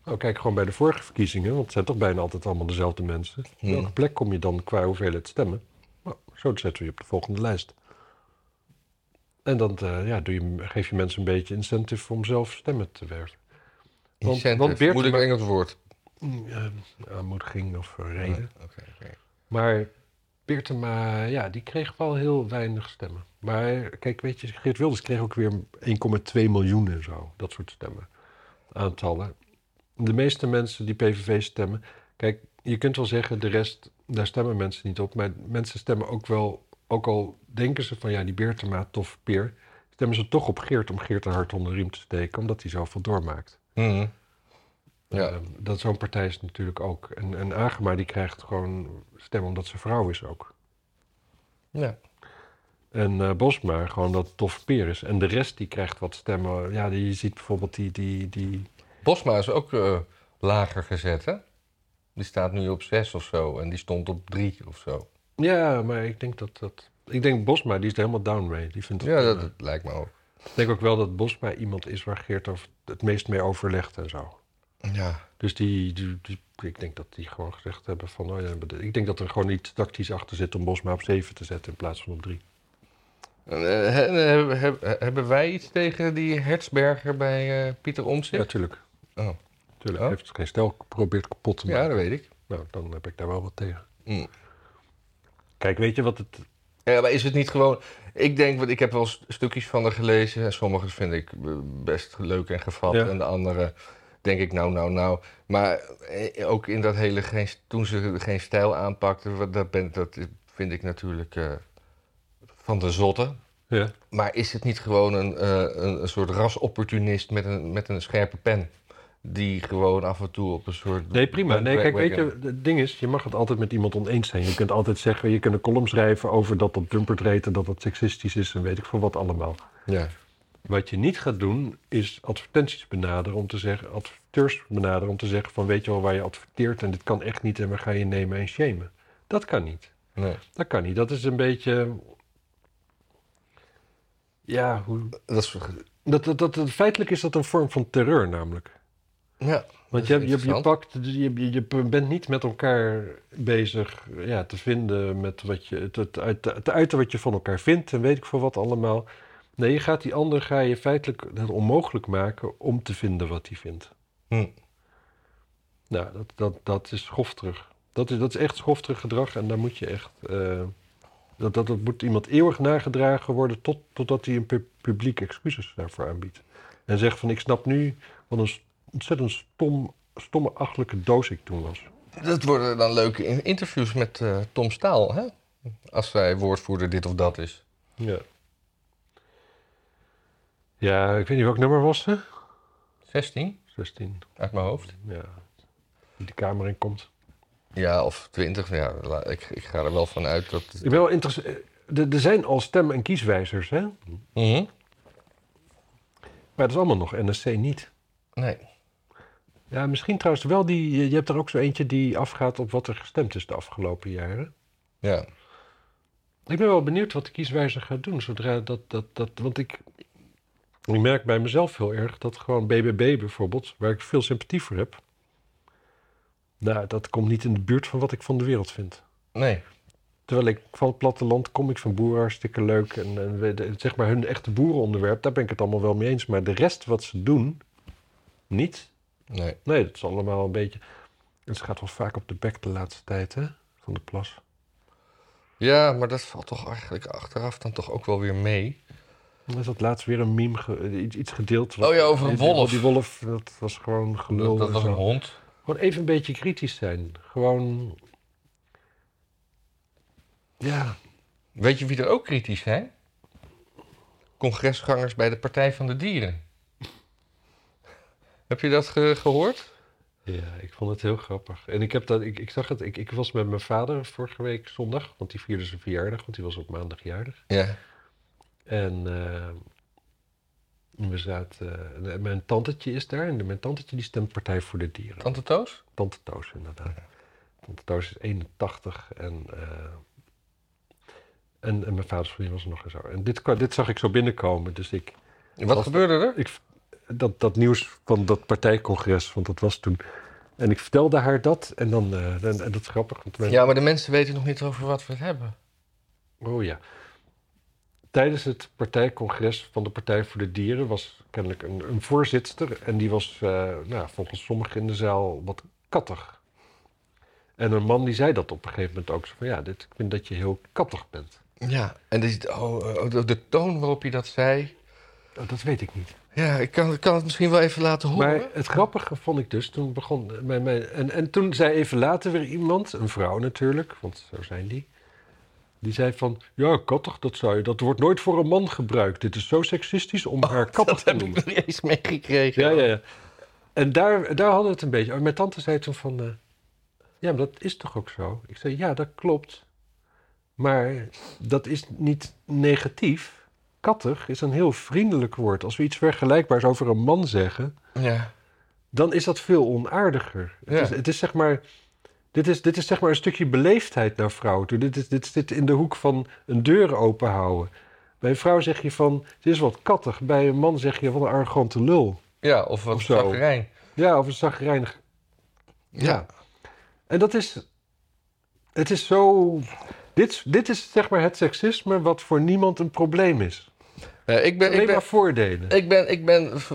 [SPEAKER 1] Nou, kijk gewoon bij de vorige verkiezingen, want het zijn toch bijna altijd allemaal dezelfde mensen.
[SPEAKER 2] Hmm.
[SPEAKER 1] Welke plek kom je dan qua hoeveelheid stemmen? Nou, zo zetten we je op de volgende lijst. En dan eh, ja, doe je, geef je mensen een beetje incentive om zelf stemmen te werven. Want-
[SPEAKER 2] Incentive.
[SPEAKER 1] want Beertema-
[SPEAKER 2] Moet ik een Engels woord?
[SPEAKER 1] Mm, eh, aanmoediging of eh, reden.
[SPEAKER 2] Oké, oké.
[SPEAKER 1] Maar Beertema, ja, die kreeg wel heel weinig stemmen. Maar kijk, weet je, Geert Wilders kreeg ook weer 1,2 miljoen en zo. Dat soort stemmen. Aantallen. De meeste mensen die PVV stemmen... Kijk, je kunt wel zeggen, de rest, daar stemmen mensen niet op. Maar mensen stemmen ook wel... Ook al denken ze van, ja, die Beertema, tof peer... stemmen ze toch op Geert om Geert een hart onder de riem te steken... omdat hij zoveel doormaakt.
[SPEAKER 2] Mhm. Ja.
[SPEAKER 1] Eh, dat zo'n partij is natuurlijk ook. En, en Agema, die krijgt gewoon stemmen omdat ze vrouw is ook.
[SPEAKER 2] ja.
[SPEAKER 1] En eh Bosma, gewoon dat het tof peer is. En de rest die krijgt wat stemmen. Ja, die, je ziet bijvoorbeeld die, die, die...
[SPEAKER 2] Bosma is ook eh, lager gezet, hè? Die staat nu op 6 of zo. En die stond op 3 of zo.
[SPEAKER 1] Ja, maar ik denk dat dat... Ik denk Bosma, die is er helemaal down mee. Die vindt het
[SPEAKER 2] Ja,
[SPEAKER 1] prima.
[SPEAKER 2] dat, dat lijkt me ook.
[SPEAKER 1] Ik denk ook wel dat Bosma iemand is waar Geert over het meest mee overlegt en zo.
[SPEAKER 2] Ja.
[SPEAKER 1] Dus die, die, die- ik denk dat die gewoon gezegd hebben van... Oh ja, ik denk dat er gewoon iets tactisch achter zit om Bosma op 7 te zetten in plaats van op 3.
[SPEAKER 2] En, eh, he- he- he- he- hebben wij iets tegen die Hertzberger bij eh, Pieter
[SPEAKER 1] Ja,
[SPEAKER 2] Omtzigt?
[SPEAKER 1] tuurlijk.
[SPEAKER 2] Oh.
[SPEAKER 1] tuurlijk. Hij
[SPEAKER 2] Oh.
[SPEAKER 1] heeft geen stel geprobeerd kapot te maken.
[SPEAKER 2] Ja, dat weet ik.
[SPEAKER 1] Nou, dan heb ik daar wel wat tegen.
[SPEAKER 2] Mm.
[SPEAKER 1] Kijk, weet je wat het...
[SPEAKER 2] Ja, maar is het niet gewoon... Ik denk, want ik heb wel st- stukjes van haar gelezen. En sommige vind ik eh, best leuk en gevat.
[SPEAKER 1] Ja.
[SPEAKER 2] En de andere denk ik, nou, nou, nou. Maar eh, ook in dat hele, geen, toen ze geen stijl aanpakte... wat- Dat, ben, dat vind ik natuurlijk eh, van de zotte.
[SPEAKER 1] Ja.
[SPEAKER 2] Maar is het niet gewoon een, eh, een, een soort rasopportunist met een, met een scherpe pen? Die gewoon af en toe op een soort...
[SPEAKER 1] Nee, prima. Nee, kijk, weet
[SPEAKER 2] bandwagon-
[SPEAKER 1] je, het ding is, je mag het altijd met iemand oneens zijn. Je kunt altijd zeggen, je kunt een column schrijven over dat dat dumpert reed en dat dat seksistisch is en weet ik veel wat allemaal.
[SPEAKER 2] Ja.
[SPEAKER 1] Wat je niet gaat doen, is advertenties benaderen om te zeggen, adverteurs benaderen om te zeggen van weet je wel waar je adverteert en dit kan echt niet en we gaan je nemen en shamen. Dat kan niet.
[SPEAKER 2] Nee.
[SPEAKER 1] Dat kan niet. Dat is een beetje. Ja, hoe...
[SPEAKER 2] Dat is...
[SPEAKER 1] dat, dat, dat, feitelijk is dat een vorm van terreur namelijk.
[SPEAKER 2] Ja,
[SPEAKER 1] Want je, hebt-
[SPEAKER 2] dat is
[SPEAKER 1] je, hebt- je,
[SPEAKER 2] interessant.
[SPEAKER 1] pakt, dus je, je, je bent niet met elkaar bezig ja, te vinden met wat je, het, het, uit, het uiten wat je van elkaar vindt en weet ik veel wat allemaal. Nee, je gaat die ander ga je feitelijk het onmogelijk maken om te vinden wat hij vindt.
[SPEAKER 2] Hm.
[SPEAKER 1] Nou, dat, dat, dat is schofterig. Dat is, dat is echt schofterig gedrag en daar moet je echt. eh, dat, dat, dat moet iemand eeuwig nagedragen worden tot, totdat hij een pu- publiek excuses daarvoor aanbiedt. En zegt van ik snap nu wat een s- ontzettend stom, stomme, achtelijke doos ik toen was.
[SPEAKER 2] Dat worden dan leuke in- interviews met eh, Tom Staal, hè? Als zij woordvoerder dit of dat is.
[SPEAKER 1] Ja. Ja, ik weet niet welk nummer was ze.
[SPEAKER 2] 16,
[SPEAKER 1] 16.
[SPEAKER 2] uit mijn hoofd.
[SPEAKER 1] Ja. Die de kamer in komt.
[SPEAKER 2] Ja, of 20. Ja, la- ik, ik ga er wel van uit dat...
[SPEAKER 1] Ik ben wel interessant. Er er zijn al stem- en kieswijzers, hè?
[SPEAKER 2] Mhm.
[SPEAKER 1] Maar dat is allemaal nog NSC niet.
[SPEAKER 2] Nee.
[SPEAKER 1] Ja, misschien trouwens wel die. Je je hebt er ook zo eentje die afgaat op wat er gestemd is de afgelopen jaren.
[SPEAKER 2] Ja.
[SPEAKER 1] Ik ben wel benieuwd wat de kieswijzer gaat doen zodra dat. dat, dat want ik, ik merk bij mezelf heel erg dat gewoon BBB bijvoorbeeld, waar ik veel sympathie voor heb. Nou, dat komt niet in de buurt van wat ik van de wereld vind.
[SPEAKER 2] Nee.
[SPEAKER 1] Terwijl ik van het platteland kom, ik vind boeren hartstikke leuk. En, en we- de- zeg maar hun echte boerenonderwerp, daar ben ik het allemaal wel mee eens. Maar de rest wat ze doen, niet.
[SPEAKER 2] Nee.
[SPEAKER 1] Nee, dat is allemaal een beetje. En ze gaat wel vaak op de bek de laatste tijd, hè? Van de plas.
[SPEAKER 2] Ja, maar dat valt toch eigenlijk achteraf dan toch ook wel weer mee.
[SPEAKER 1] Er is dat laatst weer een meme, ge- eh, iets, iets gedeeld.
[SPEAKER 2] Oh ja, over een
[SPEAKER 1] die- die-
[SPEAKER 2] wolf.
[SPEAKER 1] Die wolf, dat was gewoon gelul.
[SPEAKER 2] Dat, dat
[SPEAKER 1] en
[SPEAKER 2] was
[SPEAKER 1] zo.
[SPEAKER 2] een hond.
[SPEAKER 1] Gewoon even een beetje kritisch zijn. Gewoon. Ja.
[SPEAKER 2] Weet je wie er ook kritisch zijn? Congresgangers bij de Partij van de Dieren. Heb je dat ge- gehoord?
[SPEAKER 1] Ja, ik vond het heel grappig. En ik, heb dat, ik, ik zag het, ik, ik was met mijn vader vorige week zondag, want die vierde zijn verjaardag, want die was op maandag jarig.
[SPEAKER 2] Ja.
[SPEAKER 1] En eh, we zaten. en mijn tantetje is daar. En mijn tantetje die stemt Partij voor de Dieren.
[SPEAKER 2] Tante Toos?
[SPEAKER 1] Tante Toos, inderdaad. Tante Toos is 81 en. eh, en, en mijn vaders vriendin was er nog en zo. En dit, kwa- dit zag ik zo binnenkomen. Dus ik,
[SPEAKER 2] Wat
[SPEAKER 1] Was-
[SPEAKER 2] gebeurde er?
[SPEAKER 1] ik. Dat, dat nieuws van dat partijcongres, want dat was toen. En ik vertelde haar dat. En dan. eh, en, en dat is grappig. Want mijn-
[SPEAKER 2] Ja, maar de mensen weten nog niet over wat we het hebben.
[SPEAKER 1] Oh ja. Tijdens het partijcongres van de Partij voor de Dieren was kennelijk een, een voorzitter. En die was eh, nou, volgens sommigen in de zaal wat kattig. En een man die zei dat op een gegeven moment ook. Zo van ja, dit, ik vind dat je heel kattig bent.
[SPEAKER 2] Ja, en dus- oh, oh, de, de toon waarop je dat zei.
[SPEAKER 1] Nou, dat weet ik niet.
[SPEAKER 2] Ja, ik kan, ik kan het misschien wel even laten horen.
[SPEAKER 1] Maar het grappige vond ik dus, toen begon mijn... mijn en, en toen zei even later weer iemand, een vrouw natuurlijk, want zo zijn die... Die zei van, ja, kattig, dat zou je... Dat wordt nooit voor een man gebruikt. Dit is zo seksistisch om haar kattig
[SPEAKER 2] dat
[SPEAKER 1] te
[SPEAKER 2] heb
[SPEAKER 1] noemen.
[SPEAKER 2] ik nog niet eens meegekregen.
[SPEAKER 1] Ja, ja, ja. En daar, daar hadden we het een beetje. over. Mijn tante zei toen van... eh, ja, maar dat is toch ook zo? Ik zei, ja, dat klopt. Maar dat is niet negatief. Kattig is een heel vriendelijk woord. Als we iets vergelijkbaars over een man zeggen...
[SPEAKER 2] Ja.
[SPEAKER 1] dan is dat veel onaardiger.
[SPEAKER 2] Ja.
[SPEAKER 1] Het, is, het is zeg maar... Dit is, dit is zeg maar een stukje beleefdheid naar vrouwen toe. Dit, is, dit zit in de hoek van een deur open houden. Bij een vrouw zeg je van, het is wat kattig. Bij een man zeg je, wat een arrogante lul.
[SPEAKER 2] Ja, of wat
[SPEAKER 1] Of zo.
[SPEAKER 2] zagrijn.
[SPEAKER 1] Ja, of een zagrijnig Ja. En dat is. Het is zo. Dit, dit is zeg maar het seksisme wat voor niemand een probleem is.
[SPEAKER 2] Ja, ik ben, ik
[SPEAKER 1] Alleen
[SPEAKER 2] ben,
[SPEAKER 1] maar voordelen.
[SPEAKER 2] Ik ben, ik ben v-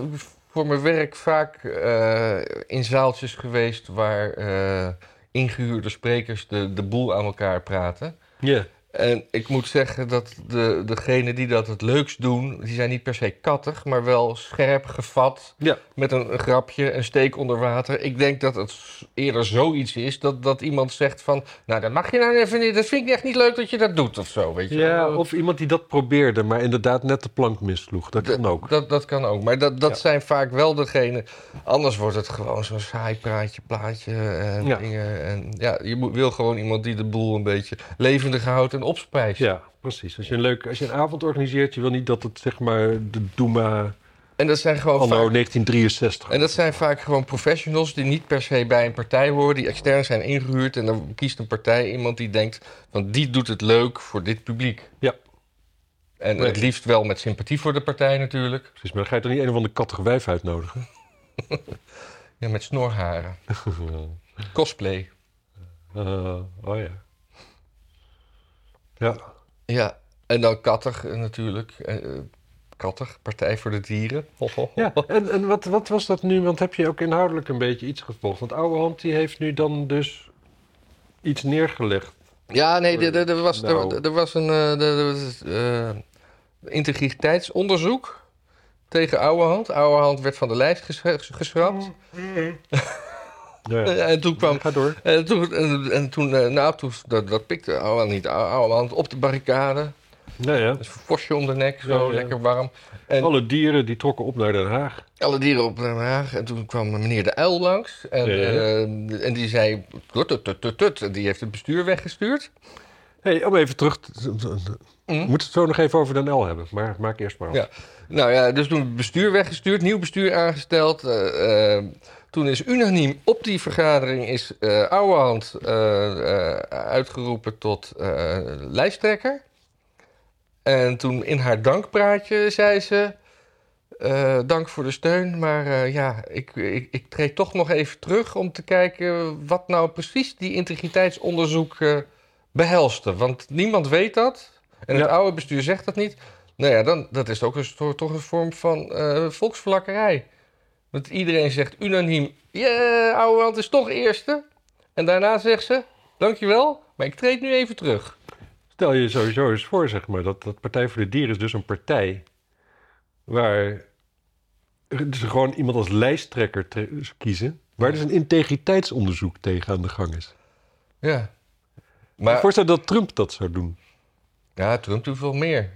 [SPEAKER 2] voor mijn werk vaak eh, in zaaltjes geweest waar eh, ingehuurde sprekers de, de boel aan elkaar praten.
[SPEAKER 1] Ja.
[SPEAKER 2] En ik moet zeggen dat de, degenen die dat het leukst doen, die zijn niet per se kattig, maar wel scherp gevat.
[SPEAKER 1] Ja.
[SPEAKER 2] Met een, een grapje, een steek onder water. Ik denk dat het s- eerder zoiets is dat, dat iemand zegt van, nou dat mag je nou even niet, dat vind ik echt niet leuk dat je dat doet of zo, weet je.
[SPEAKER 1] ja,
[SPEAKER 2] wel.
[SPEAKER 1] of iemand die dat probeerde, maar inderdaad net de plank missloeg. Dat kan ook.
[SPEAKER 2] Dat, dat kan ook. Maar dat, dat
[SPEAKER 1] Ja.
[SPEAKER 2] zijn vaak wel degenen. Anders wordt het gewoon zo'n saai praatje, plaatje en
[SPEAKER 1] Ja.
[SPEAKER 2] dingen. En ja, je moet, wil gewoon iemand die de boel een beetje levendig houdt en opspijst.
[SPEAKER 1] Ja, precies. Als je, een leuk, als je een avond organiseert, je wil niet dat het zeg maar de Doema
[SPEAKER 2] En, dat zijn gewoon
[SPEAKER 1] anno
[SPEAKER 2] vaak,
[SPEAKER 1] 1963.
[SPEAKER 2] en dat zijn vaak gewoon professionals die niet per se bij een partij horen, die extern zijn ingehuurd. En dan kiest een partij iemand die denkt: van die doet het leuk voor dit publiek.
[SPEAKER 1] Ja.
[SPEAKER 2] En
[SPEAKER 1] Nee.
[SPEAKER 2] het liefst wel met sympathie voor de partij natuurlijk.
[SPEAKER 1] Precies, maar dan ga je toch niet een of andere kattige wijf uitnodigen?
[SPEAKER 2] Ja, met snorharen. Cosplay.
[SPEAKER 1] Eh, oh ja. Ja.
[SPEAKER 2] Ja, en dan kattig eh, natuurlijk. Eh, eh, kattig, Partij voor de Dieren.
[SPEAKER 1] ja. En, en wat, wat was dat nu? Want heb je ook inhoudelijk een beetje iets gevolgd? Want oude hand die heeft nu dan dus iets neergelegd.
[SPEAKER 2] Ja, nee, er- er- er was,
[SPEAKER 1] Nou.
[SPEAKER 2] er- er was een eh, er- er was, eh, integriteitsonderzoek tegen Ouwehand. Ouwehand werd van de lijst ges- geschrapt.
[SPEAKER 1] Ja, Nou ja.
[SPEAKER 2] Eh, En toen kwam...
[SPEAKER 1] Ga door.
[SPEAKER 2] En toen, en, en toen eh, nou, toen, dat, dat pikte Ouwehand niet. Ouwehand op de barricade.
[SPEAKER 1] Ja, Nou ja.
[SPEAKER 2] Dus een forsje om de nek, zo
[SPEAKER 1] Oh, Ja, ja.
[SPEAKER 2] lekker warm. En-
[SPEAKER 1] Alle dieren die trokken op naar Den Haag.
[SPEAKER 2] Alle dieren op Den Haag. En toen kwam meneer De Uil langs. En,
[SPEAKER 1] Ja, ja.
[SPEAKER 2] eh, en die zei... Tut, tut, tut, tut, tut. En die heeft het bestuur weggestuurd.
[SPEAKER 1] hey, om even terug. te- We moeten het zo nog even over Den L hebben, maar maak eerst maar af.
[SPEAKER 2] Mm. Ja. Nou ja, dus toen het bestuur weggestuurd, nieuw bestuur aangesteld. eh, eh, toen is unaniem op die vergadering is eh Ouwehand eh, eh, uitgeroepen tot eh, lijsttrekker. En toen in haar dankpraatje zei ze... eh, dank voor de steun, maar eh, ja, ik, ik, ik treed toch nog even terug om te kijken wat nou precies die integriteitsonderzoek eh, behelste. Want niemand weet dat en het
[SPEAKER 1] Ja.
[SPEAKER 2] oude bestuur zegt dat niet. Nou ja, dan, dat is ook een, soort- toch een vorm van eh volksverlakkerij. Want iedereen zegt unaniem, yeah, oude hand is toch eerste. En daarna zegt ze, dankjewel, maar ik treed nu even terug.
[SPEAKER 1] Stel je sowieso eens voor, zeg maar, dat, dat Partij voor de Dieren is dus een partij waar ze gewoon iemand als lijsttrekker tre- kiezen, waar dus een integriteitsonderzoek tegen aan de gang is.
[SPEAKER 2] Ja.
[SPEAKER 1] Maar,
[SPEAKER 2] Maar
[SPEAKER 1] Voorstel je dat Trump dat zou doen.
[SPEAKER 2] ja, Trump doet veel meer.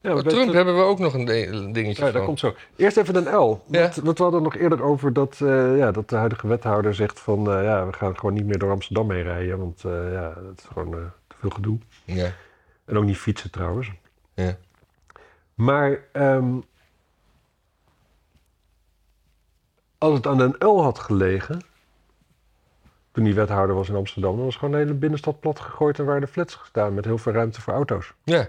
[SPEAKER 1] Ja,
[SPEAKER 2] Voor
[SPEAKER 1] dat-
[SPEAKER 2] Oh, Trump
[SPEAKER 1] dat-
[SPEAKER 2] hebben we ook nog een de- een dingetje
[SPEAKER 1] ja, dat
[SPEAKER 2] van.
[SPEAKER 1] komt zo. Eerst even Den L.
[SPEAKER 2] Ja.
[SPEAKER 1] Want, want we hadden nog eerder over dat, eh, ja, dat de huidige wethouder zegt van... eh, ja, we gaan gewoon niet meer door Amsterdam heen rijden, want eh, ja, dat is gewoon eh, te veel gedoe.
[SPEAKER 2] Ja.
[SPEAKER 1] En ook niet fietsen trouwens.
[SPEAKER 2] Ja.
[SPEAKER 1] Maar ehm, als het aan Den L had gelegen, toen die wethouder was in Amsterdam, dan was gewoon de hele binnenstad plat gegooid en waren de flats gestaan met heel veel ruimte voor auto's.
[SPEAKER 2] ja.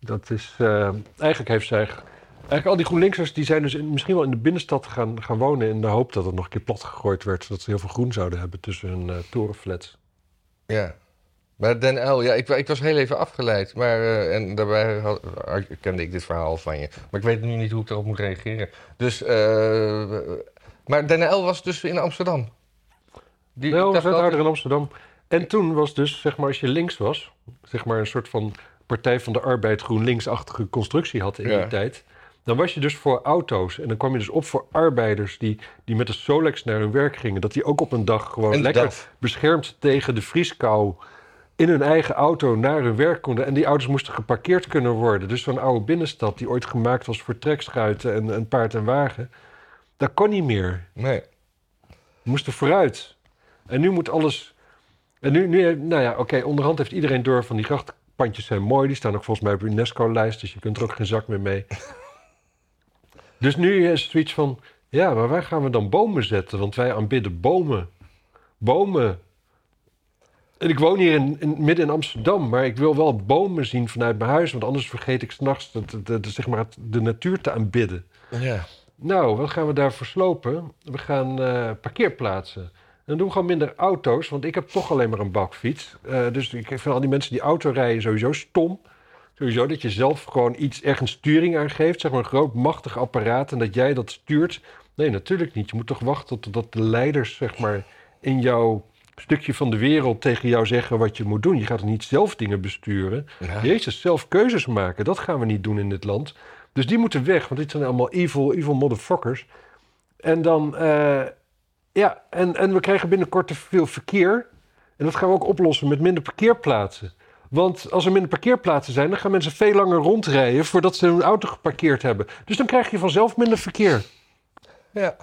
[SPEAKER 1] Dat is, eh, eigenlijk heeft zij, eigenlijk al die GroenLinksers, die zijn dus in- misschien wel in de binnenstad gaan, gaan wonen in de hoop dat het nog een keer plat gegooid werd, zodat ze heel veel groen zouden hebben tussen hun eh, torenflats.
[SPEAKER 2] Ja. Maar Den L, ja, ik, wa- ik was heel even afgeleid. Maar, eh, en daarbij had- had- kende ik dit verhaal van je. Maar ik weet nu niet hoe ik daarop moet reageren. Dus, eh, maar Den L was dus in Amsterdam. Die,
[SPEAKER 1] Den L
[SPEAKER 2] ik
[SPEAKER 1] was
[SPEAKER 2] dacht
[SPEAKER 1] wethouder
[SPEAKER 2] altijd-
[SPEAKER 1] Nou, in Amsterdam. En toen was dus, zeg maar, als je links was, zeg maar een soort van Partij van de Arbeid GroenLinks-achtige constructie had in
[SPEAKER 2] Ja.
[SPEAKER 1] die tijd. Dan was je dus voor auto's en dan kwam je dus op voor arbeiders die, die met de Solex naar hun werk gingen. Dat die ook op een dag gewoon
[SPEAKER 2] En
[SPEAKER 1] lekker
[SPEAKER 2] dat.
[SPEAKER 1] beschermd tegen de vrieskou in hun eigen auto naar hun werk konden. En die auto's moesten geparkeerd kunnen worden. Dus zo'n oude binnenstad die ooit gemaakt was voor trekschuiten en, en paard en wagen. Dat kon niet meer.
[SPEAKER 2] Nee.
[SPEAKER 1] We moesten vooruit. En nu moet alles. En nu, nu nou ja, oké, onderhand heeft iedereen door van die grachtpandjes zijn mooi. Die staan ook volgens mij op de UNESCO-lijst, dus je kunt er ook geen zak meer mee. dus nu is het zoiets van: ja, maar waar gaan we dan bomen zetten? Want wij aanbidden bomen. Bomen. En ik woon hier in, in- midden in Amsterdam, maar ik wil wel bomen zien vanuit mijn huis, want anders vergeet ik s'nachts de, de, de, zeg maar het- de natuur te aanbidden.
[SPEAKER 2] Ja.
[SPEAKER 1] Nou, wat gaan we daarvoor slopen? We gaan eh, parkeerplaatsen. En dan doen we gewoon minder auto's, want ik heb toch alleen maar een bakfiets. Eh, dus ik vind al die mensen die auto rijden sowieso stom. Sowieso dat je zelf gewoon iets, ergens sturing aan geeft. Zeg maar een groot, machtig apparaat en dat jij dat stuurt. Nee, natuurlijk niet. Je moet toch wachten totdat de leiders zeg maar, in jouw stukje van de wereld tegen jou zeggen wat je moet doen. Je gaat toch niet zelf dingen besturen.
[SPEAKER 2] Ja.
[SPEAKER 1] Jezus, zelf keuzes maken, dat gaan we niet doen in dit land. Dus die moeten weg, want dit zijn allemaal evil, evil motherfuckers. En dan, eh, ja, en, en we krijgen binnenkort te veel verkeer. En dat gaan we ook oplossen met minder parkeerplaatsen. Want als er minder parkeerplaatsen zijn, dan gaan mensen veel langer rondrijden voordat ze hun auto geparkeerd hebben. Dus dan krijg je vanzelf minder verkeer.
[SPEAKER 2] Ja.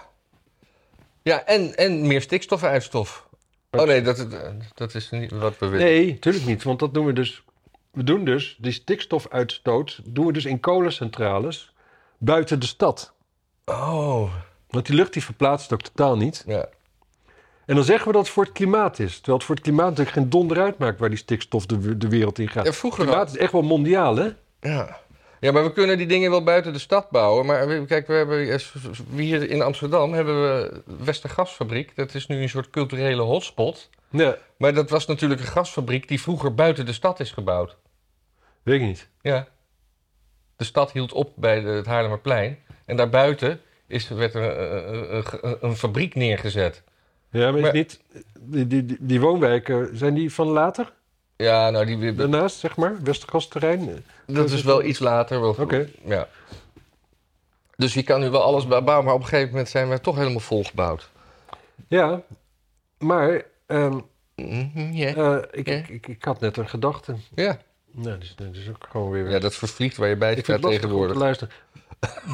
[SPEAKER 2] Ja, en, en meer stikstofuitstof. Oh nee, dat, dat is niet wat we willen.
[SPEAKER 1] Nee, natuurlijk niet, want dat doen we dus. We doen dus die stikstofuitstoot doen we dus in kolencentrales buiten de stad.
[SPEAKER 2] Oh.
[SPEAKER 1] Want die lucht die verplaatst ook totaal niet.
[SPEAKER 2] Ja.
[SPEAKER 1] En dan zeggen we dat het voor het klimaat is. Terwijl het voor het klimaat natuurlijk geen donder uitmaakt waar die stikstof de, de wereld in gaat.
[SPEAKER 2] ja vroeger
[SPEAKER 1] klimaat is echt wel mondiaal, hè?
[SPEAKER 2] Ja. Ja, maar we kunnen die dingen wel buiten de stad bouwen. Maar we- kijk, we hebben eh, hier in Amsterdam hebben we Westergasfabriek. Dat is nu een soort culturele hotspot.
[SPEAKER 1] Ja,
[SPEAKER 2] Maar dat was natuurlijk een gasfabriek die vroeger buiten de stad is gebouwd.
[SPEAKER 1] weet ik niet.
[SPEAKER 2] Ja. De stad hield op bij de, het Haarlemmerplein. En daarbuiten is, werd er eh, eh, eh, een fabriek neergezet.
[SPEAKER 1] Ja, maar, is
[SPEAKER 2] Maar-
[SPEAKER 1] niet, die, die, die, die woonwijken, zijn die van later?
[SPEAKER 2] Ja, nou, die, die-
[SPEAKER 1] Daarnaast, zeg maar? Westergasterrein? Oké.
[SPEAKER 2] dat is wel iets later. Wel, ja. Dus je kan nu wel alles bouwen, maar op een gegeven moment zijn we toch helemaal volgebouwd.
[SPEAKER 1] Ja, maar ehm,
[SPEAKER 2] Mhm, ja.
[SPEAKER 1] eh, ik,
[SPEAKER 2] Ja.
[SPEAKER 1] ik, ik, ik had net een gedachte.
[SPEAKER 2] Ja.
[SPEAKER 1] Nou, dus dat is ook gewoon weer...
[SPEAKER 2] ja, dat vervliegt waar je bij
[SPEAKER 1] ik
[SPEAKER 2] staat
[SPEAKER 1] vind het lastig om te
[SPEAKER 2] tegenwoordig.
[SPEAKER 1] luisteren.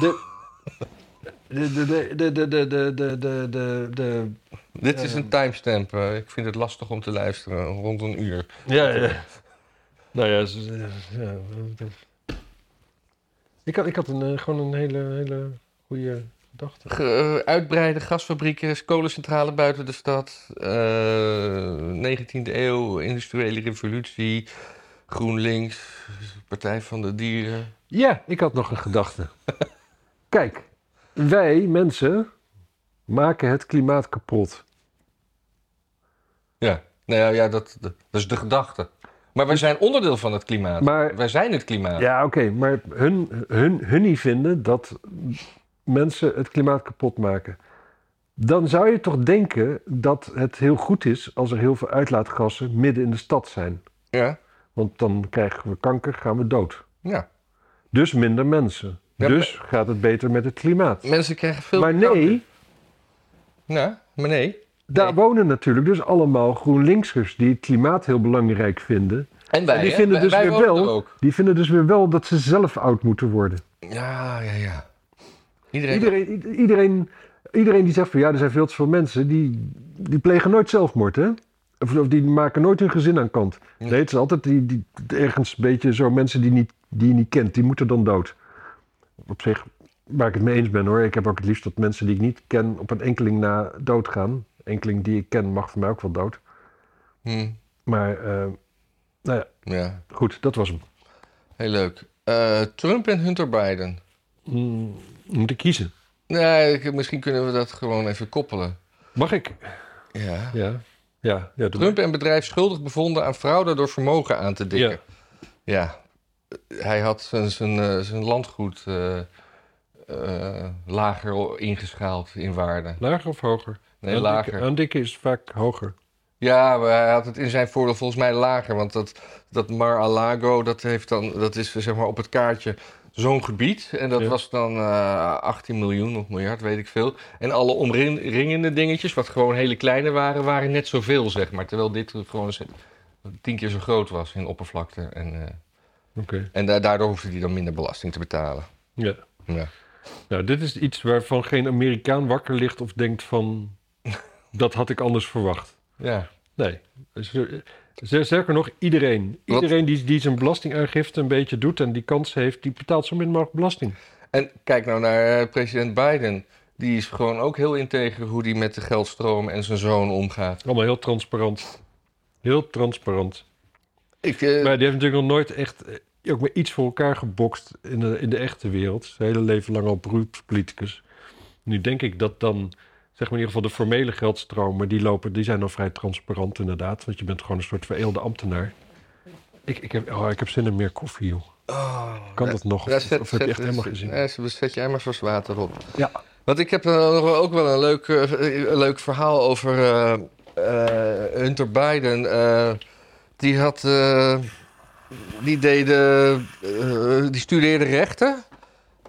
[SPEAKER 1] De... De, de, de, de, de, de, de, de, de, de-
[SPEAKER 2] Dit is een timestamp. eh, Ik vind het lastig om te luisteren, rond een uur.
[SPEAKER 1] Ja, ja. Nou ja, ze- ze- ja. Ik had, ik had een, eh, gewoon een hele, hele goede gedachte.
[SPEAKER 2] Ge- eh, uitbreiden, gasfabrieken, kolencentrale buiten de stad. eh, 19e eeuw, industriële revolutie, GroenLinks, Partij van de Dieren.
[SPEAKER 1] Ja, ik had nog een gedachte. Kijk, wij mensen maken het klimaat kapot.
[SPEAKER 2] Ja, nou ja, ja dat, dat is de gedachte. Maar wij zijn onderdeel van het klimaat.
[SPEAKER 1] Maar-
[SPEAKER 2] wij zijn het klimaat.
[SPEAKER 1] Ja, oké, maar hun, hun, hun niet vinden dat mensen het klimaat kapot maken. Dan zou je toch denken dat het heel goed is als er heel veel uitlaatgassen midden in de stad zijn.
[SPEAKER 2] Ja,
[SPEAKER 1] Want dan krijgen we kanker, gaan we dood.
[SPEAKER 2] ja.
[SPEAKER 1] Dus minder mensen.
[SPEAKER 2] Ja,
[SPEAKER 1] dus gaat het beter met het klimaat.
[SPEAKER 2] Mensen krijgen veel
[SPEAKER 1] Maar
[SPEAKER 2] kanker.
[SPEAKER 1] nee,
[SPEAKER 2] Ja, maar nee.
[SPEAKER 1] daar wonen natuurlijk dus allemaal GroenLinksers die het klimaat heel belangrijk vinden.
[SPEAKER 2] En wij,
[SPEAKER 1] En die
[SPEAKER 2] hè?
[SPEAKER 1] vinden
[SPEAKER 2] Wij-
[SPEAKER 1] dus
[SPEAKER 2] wij
[SPEAKER 1] weer
[SPEAKER 2] wonen
[SPEAKER 1] wel-
[SPEAKER 2] er ook.
[SPEAKER 1] Die vinden dus weer wel dat ze zelf oud moeten worden.
[SPEAKER 2] Ja, ja, ja. Iedereen,
[SPEAKER 1] Iedereen, i- iedereen, iedereen die zegt van ja, er zijn veel te veel mensen, die, die plegen nooit zelfmoord, hè? Of, of die maken nooit hun gezin aan kant.
[SPEAKER 2] Ja.
[SPEAKER 1] Nee, het is altijd die, die, ergens een beetje zo mensen die, niet, die je niet kent, die moeten dan dood. Op zich, waar ik het mee eens ben hoor, ik heb ook het liefst dat mensen die ik niet ken op een enkeling na doodgaan. Enkeling die ik ken mag voor mij ook wel dood.
[SPEAKER 2] Hm,
[SPEAKER 1] Maar eh, nou ja,
[SPEAKER 2] ja,
[SPEAKER 1] goed, dat was hem.
[SPEAKER 2] heel leuk. Eh, Trump en Hunter Biden.
[SPEAKER 1] Mm, moet ik kiezen?
[SPEAKER 2] Nee, ik- misschien kunnen we dat gewoon even koppelen.
[SPEAKER 1] Mag ik?
[SPEAKER 2] Ja.
[SPEAKER 1] Ja, ja, ja doe
[SPEAKER 2] Trump en bedrijf schuldig bevonden aan fraude door vermogen aan te
[SPEAKER 1] maar.
[SPEAKER 2] dikken. Ja. Hij had zijn, zijn, eh, zijn landgoed eh, eh, lager ingeschaald in waarde.
[SPEAKER 1] Lager of hoger?
[SPEAKER 2] Nee,
[SPEAKER 1] Aan
[SPEAKER 2] lager.
[SPEAKER 1] dikke- aan dikke is vaak hoger.
[SPEAKER 2] Ja, maar hij had het in zijn voordeel volgens mij lager. Want dat, dat Mar-a-Lago, dat, heeft dan- dat is zeg maar op het kaartje zo'n gebied. En dat
[SPEAKER 1] Ja.
[SPEAKER 2] was dan eh 18 miljoen of miljard, weet ik veel. En alle omringende dingetjes, wat gewoon hele kleine waren, waren net zoveel, zeg maar. Terwijl dit gewoon z- tien keer zo groot was in oppervlakte. En, eh,
[SPEAKER 1] Oké.
[SPEAKER 2] en da- daardoor hoefde hij dan minder belasting te betalen.
[SPEAKER 1] Ja.
[SPEAKER 2] Ja.
[SPEAKER 1] Nou, dit is iets waarvan geen Amerikaan wakker ligt of denkt van... dat had ik anders verwacht.
[SPEAKER 2] ja.
[SPEAKER 1] Nee. Z- Sterker nog, iedereen.
[SPEAKER 2] Wat-
[SPEAKER 1] Iedereen die, die zijn belastingaangifte een beetje doet en die kans heeft... die betaalt zo min mogelijk belasting.
[SPEAKER 2] En kijk nou naar eh, president Biden. Die is gewoon ook heel integer hoe hij met de geldstroom en zijn zoon omgaat.
[SPEAKER 1] Allemaal heel transparant. Heel transparant.
[SPEAKER 2] Ik, eh,
[SPEAKER 1] Maar die heeft natuurlijk nog nooit echt... eh, ook maar iets voor elkaar gebokst in de, in de echte wereld. Zijn hele leven lang al beroepspoliticus. Nu denk ik dat dan... Zeg maar in ieder geval de formele geldstromen, die lopen, die zijn dan vrij transparant inderdaad. Want je bent gewoon een soort vereelde ambtenaar. Ik, ik, heb, oh, ik heb zin in meer koffie, joh.
[SPEAKER 2] Oh,
[SPEAKER 1] Kan
[SPEAKER 2] ja,
[SPEAKER 1] dat nog?
[SPEAKER 2] ja,
[SPEAKER 1] Of, of heb je echt helemaal
[SPEAKER 2] zet-
[SPEAKER 1] gezien?
[SPEAKER 2] ja, zet- zet je maar vast water op.
[SPEAKER 1] Ja.
[SPEAKER 2] Want ik heb eh, nog wel- ook wel een leuk, eh, een leuk verhaal over eh, eh, Hunter Biden. Eh, die had... eh, die deed... eh, eh, die studeerde rechten.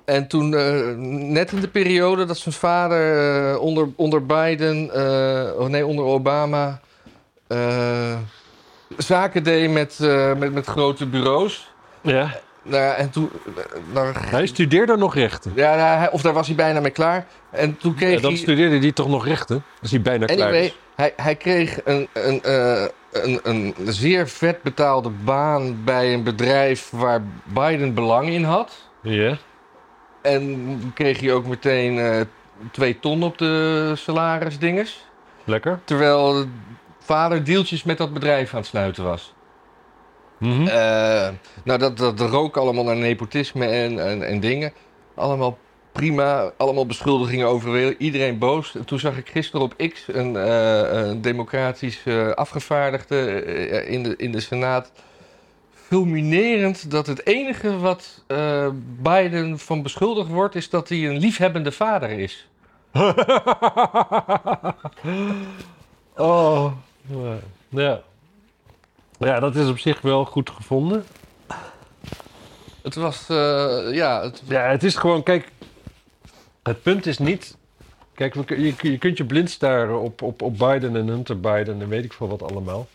[SPEAKER 2] En toen, eh, net in de periode dat zijn vader eh, onder, onder Biden... eh, oh nee, onder Obama... eh, zaken deed met, eh, met, met grote bureaus...
[SPEAKER 1] ja.
[SPEAKER 2] Nou ja, en toen. nou,
[SPEAKER 1] Hij studeerde nog rechten.
[SPEAKER 2] ja, nou, hij- of daar was hij bijna mee klaar. En toen kreeg
[SPEAKER 1] Ja, dan
[SPEAKER 2] hij.
[SPEAKER 1] studeerde hij toch nog rechten? Als hij bijna klaar dus.
[SPEAKER 2] Anyway,
[SPEAKER 1] is.
[SPEAKER 2] hij, hij kreeg een, een, eh, een, een zeer vet betaalde baan bij een bedrijf waar Biden belang in had.
[SPEAKER 1] Ja.
[SPEAKER 2] En kreeg hij ook meteen eh, twee ton op de salarisdinges.
[SPEAKER 1] Lekker.
[SPEAKER 2] Terwijl vader deeltjes met dat bedrijf aan het sluiten was.
[SPEAKER 1] Mhm.
[SPEAKER 2] Eh, nou, dat, dat rook allemaal naar nepotisme en, en, en dingen. Allemaal prima, allemaal beschuldigingen over iedereen boos. En Toen zag ik gisteren op X een, eh, een democratisch eh, afgevaardigde eh, in, de, in de Senaat. Fulminerend dat het enige wat eh, Biden van beschuldigd wordt, is dat hij een liefhebbende vader is.
[SPEAKER 1] oh, ja. ja. Ja, dat is op zich wel goed gevonden.
[SPEAKER 2] Het was, eh, ja, het,
[SPEAKER 1] Ja, het is gewoon, kijk, het punt is niet. Kijk, we kun- je, je kunt je blind staren op, op, op Biden en Hunter Biden en weet ik veel wat allemaal.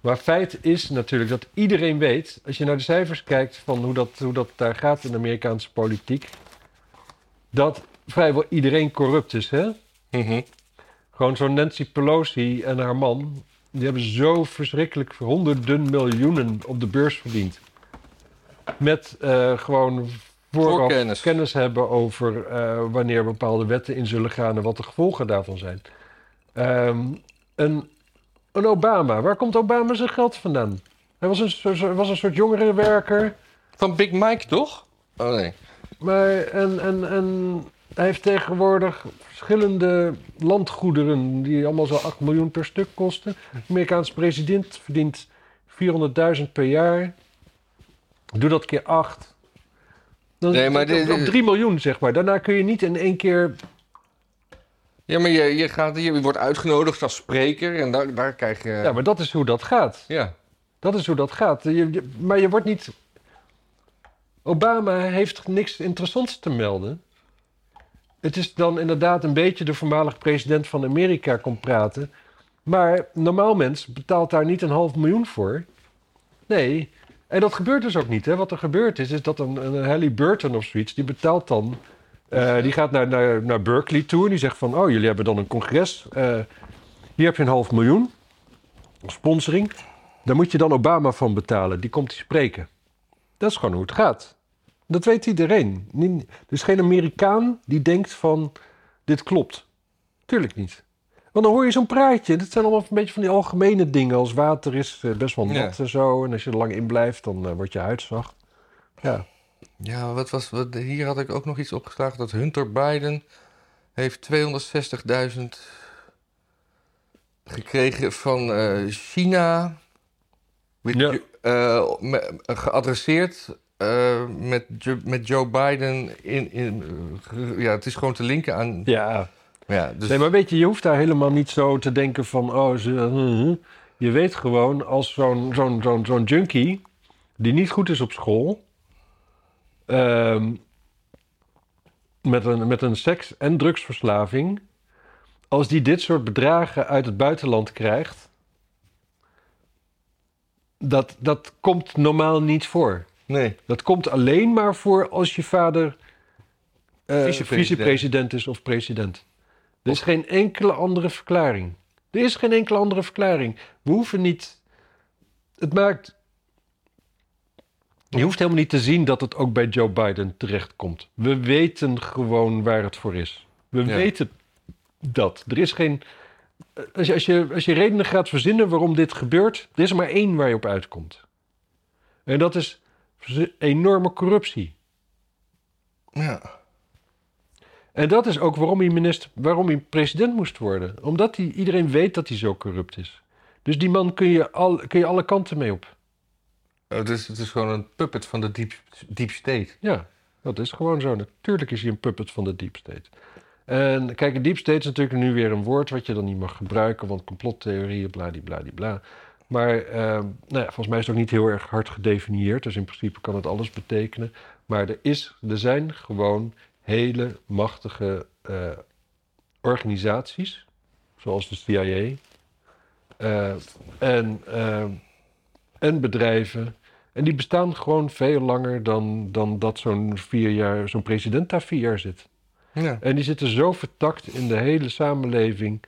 [SPEAKER 1] Maar feit is natuurlijk dat iedereen weet, als je naar de cijfers kijkt van hoe dat, hoe dat daar gaat in de Amerikaanse politiek, dat vrijwel iedereen corrupt is. Hè?
[SPEAKER 2] mhm.
[SPEAKER 1] Gewoon zo'n Nancy Pelosi en haar man, die hebben zo verschrikkelijk honderden miljoenen op de beurs verdiend. Met eh, gewoon vooraf
[SPEAKER 2] Voorkennis.
[SPEAKER 1] kennis hebben over eh, wanneer bepaalde wetten in zullen gaan en wat de gevolgen daarvan zijn. Ehm, een, een Obama, waar komt Obama zijn geld vandaan? Hij was een, soort- was een soort jongerenwerker.
[SPEAKER 2] van Big Mike toch? Oh nee.
[SPEAKER 1] Maar en, en, en hij heeft tegenwoordig verschillende landgoederen die allemaal zo'n 8 miljoen per stuk kosten. De Amerikaanse president verdient 400.000 per jaar. Doe dat keer 8. Dan
[SPEAKER 2] Nee, maar
[SPEAKER 1] zit je op-
[SPEAKER 2] dit-
[SPEAKER 1] op 3 miljoen, zeg maar. Daarna kun je niet in één keer...
[SPEAKER 2] Ja, maar je, je, gaat, je wordt uitgenodigd als spreker en daar, daar krijg je...
[SPEAKER 1] Ja, maar dat is hoe dat gaat.
[SPEAKER 2] ja.
[SPEAKER 1] Dat is hoe dat gaat. Je- je- maar je wordt niet... Obama heeft niks interessants te melden. Het is dan inderdaad een beetje de voormalig president van Amerika komt praten. Maar normaal mens betaalt daar niet een half miljoen voor. Nee. En dat gebeurt dus ook niet. Hè. Wat er gebeurd is, is dat een, een Halle Burton of zoiets, die betaalt dan... eh, die gaat naar, naar, naar Berkeley toe en die zegt van... Oh, jullie hebben dan een congres. eh, hier heb je een half miljoen. Sponsoring. Daar moet je dan Obama van betalen. Die komt die spreken. Dat is gewoon hoe het gaat. Dat weet iedereen. Niet- Er is geen Amerikaan die denkt van... dit klopt. Tuurlijk niet. Want dan hoor je zo'n praatje. Dat zijn allemaal een beetje van die algemene dingen. Als water is eh, best wel nat
[SPEAKER 2] Ja.
[SPEAKER 1] en zo. En als je er lang in blijft, dan eh, wordt je huid zacht. Ja.
[SPEAKER 2] Ja, wat was, wat, hier had ik ook nog iets opgeslagen dat Hunter Biden heeft 260.000 gekregen van eh, China. With
[SPEAKER 1] Ja.
[SPEAKER 2] Jo- eh, me- geadresseerd eh, met, Jo- met Joe Biden. In, in, eh, ge- ja, het is gewoon te linken aan...
[SPEAKER 1] Ja.
[SPEAKER 2] Ja, dus,
[SPEAKER 1] Nee, maar weet je, je hoeft daar helemaal niet zo te denken van... Oh, ze, je weet gewoon, als zo'n zo'n zo'n zo'n junkie... die niet goed is op school... ehm, met, een, met een seks- en drugsverslaving... als die dit soort bedragen uit het buitenland krijgt... dat, dat komt normaal niet voor.
[SPEAKER 2] nee.
[SPEAKER 1] Dat komt alleen maar voor als je vader eh,
[SPEAKER 2] Vicepresident.
[SPEAKER 1] vicepresident is of president. Er is geen enkele andere verklaring. Er is geen enkele andere verklaring. We hoeven niet. Het maakt. Je hoeft helemaal niet te zien dat het ook bij Joe Biden terechtkomt. We weten gewoon waar het voor is. We
[SPEAKER 2] Ja.
[SPEAKER 1] weten dat. Er is geen. Als je, als, je, als je redenen gaat verzinnen waarom dit gebeurt, er is er maar één waar je op uitkomt. En dat is verzi- enorme corruptie.
[SPEAKER 2] Ja.
[SPEAKER 1] En dat is ook waarom hij, minister, waarom hij president moest worden. Omdat hij, iedereen weet dat hij zo corrupt is. Dus die man kun je, al, kun je alle kanten mee op.
[SPEAKER 2] Eh, Het is, het is gewoon een puppet van de deep, deep state.
[SPEAKER 1] Ja, dat is gewoon zo. Natuurlijk is hij een puppet van de deep state. En kijk, deep state is natuurlijk nu weer een woord wat je dan niet mag gebruiken, want complottheorieën, bladibladibla. Maar eh, nou ja, volgens mij is het ook niet heel erg hard gedefinieerd, dus in principe kan het alles betekenen. Maar er, is, er zijn gewoon hele machtige eh, organisaties, zoals de CIA, eh, en, eh, en bedrijven en die bestaan gewoon veel langer dan, dan dat zo'n vier jaar, zo'n president daar vier jaar zit.
[SPEAKER 2] Ja.
[SPEAKER 1] En die zitten zo vertakt in de hele samenleving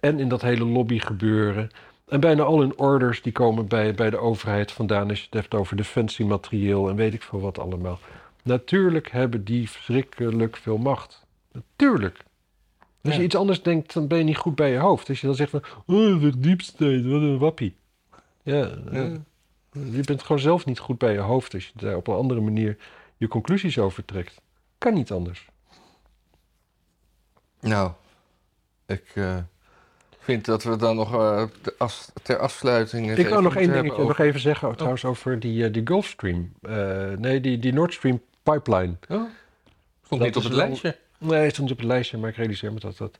[SPEAKER 1] en in dat hele lobbygebeuren. En bijna al hun orders die komen bij, bij de overheid vandaan als je het hebt over defensiematerieel en weet ik veel wat allemaal. Natuurlijk hebben die verschrikkelijk veel macht. Natuurlijk. Als
[SPEAKER 2] Ja.
[SPEAKER 1] je iets anders denkt, dan ben je niet goed bij je hoofd. Als je dan zegt van, oh, de deep state, wat een wappie. Ja, eh, je bent gewoon zelf niet goed bij je hoofd als je daar op een andere manier je conclusies over trekt. Kan niet anders.
[SPEAKER 2] Nou, ik eh, vind dat we dan nog eh, te as- ter afsluiting. het
[SPEAKER 1] Ik
[SPEAKER 2] even
[SPEAKER 1] wou nog één
[SPEAKER 2] moeten
[SPEAKER 1] dingetje nog
[SPEAKER 2] hebben
[SPEAKER 1] even zeggen oh, trouwens over die, eh, die Gulfstream. Eh, nee, die, die Nord Stream pipeline.
[SPEAKER 2] over- Oh, Stond
[SPEAKER 1] Dat
[SPEAKER 2] niet op
[SPEAKER 1] is
[SPEAKER 2] het
[SPEAKER 1] wel-
[SPEAKER 2] lijstje.
[SPEAKER 1] Nee, het stond niet op het lijstje, maar ik realiseer me dat dat...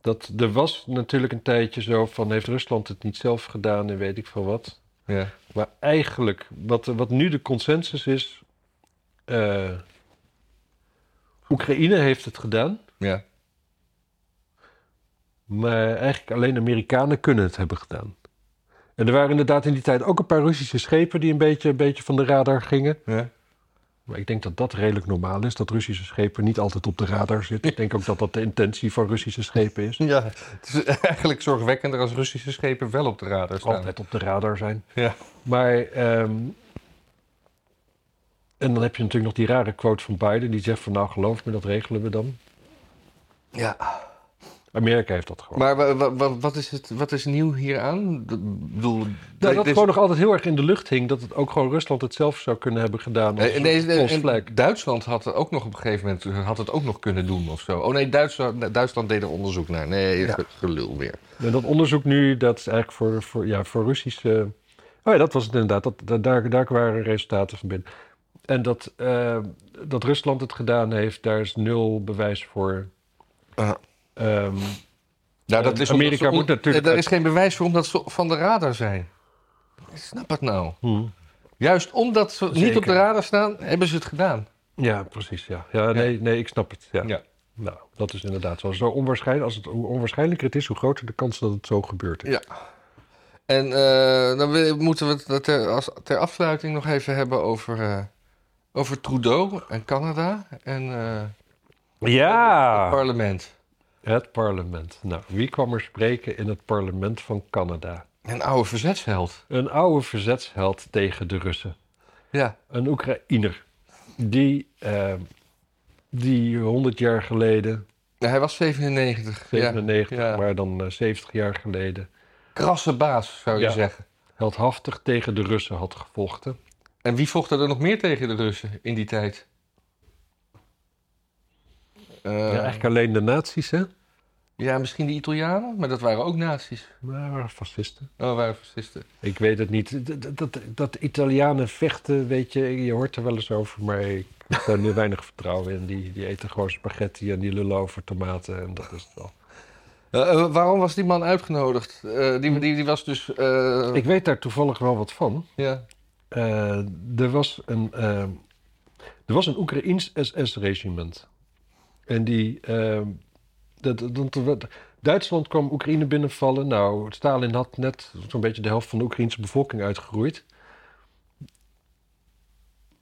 [SPEAKER 1] Dat er was natuurlijk een tijdje zo van... heeft Rusland het niet zelf gedaan en weet ik veel wat.
[SPEAKER 2] Ja.
[SPEAKER 1] Maar eigenlijk, wat, wat nu de consensus is. eh, Oekraïne heeft het gedaan.
[SPEAKER 2] ja.
[SPEAKER 1] Maar eigenlijk alleen Amerikanen kunnen het hebben gedaan. En er waren inderdaad in die tijd ook een paar Russische schepen die een beetje, een beetje van de radar gingen.
[SPEAKER 2] ja.
[SPEAKER 1] Maar ik denk dat dat redelijk normaal is, dat Russische schepen niet altijd op de radar zitten. Ik denk ook dat dat de intentie van Russische schepen is.
[SPEAKER 2] Ja, het is eigenlijk zorgwekkender als Russische schepen wel op de radar staan.
[SPEAKER 1] Altijd op de radar zijn.
[SPEAKER 2] Ja.
[SPEAKER 1] Maar, ehm, en dan heb je natuurlijk nog die rare quote van Biden, die zegt van nou geloof me, dat regelen we dan.
[SPEAKER 2] ja.
[SPEAKER 1] Amerika heeft dat gewoon.
[SPEAKER 2] Maar wa- wa- wa- wat, is het, wat is nieuw hieraan? D- bedoel,
[SPEAKER 1] nou,
[SPEAKER 2] dit-
[SPEAKER 1] dat
[SPEAKER 2] dit-
[SPEAKER 1] gewoon nog altijd heel erg in de lucht hing. Dat het ook gewoon Rusland het zelf zou kunnen hebben gedaan. Als
[SPEAKER 2] Nee, en deze- en- en
[SPEAKER 1] postvlek.
[SPEAKER 2] Duitsland had er ook nog op een gegeven moment had het ook nog kunnen doen of zo. Oh nee, Duitsland, Duitsland deed er onderzoek naar. Nee,
[SPEAKER 1] Ja.
[SPEAKER 2] ge- gelul weer.
[SPEAKER 1] En dat onderzoek nu, dat is eigenlijk voor, voor, ja, voor Russische... Oh ja, dat was het inderdaad. Dat, dat- daar, daar waren resultaten van binnen. En dat, eh, dat Rusland het gedaan heeft, daar is nul bewijs voor.
[SPEAKER 2] Ja.
[SPEAKER 1] Ehm,
[SPEAKER 2] Nou,
[SPEAKER 1] Eh,
[SPEAKER 2] omdat
[SPEAKER 1] Amerika
[SPEAKER 2] ze on-
[SPEAKER 1] moet natuurlijk-
[SPEAKER 2] Daar is geen bewijs voor omdat ze van de radar zijn. Ik snap het nou.
[SPEAKER 1] Hmm.
[SPEAKER 2] Juist omdat ze niet
[SPEAKER 1] Zeker.
[SPEAKER 2] op de radar staan, hebben ze het gedaan.
[SPEAKER 1] Ja, precies. Ja. Ja, nee, nee, ik snap het. Ja.
[SPEAKER 2] Ja.
[SPEAKER 1] Nou, dat is inderdaad zo. zo onwaarschijnlijk, als het, hoe onwaarschijnlijker het is, hoe groter de kans dat het zo gebeurt.
[SPEAKER 2] Ja. En eh, dan wil- moeten we het dat ter, als, ter afsluiting nog even hebben over, eh, over Trudeau en Canada en eh, het
[SPEAKER 1] Ja!
[SPEAKER 2] parlement.
[SPEAKER 1] Het parlement. Nou, wie kwam er spreken in het parlement van Canada?
[SPEAKER 2] Een oude verzetsheld.
[SPEAKER 1] Een oude verzetsheld tegen de Russen.
[SPEAKER 2] Ja.
[SPEAKER 1] Een Oekraïner. Die, eh, die 100 jaar geleden,
[SPEAKER 2] Ja, Hij was 97. Ja.
[SPEAKER 1] 97,
[SPEAKER 2] ja.
[SPEAKER 1] maar dan eh, 70 jaar geleden,
[SPEAKER 2] Krasse baas, zou je
[SPEAKER 1] Ja.
[SPEAKER 2] zeggen.
[SPEAKER 1] heldhaftig tegen de Russen had gevochten.
[SPEAKER 2] En wie vocht er nog meer tegen de Russen in die tijd? Eh,
[SPEAKER 1] Ja,
[SPEAKER 2] ja,
[SPEAKER 1] eigenlijk alleen de nazi's, hè?
[SPEAKER 2] misschien de Italianen, maar dat waren ook nazi's.
[SPEAKER 1] Maar dat waren fascisten.
[SPEAKER 2] Oh, waren fascisten.
[SPEAKER 1] Ik weet het niet. Dat, dat- dat, dat Italianen vechten, weet je, je hoort er wel eens over, maar ik heb daar nu weinig vertrouwen in. Die, die eten gewoon spaghetti en die lullen over tomaten en dat is het wel.
[SPEAKER 2] Eh, eh, waarom was die man uitgenodigd? Eh, die, die, die was dus. eh,
[SPEAKER 1] Ik weet daar toevallig wel wat van.
[SPEAKER 2] ja.
[SPEAKER 1] Eh, er, was een, eh, er was een Oekraïns SS-regiment. En die. eh, dat, dat, dat- Duitsland kwam Oekraïne binnenvallen. Nou, Stalin had net zo'n beetje de helft van de Oekraïnse bevolking uitgeroeid.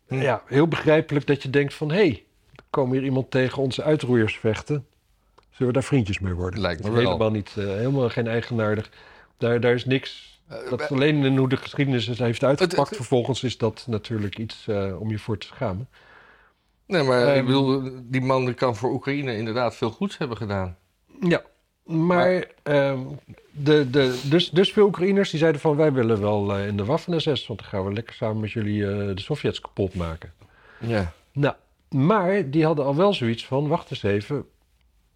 [SPEAKER 2] Hm.
[SPEAKER 1] Ja, heel begrijpelijk dat je denkt van... hé, hey, er komen hier iemand tegen onze uitroeiers vechten. Zullen we daar vriendjes mee worden?
[SPEAKER 2] Lijkt me
[SPEAKER 1] Dat is
[SPEAKER 2] wel.
[SPEAKER 1] Helemaal, niet, eh, helemaal geen eigenaardig. Daar, daar is niks dat is alleen in hoe de geschiedenis Eh, het heeft uitgepakt.
[SPEAKER 2] Het- het-
[SPEAKER 1] Vervolgens is dat natuurlijk iets eh, om je voor te schamen.
[SPEAKER 2] Nee, maar ik
[SPEAKER 1] Ehm,
[SPEAKER 2] bedoel, die man kan voor Oekraïne inderdaad veel goeds hebben gedaan.
[SPEAKER 1] Ja, maar ehm, de, de, dus, dus veel Oekraïners die zeiden van wij willen wel eh, in de Waffen-SS... want dan gaan we lekker samen met jullie eh, de Sovjets kapot maken.
[SPEAKER 2] Ja.
[SPEAKER 1] Nou, maar die hadden al wel zoiets van, wacht eens even...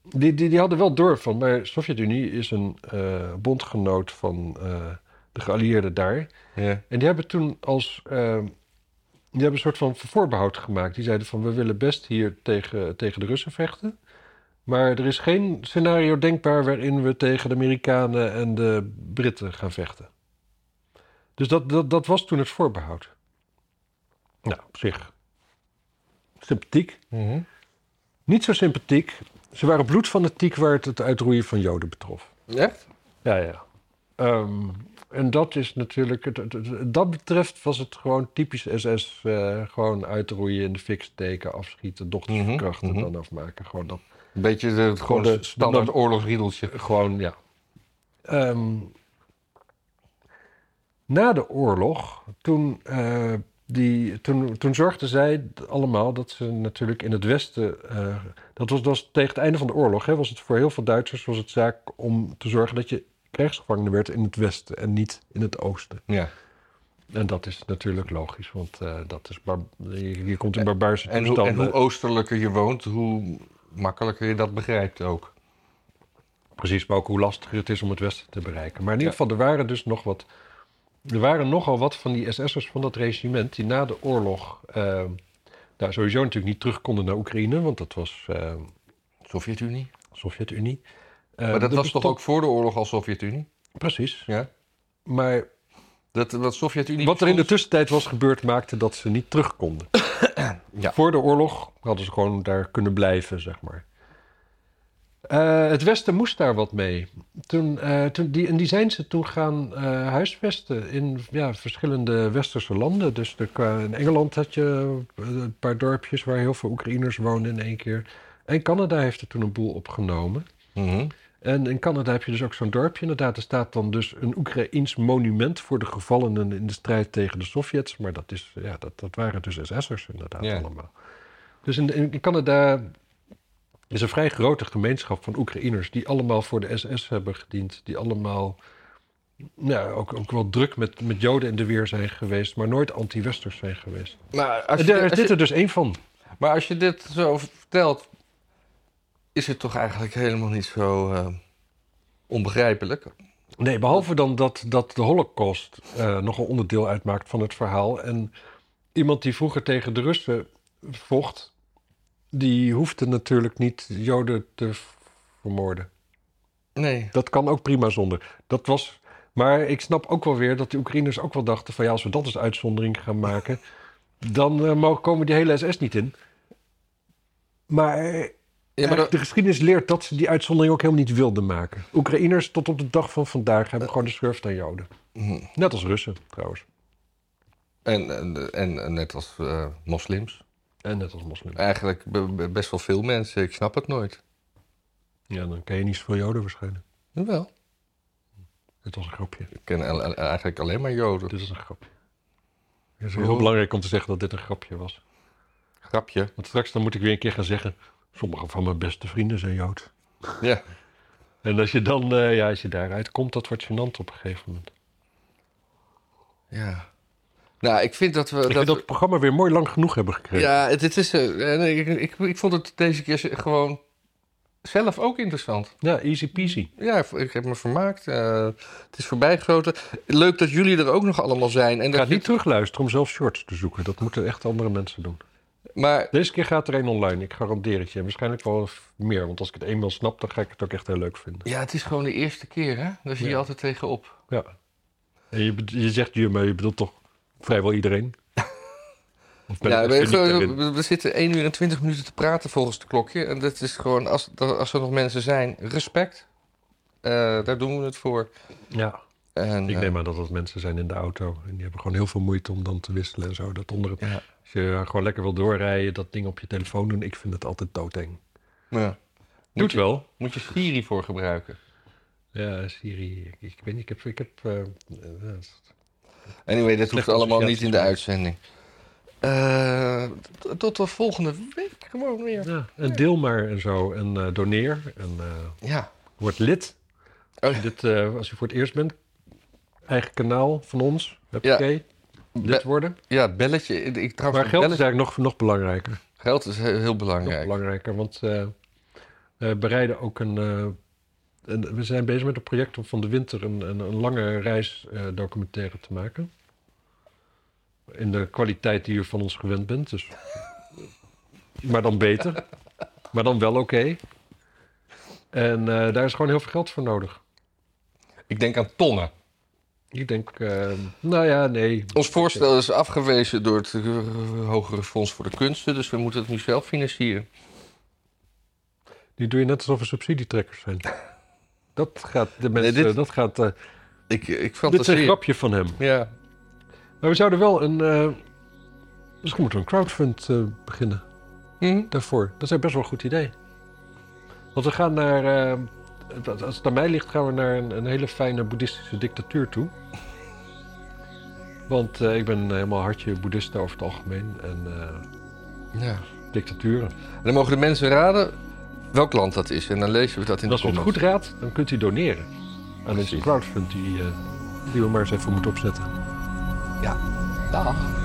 [SPEAKER 1] Die, die, die hadden wel door van, maar de Sovjet-Unie is een eh, bondgenoot van eh, de geallieerden daar...
[SPEAKER 2] ja.
[SPEAKER 1] En die hebben toen als. ehm, die hebben een soort van voorbehoud gemaakt. Die zeiden van we willen best hier tegen, tegen de Russen vechten. Maar er is geen scenario denkbaar waarin we tegen de Amerikanen en de Britten gaan vechten. Dus dat, dat, dat was toen het voorbehoud. Nou, op zich. Sympathiek.
[SPEAKER 2] Mhm.
[SPEAKER 1] Niet zo sympathiek. Ze waren bloedfanatiek waar het het uitroeien van Joden betrof.
[SPEAKER 2] Echt?
[SPEAKER 1] Ja, ja. Ehm, en dat is natuurlijk, het, het- het- dat betreft was het gewoon typisch SS. eh, gewoon uitroeien, in de fik steken, afschieten, dochters
[SPEAKER 2] Mhm,
[SPEAKER 1] verkrachten,
[SPEAKER 2] mhm.
[SPEAKER 1] dan afmaken. Gewoon dat.
[SPEAKER 2] Een beetje de, gewoon
[SPEAKER 1] de-
[SPEAKER 2] een standaard oorlogsriedeltje.
[SPEAKER 1] Gewoon, ja. Ehm, na de oorlog, toen, eh, die, toen, toen zorgden zij allemaal dat ze natuurlijk in het Westen. eh, dat, was, dat was tegen het einde van de oorlog. Hè, was het voor heel veel Duitsers was het zaak om te zorgen dat je krijgsgevangen werd in het westen en niet in het oosten.
[SPEAKER 2] Ja.
[SPEAKER 1] En dat is natuurlijk logisch, want eh, dat is bar- je, je komt in barbaarse
[SPEAKER 2] En, hoe, en
[SPEAKER 1] toestanden.
[SPEAKER 2] hoe oosterlijker je woont, hoe makkelijker je dat begrijpt ook.
[SPEAKER 1] Precies, maar ook hoe lastiger het is om het Westen te bereiken. Maar in ieder
[SPEAKER 2] Ja.
[SPEAKER 1] geval, er waren dus nog wat. Er waren nogal wat van die SS'ers van dat regiment die na de oorlog. eh, nou, sowieso natuurlijk niet terug konden naar Oekraïne, want dat was eh,
[SPEAKER 2] Sovjet-Unie.
[SPEAKER 1] Sovjet-Unie. Eh,
[SPEAKER 2] maar dat
[SPEAKER 1] er
[SPEAKER 2] was toch
[SPEAKER 1] bestond-
[SPEAKER 2] ook voor de oorlog al Sovjet-Unie?
[SPEAKER 1] Precies.
[SPEAKER 2] Ja.
[SPEAKER 1] Maar
[SPEAKER 2] Dat, dat Sovjet-Unie
[SPEAKER 1] wat er in de
[SPEAKER 2] bestond-
[SPEAKER 1] tussentijd was gebeurd, maakte dat ze niet terug konden.
[SPEAKER 2] Ja.
[SPEAKER 1] Voor de oorlog hadden ze gewoon daar kunnen blijven, zeg maar. Eh, het Westen moest daar wat mee. Toen, eh, toen die, en die zijn ze toen gaan eh, huisvesten in ja, verschillende westerse landen. Dus er kwa- in Engeland had je eh, een paar dorpjes waar heel veel Oekraïners woonden in één keer. En Canada heeft er toen een boel opgenomen.
[SPEAKER 2] Mhm.
[SPEAKER 1] En in Canada heb je dus ook zo'n dorpje. Inderdaad, er staat dan dus een Oekraïns monument voor de gevallenen in de strijd tegen de Sovjets. Maar dat, is, ja, dat, dat waren dus SS'ers inderdaad
[SPEAKER 2] Ja.
[SPEAKER 1] allemaal. Dus in, in Canada is een vrij grote gemeenschap van Oekraïners die allemaal voor de SS hebben gediend. Die allemaal nou, ook, ook wel druk met, met Joden in de weer zijn geweest, maar nooit anti-Westers zijn geweest.
[SPEAKER 2] Maar als
[SPEAKER 1] En
[SPEAKER 2] je-
[SPEAKER 1] daar is
[SPEAKER 2] als je-
[SPEAKER 1] dit er dus één van.
[SPEAKER 2] Maar als je dit zo vertelt, is het toch eigenlijk helemaal niet zo eh, onbegrijpelijk.
[SPEAKER 1] Nee, behalve dan dat, dat de Holocaust eh, nogal onderdeel uitmaakt van het verhaal. En iemand die vroeger tegen de Russen vocht, die hoefde natuurlijk niet Joden te v- vermoorden.
[SPEAKER 2] Nee.
[SPEAKER 1] Dat kan ook prima zonder. Dat was. Maar ik snap ook wel weer dat de Oekraïners ook wel dachten: van ja, als we dat als uitzondering gaan maken, dan eh, mogen- komen die hele SS niet in. Maar eh,
[SPEAKER 2] Ja, maar dat-
[SPEAKER 1] de geschiedenis leert dat ze die uitzondering ook helemaal niet wilden maken. Oekraïners tot op de dag van vandaag hebben gewoon de schurft aan Joden.
[SPEAKER 2] Mhm.
[SPEAKER 1] Net als Russen trouwens.
[SPEAKER 2] en, en, en, en net als eh, moslims.
[SPEAKER 1] En net als moslims.
[SPEAKER 2] Eigenlijk be- be- best wel veel mensen, ik snap het nooit.
[SPEAKER 1] Ja, dan ken je niet zoveel Joden waarschijnlijk.
[SPEAKER 2] Jawel.
[SPEAKER 1] Dit was een grapje.
[SPEAKER 2] Ik ken al- al- eigenlijk alleen maar Joden.
[SPEAKER 1] Dit is een grapje. Het is heel
[SPEAKER 2] Waarom?
[SPEAKER 1] belangrijk om te zeggen dat dit een grapje was.
[SPEAKER 2] Grapje.
[SPEAKER 1] Want straks dan moet ik weer een keer gaan zeggen... sommige van mijn beste vrienden zijn Jood.
[SPEAKER 2] Ja.
[SPEAKER 1] En als je dan, eh, ja, als je daaruit komt, dat wordt gênant op een gegeven moment.
[SPEAKER 2] Ja. Nou, ik vind dat we...
[SPEAKER 1] Ik vind dat het programma weer mooi lang genoeg hebben gekregen.
[SPEAKER 2] Ja, dit is... eh, nee, ik, ik, ik vond het deze keer gewoon zelf ook interessant.
[SPEAKER 1] Ja, easy peasy.
[SPEAKER 2] Ja, ik heb me vermaakt. Eh, het is voorbijgeschoten. Leuk dat jullie er ook nog allemaal zijn. En
[SPEAKER 1] Ik ga
[SPEAKER 2] dat
[SPEAKER 1] niet terugluisteren om zelf shorts te zoeken. Dat moeten echt andere mensen doen.
[SPEAKER 2] Maar
[SPEAKER 1] Deze keer gaat er één online, ik garandeer het je. En waarschijnlijk wel f- meer, want als ik het eenmaal snap, dan ga ik het ook echt heel leuk vinden.
[SPEAKER 2] ja, het is gewoon de eerste keer, hè? Daar zie je
[SPEAKER 1] Ja.
[SPEAKER 2] altijd tegenop.
[SPEAKER 1] Ja. En je, bed- je zegt je, maar je bedoelt toch vrijwel iedereen? Of ben
[SPEAKER 2] Ja,
[SPEAKER 1] ik
[SPEAKER 2] we,
[SPEAKER 1] echt cyniek daarin?
[SPEAKER 2] we- we zitten 1 uur en 20 minuten te praten volgens het klokje. En dat is gewoon, als, dat- als er nog mensen zijn, respect. Eh, daar doen we het voor.
[SPEAKER 1] Ja,
[SPEAKER 2] En,
[SPEAKER 1] ik
[SPEAKER 2] eh,
[SPEAKER 1] neem aan dat dat mensen zijn in de auto. En die hebben gewoon heel veel moeite om dan te wisselen en zo. Dat onder het,
[SPEAKER 2] Ja.
[SPEAKER 1] Als je gewoon lekker wil doorrijden, dat ding op je telefoon doen. Ik vind het altijd doodeng.
[SPEAKER 2] ja.
[SPEAKER 1] Doet
[SPEAKER 2] Moet, je,
[SPEAKER 1] wel.
[SPEAKER 2] moet je Siri voor gebruiken.
[SPEAKER 1] Ja, Siri, ik, ik weet niet, ik heb... Ik heb eh, eh, ja,
[SPEAKER 2] Anyway, dat hoeft
[SPEAKER 1] Slechte
[SPEAKER 2] allemaal niet in de
[SPEAKER 1] associaties.
[SPEAKER 2] uitzending. Eh, t- tot de volgende week gewoon weer.
[SPEAKER 1] Ja, en deel maar en zo. En eh, doneer. En eh,
[SPEAKER 2] Ja.
[SPEAKER 1] word lid.
[SPEAKER 2] Oh,
[SPEAKER 1] Als je Dit, eh, als je voor het eerst bent, eigen kanaal van ons. Heb
[SPEAKER 2] Ja.
[SPEAKER 1] Lid worden.
[SPEAKER 2] Ja, belletje. Ik, trouwens,
[SPEAKER 1] Maar geld is
[SPEAKER 2] belletje-
[SPEAKER 1] eigenlijk nog, nog belangrijker.
[SPEAKER 2] geld is heel, heel
[SPEAKER 1] Nog
[SPEAKER 2] belangrijk.
[SPEAKER 1] belangrijker, want eh, we bereiden ook een... eh, een- we zijn bezig met een project om van de winter een, een, een lange reisdocumentaire documentaire te maken. In de kwaliteit die u van ons gewend bent. Dus. maar dan beter. Maar dan wel oké. En eh, daar is gewoon heel veel geld voor nodig.
[SPEAKER 2] Ik denk aan tonnen.
[SPEAKER 1] Ik denk, eh, nou ja, nee.
[SPEAKER 2] Ons voorstel is afgewezen door het eh, Hogere Fonds voor de Kunsten, dus we moeten het nu zelf financieren.
[SPEAKER 1] Die doe je net alsof we subsidietrekkers zijn. Dat gaat de mensen,
[SPEAKER 2] dit-
[SPEAKER 1] dat gaat... eh,
[SPEAKER 2] Ik, ik
[SPEAKER 1] dit is een
[SPEAKER 2] fantaseer.
[SPEAKER 1] grapje van hem.
[SPEAKER 2] Ja.
[SPEAKER 1] Maar we zouden wel een... eh, misschien moeten we een crowdfund eh, beginnen
[SPEAKER 2] Hm?
[SPEAKER 1] daarvoor. Dat is best wel een goed idee. Want we gaan naar... eh, als als het aan mij ligt, gaan we naar een, een hele fijne boeddhistische dictatuur toe. Want eh, ik ben helemaal hartje boeddhist over het algemeen. En eh,
[SPEAKER 2] ja.
[SPEAKER 1] dictaturen.
[SPEAKER 2] En dan mogen de mensen raden welk land dat is. En dan lezen we dat in
[SPEAKER 1] En
[SPEAKER 2] de
[SPEAKER 1] als u het
[SPEAKER 2] comments.
[SPEAKER 1] goed raadt, dan kunt u doneren. En dat is een
[SPEAKER 2] Precies.
[SPEAKER 1] crowdfund die, eh, die we maar eens even moeten opzetten.
[SPEAKER 3] Dag.